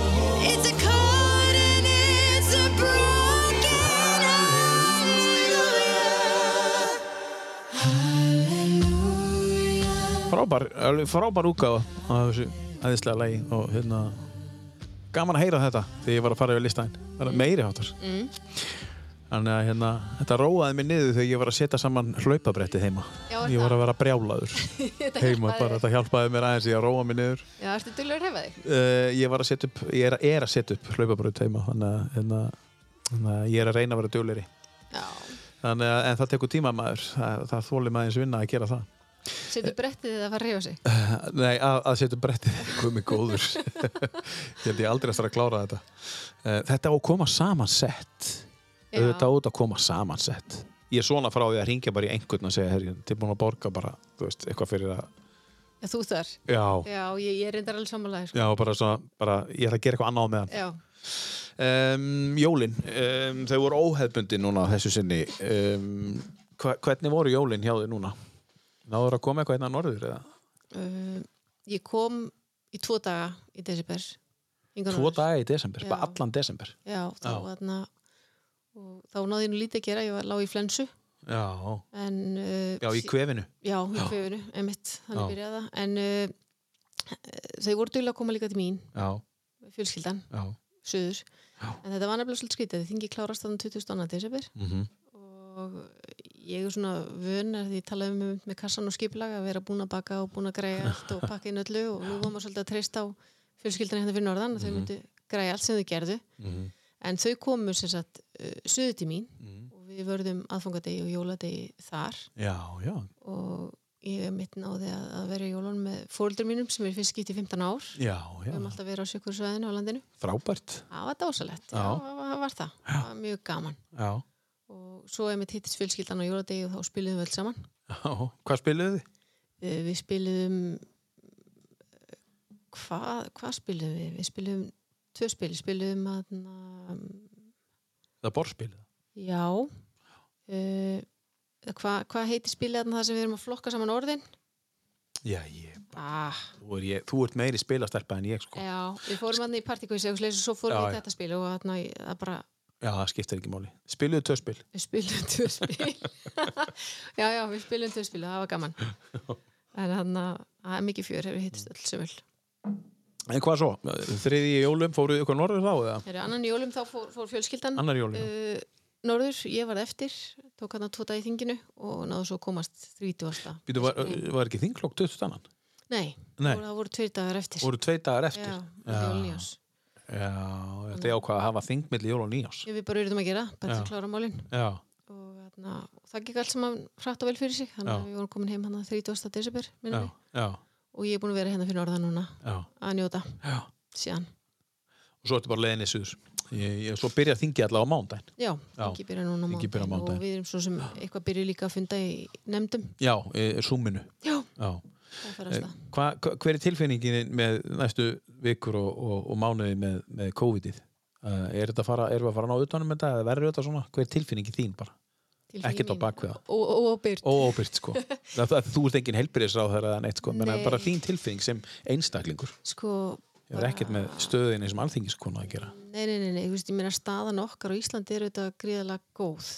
D: It's a code and it's a broken hallelujah. Hallelujah.
B: frábær, alveg frábær útgáfa á þessu æðislega lagi og hérna gaman að heyra þetta þegar ég var að fara yfir listaðin það
C: Mm.
B: er meiri hátar þannig að hérna, þetta róaði mig niður þegar ég var að setja saman hlaupabrettið heima
C: Já, er
B: ég var að
C: það?
B: vera brjálaður heima, bara þetta hjálpaði mér aðeins í að róa mig niður
C: Já, ertu dullur að hefa þig?
B: uh, ég var að setja upp, ég er, er að setja upp hlaupabrett heima, þannig að hérna, þannig að ég er að reyna að vera dugleiri
C: Já,
B: Þannig að en það tekur tíma maður, það, það þólir maður eins vinna að gera það.
C: setur brettið eða fara að reyfa sig
B: Nei, að, að setja brettið komið góður ég held ég aldrei eftir að klára þetta Eh, þetta á að koma saman sett
C: Já.
B: auðvitað á þetta að koma saman sett ég er svona frá því að ringja bara í einhvern og segja, herri, tilbúin að borga bara þú veist, eitthvað fyrir að
C: Já, þú þar
B: já,
C: Já, ég, ég er reyndar alveg sammálaði sko.
B: já bara svona, bara, ég ætla að gera eitthvað annað á meðan
C: Já,
B: um, Jólin, um, þau voru óhefbundi núna þessu sinni um, hva, hvernig voru jólin hjá þau núna? Náður að koma eitthvað einna norður eða?
C: uh, ég kom í tvo daga í desember Inga
B: Tvo
C: Norðurs.
B: daga í desember, bara
C: Já.
B: allan desember
C: Já, þá,
B: Já.
C: Þarna, og, þá náði ég nú lítið að gera, ég var lág í flensu
B: Já,
C: en, uh,
B: já í kvefinu
C: Já, í kvefinu, einmitt, þannig
B: Já.
C: byrjaði það en uh, þau voru duglega að koma líka til mín
B: Já,
C: fjölskyldan,
B: já
C: söður
B: Já.
C: en þetta var nefnilega svolítið skrítið, þingi klárast um þannig 22. desember
B: Mhm.
C: og ég er svona vönar því ég talaði um með kassan og skipulag að vera búin að baka og búin að græja allt og pakka inn öllu og nú var maður svolítið að treysta á fjölskyldan hérna fyrir norðan
B: Mhm.
C: að þau myndu græja allt sem þau gerðu en þau komu sem sagt uh, söður til mín
B: Mhm.
C: og við vörðum aðfangadegi og jóladegi þar
B: Já, já,
C: og ég er mitt náði að, að vera í jólun með fóreldur mínum sem er fyrst skipt í 15 ár
B: já,
C: við höfum
B: já.
C: alltaf verið á sjökursvæðinu á landinu
B: Frábært
C: það var dásalett, já,
B: Já.
C: það var það það var mjög gaman
B: Já,
C: og svo er mitt hittist fjölskyldan á jóladegi og þá spilum við öll saman
B: já. Hvað spiluðu þið?
C: Eh, við spilum eh, hvað hva spilum við? við spilum tvö spil, spilum að
B: Það borspiluðu
C: já uh, hvað hva heitir spilið þarna það sem við erum að flokka saman orðin?
B: Já, ég,
C: Ah,
B: þú, er ég, þú ert meiri spilastelpa en ég sko Já,
C: Já, við fórum hann í partíkvísi og sleis og svo fórum
B: Já,
C: við í
B: já.
C: þetta spil og þarna í- það bara
B: það skiptir ekki máli Spiluðu töspil
C: við spilum tvö spil Já, já, við spilum tvö spil og það var gaman en hann að það er mikið fjör hefur hittist öll sömul
B: En hvað svo? Þriði í jólum, fóruðu ykkur norður þá eða?
C: Þegar annan í jólum þá fór, fór fjölskyldan
B: Annar í jólum, já.
C: uh, Norður, ég var eftir tók hann að tóta í þinginu og náðu svo að komast þrítugasta
B: Býtu, var, var ekki þinglokk 20 annan?
C: Nei,
B: Nei.
C: Nei. það voru tveir dagar eftir
B: Voru tvei dagar eftir
C: Já,
B: já,
C: já.
B: já þetta er ákvað að hafa þing milli jól og nýjás
C: Ég, við bara erum að gera, bara til
B: Já.
C: að klára málin
B: Já,
C: og, þarna, og það gekk allt saman hratt og vel fyrir sig þannig
B: Já.
C: að við vorum komin heim hann að 30. desember
B: já,
C: minnum við.
B: já,
C: og ég er búin að vera hérna fyrir norðan núna
B: já.
C: að njóta
B: Já.
C: síðan
B: Og svo ertu bara leiðinni suður ég, ég, Svo byrja þingi allavega á mándaginn
C: Já,
B: Já.
C: ekki byrja núna á
B: Ingi byrjar á mánudaginn.
C: mánudaginn og við erum svo sem eitthvað byrju líka að funda í nefndum
B: Já, e, súminu
C: Já,
B: Já Eh,
C: það fer að stað
B: hva, hva, hver er tilfinningin með næstu vikur og, og, og mánuði með, með um COVID-ið? Uh, er þetta að fara, erum við að fara að ná utanum þetta eða verður þetta svona? Hver er tilfinningin þín bara?
C: Til þín
B: ekkert á
C: mín.
B: bakveða
C: og, og, og byrt
B: óóbyrgt sko það, það, þú ert engin helbriðisráðherra eða neitt sko menn
C: Nei.
B: bara þín tilfinning sem einstaklingur
C: sko,
B: það er ekkert með stöðinni sem alþingiskona að gera
C: nei, nei, nei, nei, þú veist, ég meina staðan okkar á Íslandi er auðvitað gríðalega góð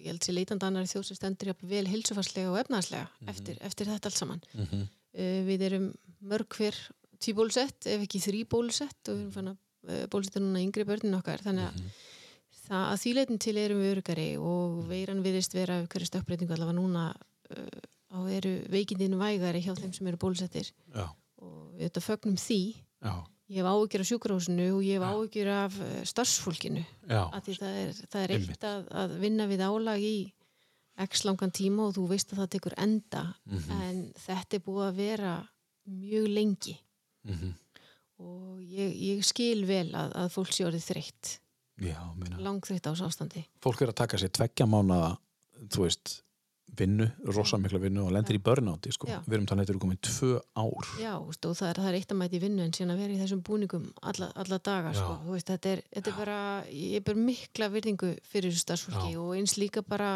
C: og ég held sér leitandi annar þjóð sem stendur jafn vel hilsufarslega og efnaðarslega eftir, eftir þetta allt saman uh, við erum mörg hver tvíbólusett, ef ekki þríbólusett og við erum fann að uh, bólusetja núna yngri börnin okkar, þannig að það að því leitin til erum við örugari og veiran viðist vera af hverju stökkbreytingu allavega núna uh, á eru veikindin vægari hjá þeim sem eru bólusettir
B: já,
C: og við þetta fögnum því
B: já,
C: ég hef áhyggjur af sjúkrahúsinu og ég hef áhyggjur af eh, starfsfólkinu
B: já,
C: að því það er, það er
B: Einmitt.
C: eitt að, að vinna við álag í x langan tíma og þú veist að það tekur enda
B: Mhm.
C: en þetta er búið að vera mjög lengi
B: Mhm.
C: og ég, ég skil vel að, að fólk sé orðið þreytt
B: já meina.
C: langþreytt á þessu ástandi
B: fólk er að taka sér tveggja mánaða þú veist, vinnu, rosamikla vinnu og lendir í börnáti sko
C: Já.
B: við erum þannig að þetta eru komin tvö ár
C: já, þú veist, og það er, það er eitt að mæti vinnu en síðan að vera í þessum búningum alla, alla daga sko. Þú veist, þetta, er, þetta er bara, ég ber mikla virðingu fyrir þessu starfsfólki og eins líka bara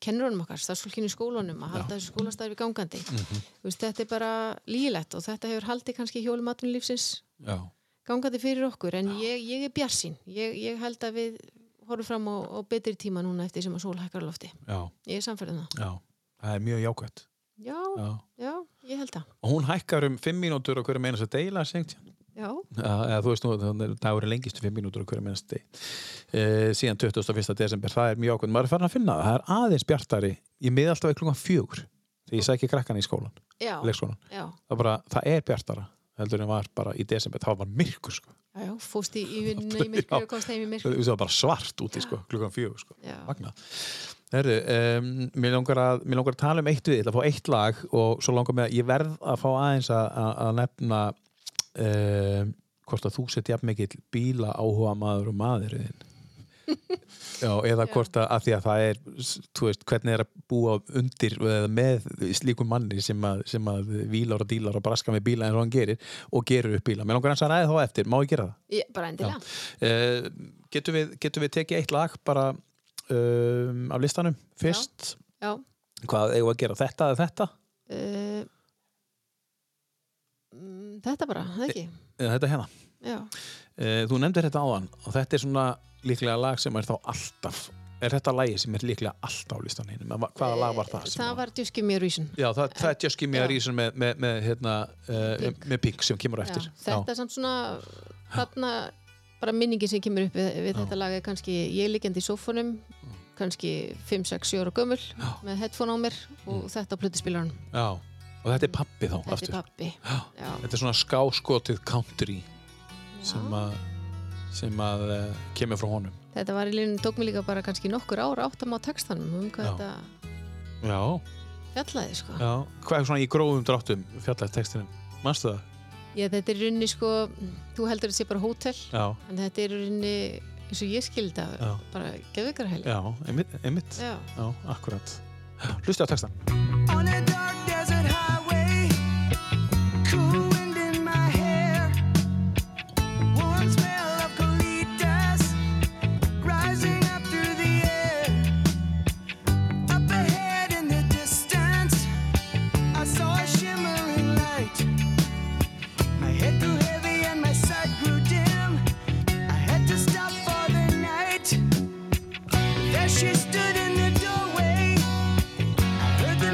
C: kennurunum okkar, starfsfólkinu í skólanum að halda þessu skólastarfi gangandi Þú veist, þetta er bara lígilegt og þetta hefur haldið kannski hjólum atvinnulífsins
B: já,
C: gangandi fyrir okkur en ég, ég er bjarsinn, ég, ég held að við horfum fram á, á betri tíma núna eftir sem að sól hækkar á lofti,
B: já,
C: ég er samferðin það
B: já það er mjög jákvæmt
C: já, já,
B: já.
C: ég held það
B: og hún hækkar um fimm mínútur á hverju meinas að deila sengt
C: já,
B: Já, eða þú veist nú, þannig að það eru lengistu fimm mínútur á hverju mennsti e, síðan 21. desember, það er mjög ákveðn maður er farin að finna það, það er aðeins bjartari ég miða alltaf klukkan fjögur þegar ég sæki krakkan í skólan,
C: já,
B: leikskólan
C: já,
B: það, er bara, það er bjartara, heldur en var bara í desember, það var myrkur sko
C: já, já fóst í, í vinnuna í myrkri og komst heim í
B: Þú
C: myrkri
B: veist, það var bara svart úti sko, klukkan fjögur sko
C: já,
B: Magna. Herru, um, mér, langar að, mér langar að tala um eitt við, ég ætla að fá eitt lag og svo langar mér að ég verð að fá aðeins að, að, að nefna um, hvort að þú setja jafn mikill bíla áhuga maður og maður þinn. Já, eða hvort að, að því að það er s- þú veist, hvernig er að búa undir eða með slíkum manni sem að, sem að vílar og dílar og braska með bíla eins og hann gerir og gerur upp bíla. Mér langar hans að ræða þá eftir, má ég gera það?
C: ég, bara endilega
B: Uh, getum, við, getum við tekið eitt lag bara um, af listanum fyrst?
C: já,
B: Hvað eigum við að gera? Þetta eða þetta?
C: uh, mm, þetta bara, það ekki
B: Eða þetta hérna.
C: já,
B: Uh, þú nefndir þetta áðan og þetta er svona líklega lag sem er þá alltaf er þetta lagi sem er líklega alltaf á listanum? Hvaða lag var það? sem
C: það var djúski mér vísun
B: Já, það, það er Just Give Me a
C: Já.
B: Reason með, með, með, hérna, uh,
C: Pink.
B: með Pink sem kemur á
C: já,
B: eftir.
C: þetta er samt svona þarna bara minningi sem kemur upp við, við þetta lag er kannski ég liggjandi í sófanum kannski 5-6 ára gömul með headphone á mér og þetta á plötuspilaranum
B: Já, já. Og þetta er pappi þá
C: þetta
B: Mm. aftur.
C: er pappi
B: Já.
C: já,
B: Þetta er svona skáskotið country sem
C: já.
B: að, sem að uh, kemur frá honum.
C: þetta var í línunum, tók mér líka bara kannski nokkur ára áttam á textanum um hvað
B: Já.
C: þetta
B: Já.
C: fjallaði sko
B: Já, hvað er svona í grófum dráttum fjallægt textinum? Manstu það?
C: Já, þetta er í rauninni sko, þú heldur að þetta sé bara hótel,
B: Já,
C: en þetta er í rauninni, eins og ég skildi að,
B: Já.
C: bara geðvikarhæli.
B: já, einmitt, einmitt.
C: Já.
B: Já, akkurat. Hlusti á textan.
E: On a dark desert highway, cool wind in my hair, warm smell of colitas rising up through the air. Up ahead in the distance, I saw a shimmering light. My head grew heavy and my sight grew dim. I had to stop for the night. There she stood in the doorway. I heard the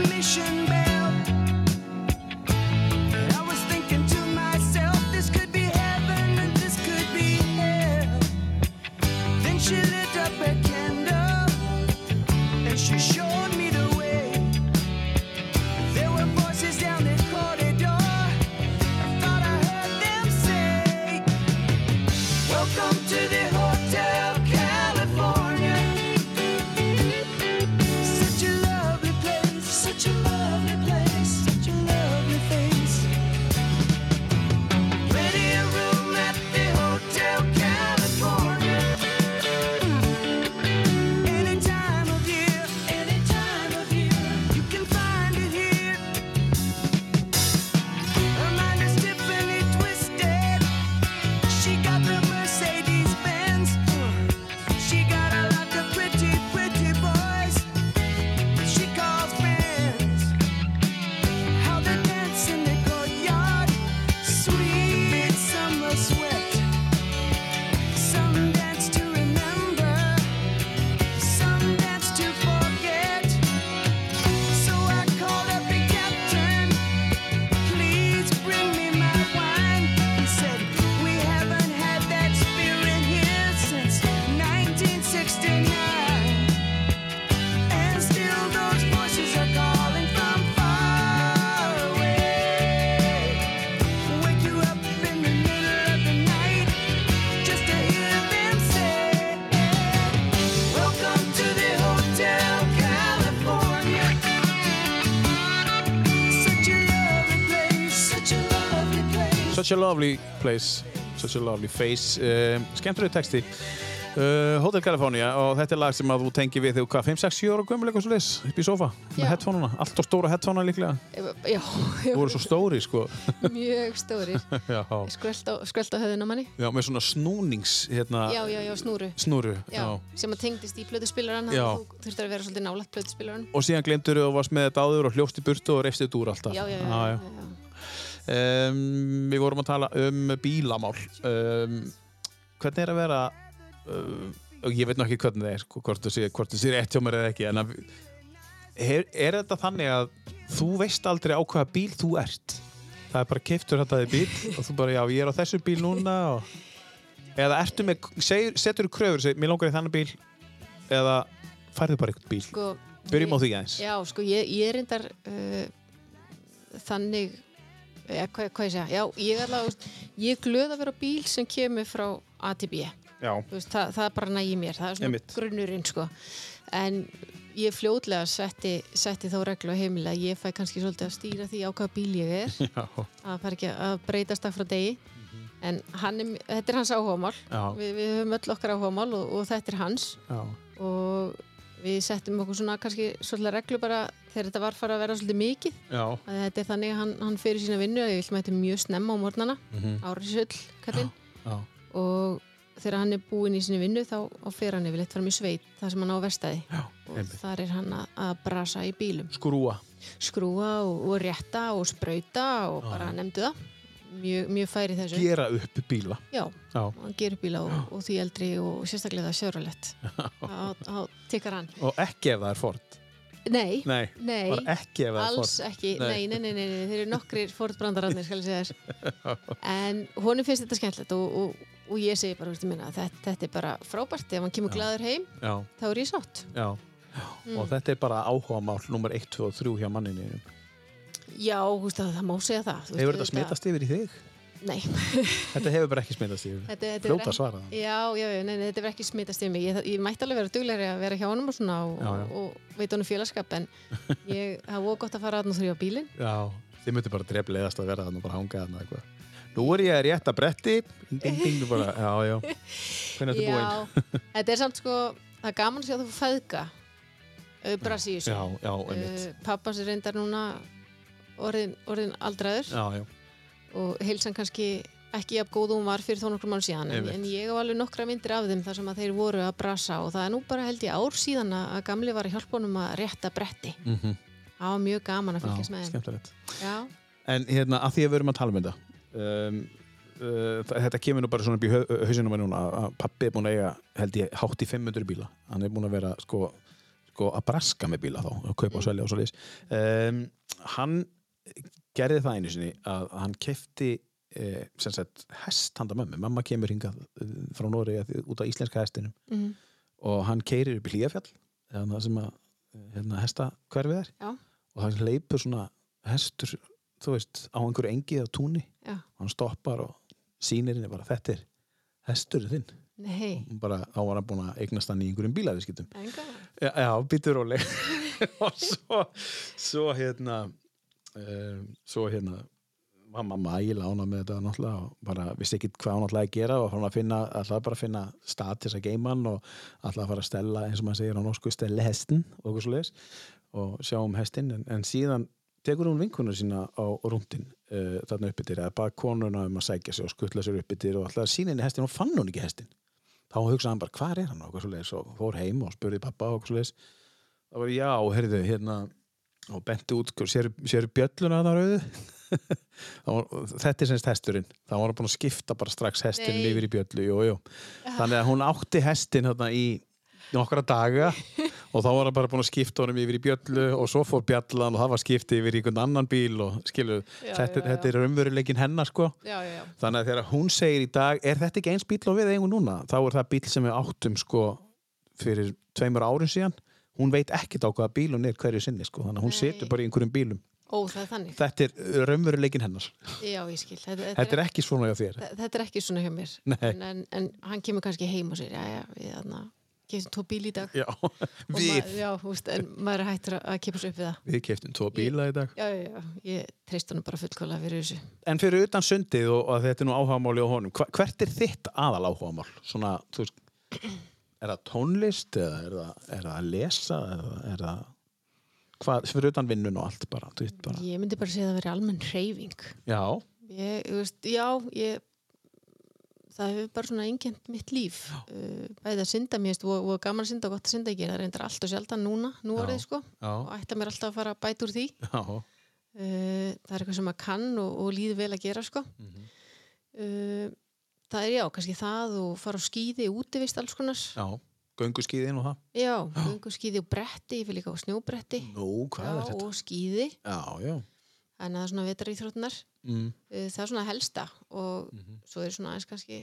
B: Such a lovely place, such a lovely face. Uh, skemmtur texti. Uh, Hotel California og þetta er lag sem að þú tengir við þegar hvað, 5-6-7 ára gömul eitthvað svo leis upp í sofa með
C: Já.
B: headfónuna, allt á stóra headfónuna líklega
C: Já, já,
B: þú voru svo stóri sko
C: mjög stórir.
B: já,
C: Skvöld á, skvöld á höfðun á manni.
B: já, með svona snúnings hérna,
C: Já, já, já, snúru.
B: snúru
C: Já, sem að tengdist í plötuspilaran.
B: Já.
C: Þú þurftur að vera svolítið nálægt plötuspilaran.
B: og síðan glemtur þú og varst með þetta áður og hljóst í burtu og reifst þetta úr alltaf Ah,
C: Já, já, já.
B: Já, já.
C: já, já.
B: Um, við vorum að tala um bílamál. Um, hvernig er að vera, um, og ég veit nú ekki hvernig það er, sko, hvort þú sé, hvort þú sé rétt hjá mér eða ekki, en að, er, er þetta þannig að þú veist aldrei á hvaða bíl þú ert? Það er bara keiftur þetta þið bíl og þú bara, já, ég er á þessu bíl núna og... Eða ertu með, segir, setur þú kröfur, segir, mér langar í þannig bíl, eða færðu bara einhvern bíl.
C: Sko,
B: Byrjum á
C: ég-
B: því aðeins.
C: Já, sko, ég, ég er reyndar uh, þannig ja, hvað, hvað ég segja, já, ég er alveg úst, ég er glöð að vera á bíl sem kemur frá A til B,
B: Já.
C: Þú veist, það, það bara nægir mér, það er svona
B: Einmitt.
C: grunnurinn sko, en ég fljótlega setti, setti þá reglu á heimil að ég fæ kannski svolítið að stýra því á hvaða bíl ég er,
B: Já. Mhm.
C: að fara ekki að breytast dag frá degi, en hann er, þetta er hans áhugamál,
B: Já.
C: Vi, við höfum öll okkar áhugamál og, og þetta er hans
B: Já.
C: og við settum okkur svona kannski svolítið reglu bara þegar þetta var farið að vera svolítið mikið
B: Já.
C: að þetta er þannig að hann, hann fyrir sína vinnu að ég vil mæti mjög snemma á morgnana mm -hmm. árisull kallinn
B: Mhm. Já.
C: og þegar hann er búinn í sinni vinnu þá þá fer hann yfirleitt fram í sveit þar sem hann á verstaði
B: Já.
C: og
B: Einmitt.
C: þar er hann að, að brasa í bílum
B: Skrúa.
C: skrúa og, og rétta og sprauta og bara nefndu það mjög, mjög færi í þessu
B: Gera upp bíla.
C: Já,
B: Já.
C: hann gerir bíla og, og því eldri og sérstaklega það er sjörulegt þá tikkar hann
B: Og ekki ef það er Ford.
C: Nei,
B: Nei,
C: Nei,
B: bara ekki ef það er
C: alls
B: Ford.
C: ekki,
B: Nei.
C: nei, nei, nei, nei, nei. þeir eru nokkrir Ford brandararnir, skal ég segja þess en honum finnst þetta skemmtilegt og, og, og ég segi bara, veistu minna, þetta, þetta er bara frábært, ef hann kemur glaður heim
B: Já,
C: þá er ég sátt.
B: já.
C: Mm.
B: Og þetta er bara áhugamál nummer 1, 2 og 3 hjá manninu.
C: Já, húst að það má segja það þú veist,
B: Hefur þetta
C: auðvitað-
B: smitast yfir í þig?
C: Nei,
B: Þetta hefur bara ekki smitast yfir.
C: þetta, þetta
B: Fljóta
C: ekki-
B: að svara það.
C: Já, já, já, nei, nei, þetta er ekki smitast yfir mig ég, ég mætti alveg vera duglegri að vera hjá honum og svona og,
B: Já, já.
C: og, og veit honum félagskap en ég, það var gott að fara að og þrjá bílinn
B: Já, þið myndir bara dreflegast að vera þannig og bara hanga þannig eitthvað. Nú er ég að rétta bretti. Ding, ding, ding, þú bara, já, já. Hvernig ertu búinn?
C: Já, þetta er samt sko það er gaman að sjá þú fæðka auðbrasi
B: Já,
C: í þessu
B: já, einmitt.
C: uh, pappans er reyndar núna orðin, orðin aldraður
B: Já, já,
C: og heilsan kannski ekki jafn góð og hún var fyrir þó nokkrum mánu síðan en,
B: Einmitt.
C: en ég á alveg nokkra myndir af þeim þar sem að þeir voru að brasa og það er nú bara held ég ár síðan að að gamli var að hjálpa honum að rétta bretti mm
B: Mhm.
C: það var mjög gaman að
B: já,
C: fylgjast með þeim
B: skemmtilegt.
C: já,
B: En hérna, að því að við erum að tala um þetta um, uh, Þetta kemur nú bara svona upp í hausinu mér núna að- að pappi er búin að eiga, held ég, hátt í 500 bíla Hann er búin að vera, sko, sko að braska með bíla þá, að kaupa og selja og svo leis um, Hann gerði það einu sinni að hann kefti eh, sem sagt hest handa mömmu Mamma kemur hingað eh, frá Nóri út af íslenska hestinum
C: Mhm.
B: og hann keirir upp í Hlíðafjall það sem að eh, hérna, hesta hverfið er
C: já,
B: og það leipur svona hestur þú veist, á einhverju engi eða túni
C: já,
B: og hann stoppar og sýnir henni bara þetta er hesturinn þinn
C: nei
B: Og bara þá var hann búin að eignast hann í einhverjum bílaviskiptum
C: en gaman,
B: já, já býtur róleg og svo, svo hérna um, svo hérna var mamma ægilega ána með þetta náttúrulega og bara vissi ekki hvað hann ætlaði að gera og hann að finna, ætlaði bara að finna stað til þess að geima hann og ætlaði að fara að stella eins og maður segir á norsku stella hestin og okkur svo og sjá um hestin en, en síðan tekur hún vinkunum sína á rúndin uh, þarna uppbyttir eða bara konuna um að sækja sig og skuttla sér uppbyttir og ætlaði að sína henni hestin og fann hún ekki hestin þá hugsaði hann bara hvað er hann og okkur svo og fór heim og spurði pappa og okkur svo það var já, heyrðu, hérna og benti út, sér, sér bjölluna þarna rauðu Það var, þetta er semst hesturinn það var hann búin að skipta bara strax hestinum
C: Nei. Ah.
B: yfir í bjöllu jú, jú. þannig að hún átti hestin hérna í nokkra daga og þá var hann bara búin að skipta honum yfir í bjöllu og svo fór bjallan og það var skipti yfir í einhvern annan bíl og skilur,
C: Já,
B: þetta,
C: já, já.
B: þetta er raunveruleikin hennar sko
C: já, já, já
B: þannig að þegar hún segir í dag er þetta ekki eins bíl og við eigum núna þá er það bíl sem við áttum sko fyrir tveimur árum síðan hún veit ekkert á hvaða bíl hún er hverju sinni sko þannig að hún
C: Nei.
B: situr bara í einhverjum bílum
C: ó, það er þannig,
B: þetta er raunveruleikin hennar
C: já, ég skil þetta, þetta
B: þetta er ekki svona hjá þér
C: Þa- þetta er ekki svona hjá mér
B: Nei.
C: en, en, en hann kemur kannski heim og segir já, já, við, þarna, keftum tvo bíl í dag
B: Já,
C: og
B: við,
C: maður, já, húst, en maður er hættur að kepa sér upp við það
B: við keftum tvo bíla í dag.
C: já, já, já, ég treyst honum bara fullkóla fyrir þessu
B: En fyrir utan sundið og, og að þetta er nú áhugamáli á honum, hva, hvert er þitt aðal áhugamál? Svona, þú veist, er það tónlist eða er það, er það að lesa eða er það, hvað, fyrir utan vinnun og allt bara, þú veist bara.
C: ég myndi bara segja að það veri almenn hreyfing
B: Já,
C: ég, þú veist, já ég, það hefur bara svona engjönd mitt líf uh, bæði að synda mér, þú veist, og gaman að synda og gott að synda ekki, það reyndar allt og sjaldan núna nú orðið sko,
B: já,
C: og ætla mér alltaf að fara að bæta úr því
B: já,
C: uh, það er eitthvað sem maður kann og, og líður vel að gera sko
B: Mhm.
C: uh, það er já, kannski það og fara á skíði, útivist alls konar já,
B: já, gönguskíðin og það.
C: já göngu skíði og bretti, ég vil líka á snjóbretti
B: Nú, hvað
C: já,
B: er þetta?
C: og skíði,
B: Já, já,
C: þannig að það er svona vetraríþrótnar
B: mm,
C: Uh, það er svona helsta og
B: Mhm.
C: svo er svona aðeins kannski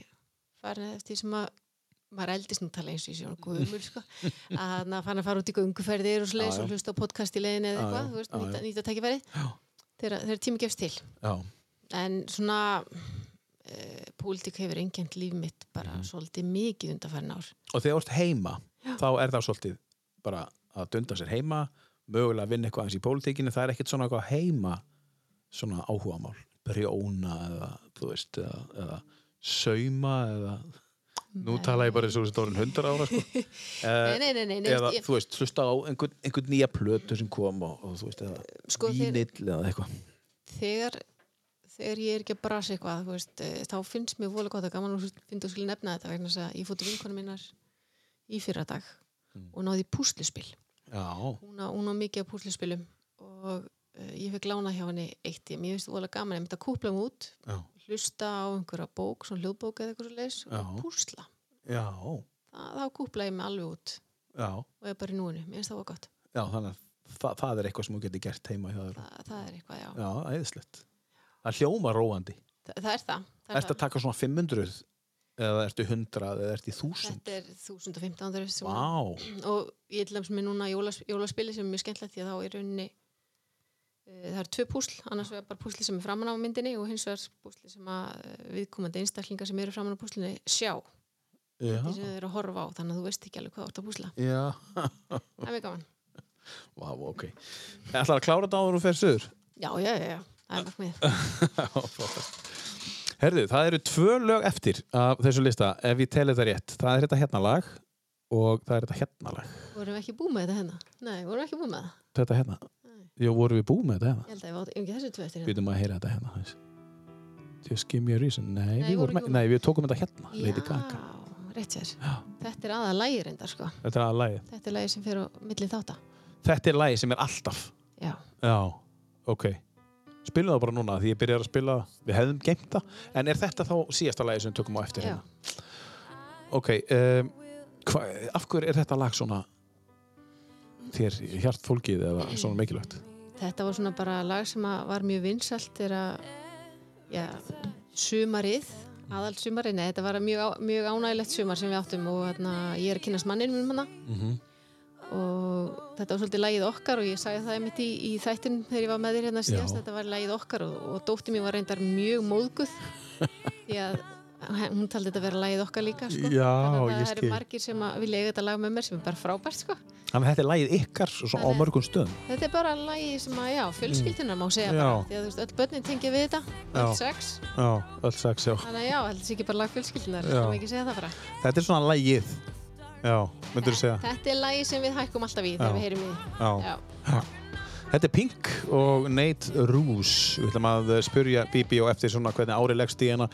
C: farin eftir því sem að maður eldist nú tala eins og ég sé hún guðumur sko, að hann að fara að fara út í gönguferðir og sliðis
B: Já, já.
C: og hlusta á podcast í leiðin eða
B: Já,
C: eitthvað,
B: já,
C: þú veist,
B: já,
C: nýta,
B: já.
C: nýta tækifæri þegar, þegar tími gefst til
B: já,
C: en svona uh, pólitík hefur engjönd líf mitt bara
B: Mhm.
C: svolítið mikið undanfærin ár
B: og þegar þú ert heima, þá er það svolítið bara að dunda sér heima, mögulega að vinna eitthvað eins í pólitíkinu, það er ekkert svona eitthvað heima svona áhugamál, brjóna eða, þú veist, eða, eða sauma eða Nú tala ég bara eins og þessi dórin hundar ára sko.
C: nei, nei, nei, nei, nei
B: eða,
C: ég,
B: þú veist, hlusta á einhvern, einhvern nýja plötu sem kom og, og þú veist, eða
C: Sko, þeir-
B: vínill eða eitthvað
C: þegar þegar ég er ekki að brasa eitthvað þú veist, eh, þá finnst mér vola gott að gaman og finnst þú skilja nefna þetta vegna þess að ég fóttu vinkonu minnar í fyrra dag
B: Mm.
C: og náði í púsluspil
B: Já,
C: hún á, hún á mikið af púsluspilum og uh, ég fekk lánað hjá henni eitt ég mér finnst vola gaman, ég myndi að kúpla mig út
B: já,
C: hlusta á einhverja bók, svona hljóðbók eða eitthvað svo leis og
B: Já.
C: púsla
B: já,
C: það, þá kúpla ég mig alveg út
B: já,
C: og ég er bara í núinu, mér finnst það var gott
B: já þannig að það, það er eitthvað sem þú getur gert heima hjá þér
C: það, það er eitthvað, já,
B: Já, æðislegt Það hljóma róandi
C: Þa, það er það, það, er
B: Ertu að taka svona 500 eða ertu 100 eða ertu 1000
C: þetta er 1500 sem hún-
B: Vá,
C: og ég til dæmis með núna jólas, jólaspili sem er mjög skemmtilegt því að þá er rauninni e, það eru tvö púsl, annars vegar bara púsli sem er framan á myndinni og hins vegar púsli sem að eh, viðkomandi einstaklingar sem eru framan á púslinni sjá,
B: já,
C: því sem þau eru að horfa á þannig að þú veist ekki alveg hvað þú ert að púsla
B: já
C: það er mjög gaman,
B: Vá, ok Ætlar að klára þetta áður og fer suður
C: já, já, já, já það er markmið,
B: Herðu, það eru tvö lög eftir af þessu lista, ef ég teli þetta rétt Það er þetta hérna lag og það er þetta hérna lag
C: vorum við ekki búið með þetta hérna nei, vorum við ekki búið með það,
B: Þetta hérna, jú, vorum við búið með þetta hérna
C: ég held að ég var ekki þessu tvö eftir
B: Við
C: hérna
B: erum að heyra þetta hérna hans. Just give me a reason Nei, við, vorum,
C: vorum
B: ekki-
C: ekki-
B: nei, við tókum þetta hérna, Lady Gaga
C: já, rétt sér þetta er aða lægir endar sko
B: Þetta er að lagi
C: þetta er lægir sem fer á milli þáta
B: Þetta er lagi sem er alltaf
C: já,
B: Já, ok Spilum það bara núna því ég byrjar að spila það. Við hefðum geimt það En er þetta þá síðasta lagi sem við tökum á eftir
C: já.
B: hérna? Ok, um, hva, af hverju er þetta lag svona þér hjart fólkið eða svona mikilvægt?
C: Þetta var svona bara lag sem að var mjög vinsalt þegar að já, sumarið, aðal sumarið, nei, þetta var mjög, á- mjög ánægilegt sumar sem við áttum og hérna, ég er að kynast manninu minn hana hérna.
B: Mhm.
C: og þetta var svolítið lagið okkar og ég sagði það einmitt í, í þættin þegar ég var með þér hérna síðast,
B: Já.
C: þetta var lagið okkar og, og dóttir mér var reyndar mjög móðguð því að hún taldi þetta vera lagið okkar líka sko.
B: Já,
C: Þannig
B: ég
C: að það
B: skil.
C: eru margir sem að vilja eiga þetta lag með mér sem er bara frábært sko.
B: Þannig að þetta er lagið ykkar og svona á
C: Það er-
B: mörgum stöðum
C: Þetta er bara lagi sem að, já, fjölskyldunar má segja
B: Já.
C: bara, því að þú veist, öll börnin tengja við þetta, öll
B: Já.
C: sex,
B: Já, öll sex, já
C: þannig að já, þetta er ekki bara lag fjölskyldunar,
B: Já.
C: það má ekki segja það bara.
B: Þetta er svona lagið Já, myndur þú segja
C: Þetta er lagi sem við hækkum alltaf í
B: Já.
C: þegar við heyrum í því.
B: Já.
C: Já.
B: Þetta er Pink og Nate Roos Við ætlum að spurja Bibi og eftir svona hvernig ári leggst í hennar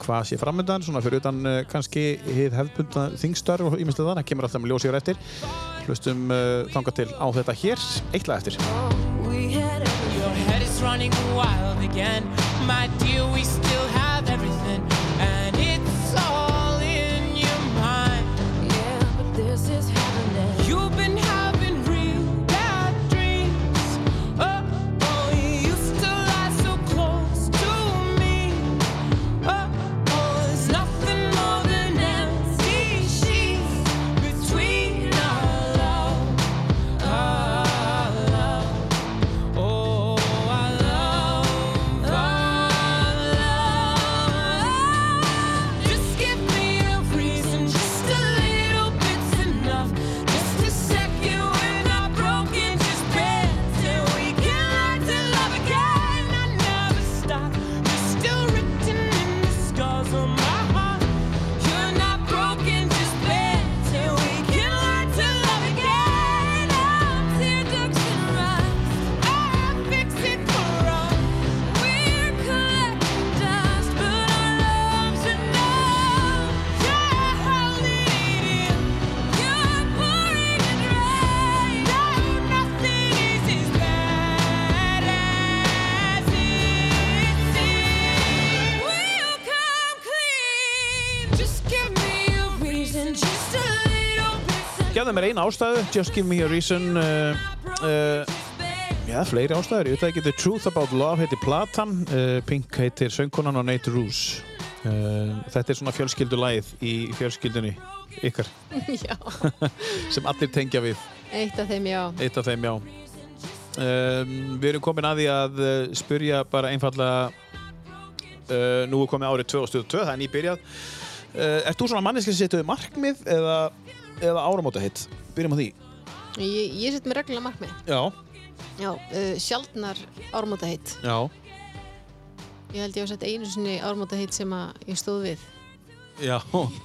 B: hvað sé framöndan, svona fyrir utan uh, kannski hið hefðbunda þingstörf og ímestið þannig, kemur alltaf með ljósi hér eftir Hlustum uh, þangað til á þetta hér eitthvað eftir
I: We had everything. Your head is running wild again. My dear, we still have everything. And it's all in your mind.
G: Yeah, but this is happening.
I: You've been having real bad dreams. Oh, oh, you used to lie so close to me. Oh, oh, there's nothing more than empty sheets between our love, our love. Oh, our love, our love.
D: Oh,
B: gefðu mér eina ástæðu Just give me a reason uh, uh, Já, fleiri ástæður Ég veit ekki The Truth About Love heitir Platan uh, Pink heitir Söngkonan og Nate Roos uh, Þetta er svona fjölskyldulæð í fjölskyldunni ykkar
C: já,
B: sem allir tengja við
C: eitt af þeim, já.
B: eitt af þeim, já um, Við erum komin að því að uh, spurja bara einfallega uh, nú er komið árið 2002 það er nýbyrjað uh, Ert þú svona manneski sem setur þér markmið eða, eða áramóta hitt? Byrjum á því
C: Ég, ég set mér reglulega markmið.
B: Já,
C: Já, uh, sjaldnar ármóta
B: já,
C: Ég held ég að setja einu sinni ármóta sem að ég stóð við.
B: já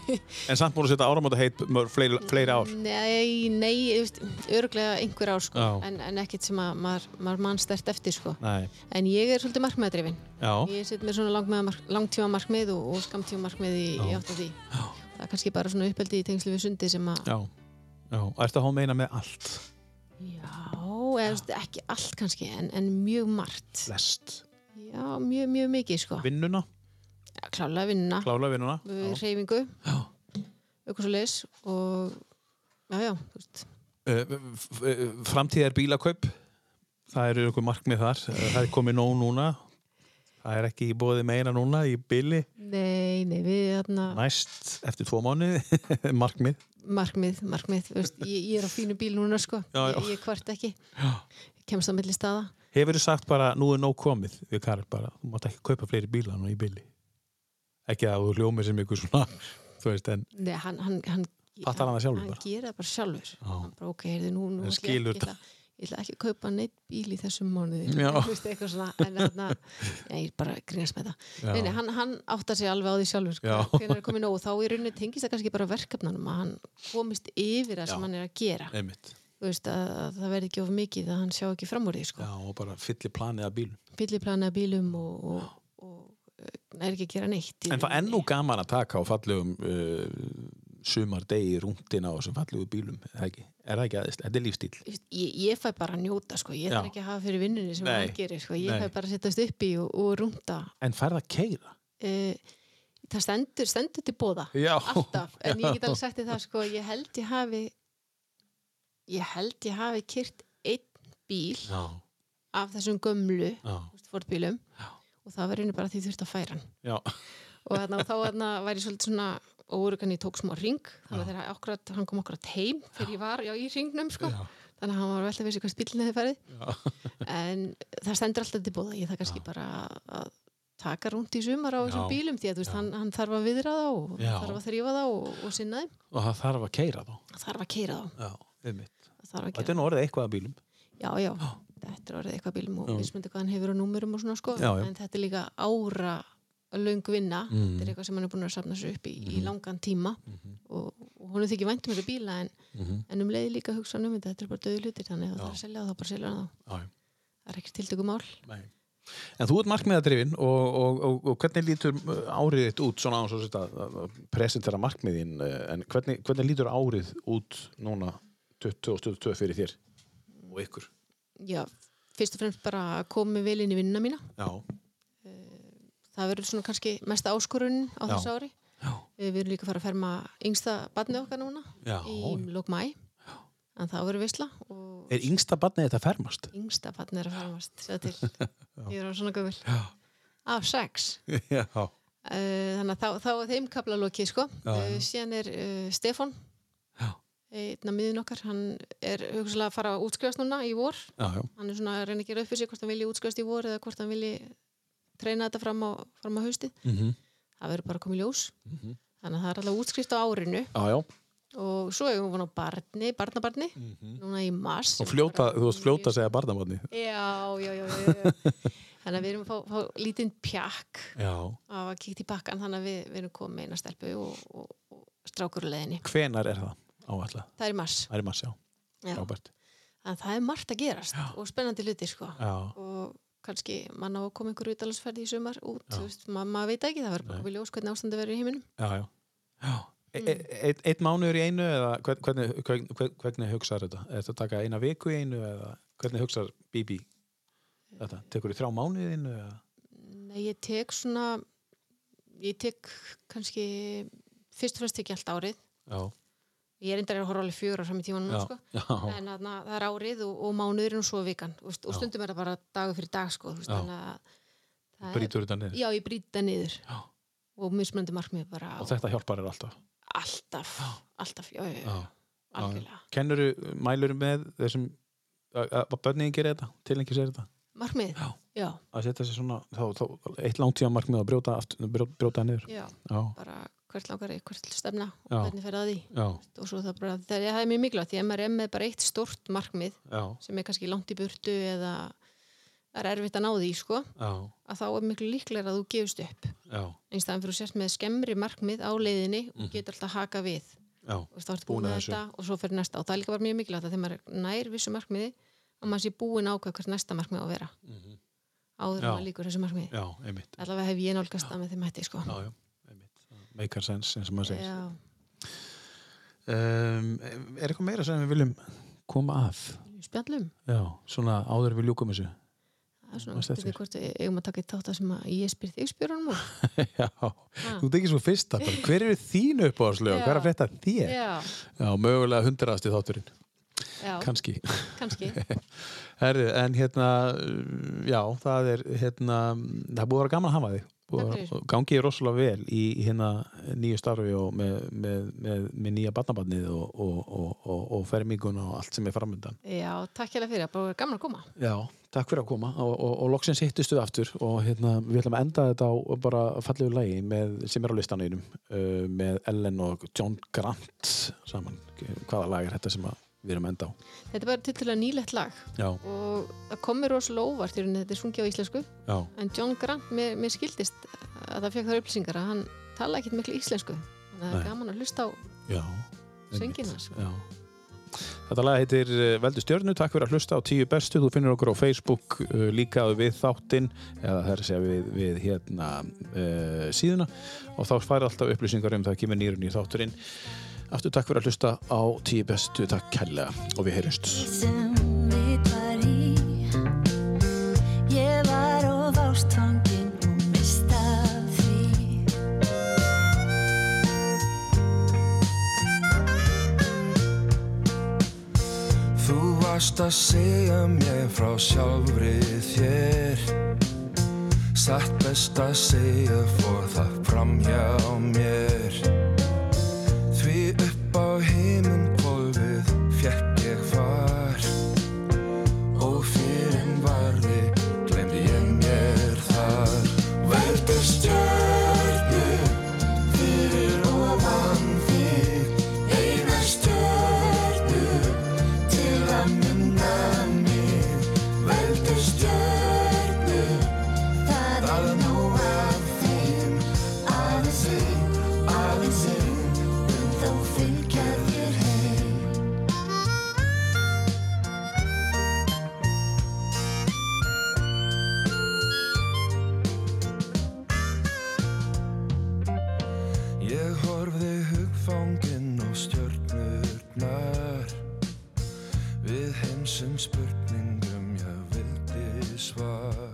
B: En samt búin að setja áramóta hitt fleiri, fleiri ár
C: Nei, nei, þú veist, örglega einhver ár sko,
B: Já.
C: en, en ekkert sem að maður, maður mannstært eftir sko.
B: Nei,
C: En ég er svolítið markmiðadrifin.
B: já,
C: Ég set mér svona langtíma, mark, langtíma markmið og, og skamtíma markmið í, í átt af því. Það er kannski bara svona uppeldi í tengslu við sundi sem að,
B: já Já, ertu að hún meina með allt
C: já, eða þú veist, ekki allt kannski, en, en mjög margt.
B: Lest,
C: Já, mjög, mjög mikið sko.
B: vinnuna,
C: Já, Klálega vinna,
B: klála vinnuna
C: Klá. reyfingu, eitthvað svo leis og, já, já, þú veist,
B: Eh, framtíðar bílakaup það eru ykkur markmið þar Eh, það er komið nóg núna það er ekki í bóði meira núna í bíli
C: nei, nei, við, þarna,
B: næst eftir tvo mánuði markmið
C: markmið, markmið þú veist, ég, ég er á fínu bíl núna sko
B: Já, já.
C: Ég, ég kvart ekki já. kemst á milli staða
B: hefur þú sagt bara nú er nóg komið við Karel bara, þú mátt ekki kaupa fleiri bíla nú í bíli ekki að þú hljómið sem ykkur svona þú veist en
C: Nei, hann, hann, hann,
B: Fattar hann það sjálfur bara?
C: hann gerir það bara sjálfur Hann bara, ok, heyrðu, nú, nú
B: Hann
C: ætla ég
B: skilur
C: ekki
B: það.
C: að- ég ætla ekki að kaupa neitt bíl í þessum mánuði
B: Já.
C: Þú veist, eitthvað svona, en þarna já, ég er bara að grínast með það nei, nei, hann, hann áttar sig alveg á því sjálfur sko.
B: Já.
C: hvenær er komið nóg og þá í rauninni tengist það kannski bara verkefnanum að hann komist yfir það sem hann er að gera
B: einmitt,
C: Þú veist, að, að það verði ekki of mikið að hann sjá ekki fram úr því sko.
B: já og bara fyllir planið að bílum
C: fylliplana bílum og, og, og, og er ekki að gera neitt í
B: en það er
C: rauninni.
B: nú gaman að taka á fallegum uh, sumar degi rúndina á þessum fallegu bílum er það ekki, er það ekki aðeins, þetta er lífstíl
C: Þú veist, ég, ég fæ bara að njóta sko. ég
B: Já.
C: þarf ekki að hafa fyrir vinnunni sem
B: Nei.
C: hann gerir sko. ég
B: Nei.
C: fæ bara að setjast upp í og, og rúnda
B: en færð að keira
C: uh, það stendur, stendur til bóða
B: Já.
C: alltaf, en ég get
B: Já.
C: alveg sagt þér það sko. ég held ég hafi ég held ég hafi kyrt einn bíl
B: já,
C: af þessum gömlu
B: já
C: fórbílum og það var einu bara því þurft að færa hann
B: Já,
C: og þarna, og þá þarna, var ég svolítið svona óurugan ég tók smá ring þannig að þegar akkurat, hann kom akkurat heim þegar ég var já, í ringnum sko. þannig að hann var velta að vissi hvað spillin hefði farið en það stendur alltaf til bóða ég það kannski bara að taka rúnt í sumar á þessum
B: Já.
C: bílum því að þú veist, hann, hann þarf að viðra þá og
B: Já.
C: þarf að þrýfa þá og, og sinna þeim
B: og það þarf að keira þá.
C: Það þarf að keira þá
B: Já, einmitt.
C: það þarf að
B: Þetta
C: gera.
B: er nú orðið eitthvað að bílum.
C: já, já, þetta er orðið eitthvað bílum og
B: Já.
C: mismundi hvað hann hefur á númurum og svona sko
B: Já, Mm. já.
C: en þetta er líka ára löng vinna, þetta er eitthvað sem hann er búin að safna sér upp í,
B: Mhm.
C: í langan tíma og, og hún er þykir vænt um þetta bíla en,
B: Mhm.
C: en um leiði líka hugsa hann um þetta þetta er bara döðu hlutir, þannig að það er að selja þá bara selja hann þá,
B: Já,
C: það er ekkert tiltökumál
B: nei. En þú ert markmiðadrifin og, og, og, og hvernig lítur uh, árið þitt út svona án svo sett að að- að presentera uh, markmiðin uh, en hvernig, hvernig lítur árið út núna 2022 fyrir þér og ykkur?
C: já, fyrst og fremst bara að koma með vel inn í vinnuna mína
B: Já,
C: það verður svona kannski mesta áskorun á
B: Já.
C: þessu ári
B: Já.
C: Eh, við erum líka að fara að ferma yngsta barnið okkar núna
B: Já.
C: í lók mæ en það verður veisla og
B: Er yngsta barnið þetta fermast?
C: yngsta barn er að farmast sjá til, ég er á svona gömul af sex
B: Já.
C: Eh, þannig að þá, þá er þeim kapla lokið sko
B: Já,
C: uh, síðan er uh, Stefan
B: Já.
C: einn af miðin okkar hann er hugsalega að fara að útskrifast núna í vor
B: Já, já.
C: hann er svona að reyna að gera upp fyrir sig hvort hann vilji útskrifast í vor eða hvort hann vilji treyna þetta fram á, fram á haustið
B: Mm
C: það verður bara að koma í ljós
B: Mhm.
C: þannig að það er alltaf útskrift á árinu
B: já, já.
C: og svo hefur hún á barni, barnabarni núna í mars
B: Mhm. Og fljóta, þú veist fljóta að segja barnabarni.
C: já, já, já, já, já. þannig að við erum að fá, fá lítinn pjakk
B: Já.
C: af að kíkt í bakkan þannig að við, við erum komið eina stelpu og, og, og strákur úr leðinni
B: Hvenar er það áallega?
C: það er í mars
B: Það er maður sjá.
C: já.
B: Robert.
C: þannig að það er margt að gerast og spennandi hluti sko.
B: Já.
C: og kannski mann á að koma einhver utalansferði í sumar út, þú veist, ma maður veit ekki það verður bara komið í ljós hvernig ástandi verður í heiminum
B: já, já. já. E, e, eitt- einn mánuður í einu eða hvern- hvernig, hvernig, hvernig, hvernig hugsaður þetta? Er þetta að taka eina viku í einu eða hvernig hugsaður BB þetta? Tekur þú þrjá mánuði í einu eða?
C: Nei, ég tek svona ég tek kannski fyrst og fremst tek ég allt árið
B: Já,
C: Ég er eindar að horfa alveg fjögur á sami tíma núna,
J: Já,
C: sko.
J: já.
C: En þarna, það er árið og, og mánuðurinn og svo vikan. þú Veist, og stundum er það bara dagur fyrir dag, sko. þú Veist,
J: Já.
C: þannig að það er-
B: Brítur þetta niður.
C: Já, ég brýt það niður.
J: Já.
C: Og mismunandi markmið bara
B: Og þetta hjálpar er alltaf.
C: alltaf, alltaf, já, já, já,
J: Já.
C: algjörlega.
B: Kennuru, mælur með þessum að að börnin gerir þetta, tilengis er þetta
C: Markmið?
B: Já.
C: Já,
B: að setja sér svona, þá, þá eitt langtíma markmið að brjóta, aftur, brjóta, brjóta það niður
C: já,
B: Já,
C: bara hvert langar í hvert stefna og
B: Já.
C: hvernig fer það að því.
B: já,
C: Og svo það bara, það er, það er mjög mikilvægt, því að maður er með bara eitt stort markmið
B: já,
C: sem er kannski langt í burtu eða það er erfitt að ná því, sko,
B: já,
C: að þá er miklu líklega að þú gefist upp.
B: já, Mhm.
C: einstæðan fyrir þú sért með skemmri markmið á leiðinni og getur alltaf haka við
B: já.
C: og þá ertu
B: Búin að
C: búin með
B: þessu.
C: þetta og svo fyrir næsta og það er líka bara mjög mikilvægt að þegar maður er nær vissu markmiði að maður sé búin að ákveða hvert næsta markmið á að vera áður
B: Mhm. Já.
C: en maður líkur þessu markmiði
B: Já, einmitt,
C: allavega hef ég nálgast það með þeim hætti sko.
B: já, já, einmitt Meikar sens, eins og maður segir
C: Já.
B: um, Er eitthvað meira sem við viljum koma að?
C: spjallum
B: Já, svona áður en við ljúkum þessu
C: það er svona
B: Manstu eftir?
C: spurning hvort við eigum að taka í þátt að sem að ég spyr þig spjörunum og
B: Já,
C: Ha.
B: þú tekir svo fyrsta bara, Hver eru þín uppáðslög?
C: Já.
B: Hver er að frétta af þér?
C: já,
B: Já, mögulega hundraðasti þátturinn,
C: já,
B: kannski
C: kannski
B: Herri, en hérna uh, já, það er hérna, það er búið að vera gaman að hafa þig Búið að
C: Takk
B: vera-
C: fyrir.
B: gangi þér rosalega vel í í hérna nýju starfi og með, með, með, með nýja barnabarnið og, og, og, og, og ferminguna og allt sem er framöndan
C: já, takk hérlega fyrir, bara gaman að koma
B: Já, takk fyrir að koma og, og, og loksins hittustu aftur og hérna, við ætlum að enda þetta á bara fallegu lagi með, sem er á listanauðinum uh, með Ellen og John Grant saman, hvaða lag er þetta sem að við erum að enda á
C: þetta er bara til nýlegt lag
B: Já,
C: og það komir rosalega óvart í rauninni, þetta er sungið á íslensku
B: já,
C: En John Grant, mér, mér skildist að það fekk þar upplýsingar að hann tala ekkit miklu íslensku. Þannig að það
B: Nei.
C: er gaman að hlusta á
B: já
C: söngina. Sko.
B: Já. Þetta lag heitir eh, Veldu stjörnu, takk fyrir að hlusta á tíu bestu þú finnir okkur á Facebook uh, líkaðu við þáttinn eða það er að segja við, við hérna uh, síðuna og þá færi alltaf upplýsingar um það kemur nýrun í þátturinn aftur takk fyrir að hlusta á tíu bestu takk kærlega og við heyrjumst
D: sem við var í Ég var of ástfangin og mist af því
F: Þú varst að segja mér frá sjálfri þér Satt best að segja fór það fram hjá mér Því upp á heiminn kvolfið fjekk ég far Og fyrir en varði glemdi ég mér þar Veldu stjörnu fyrir ofan þig Eina stjörnu til að minna mig Veldu stjörnu Það er nóg að þeim Aðeins einn, aðeins einn En þá fylgja þér heim Ég horfði hugfanginn á stjörnurnar Við heimsum spurningum ég vildi svar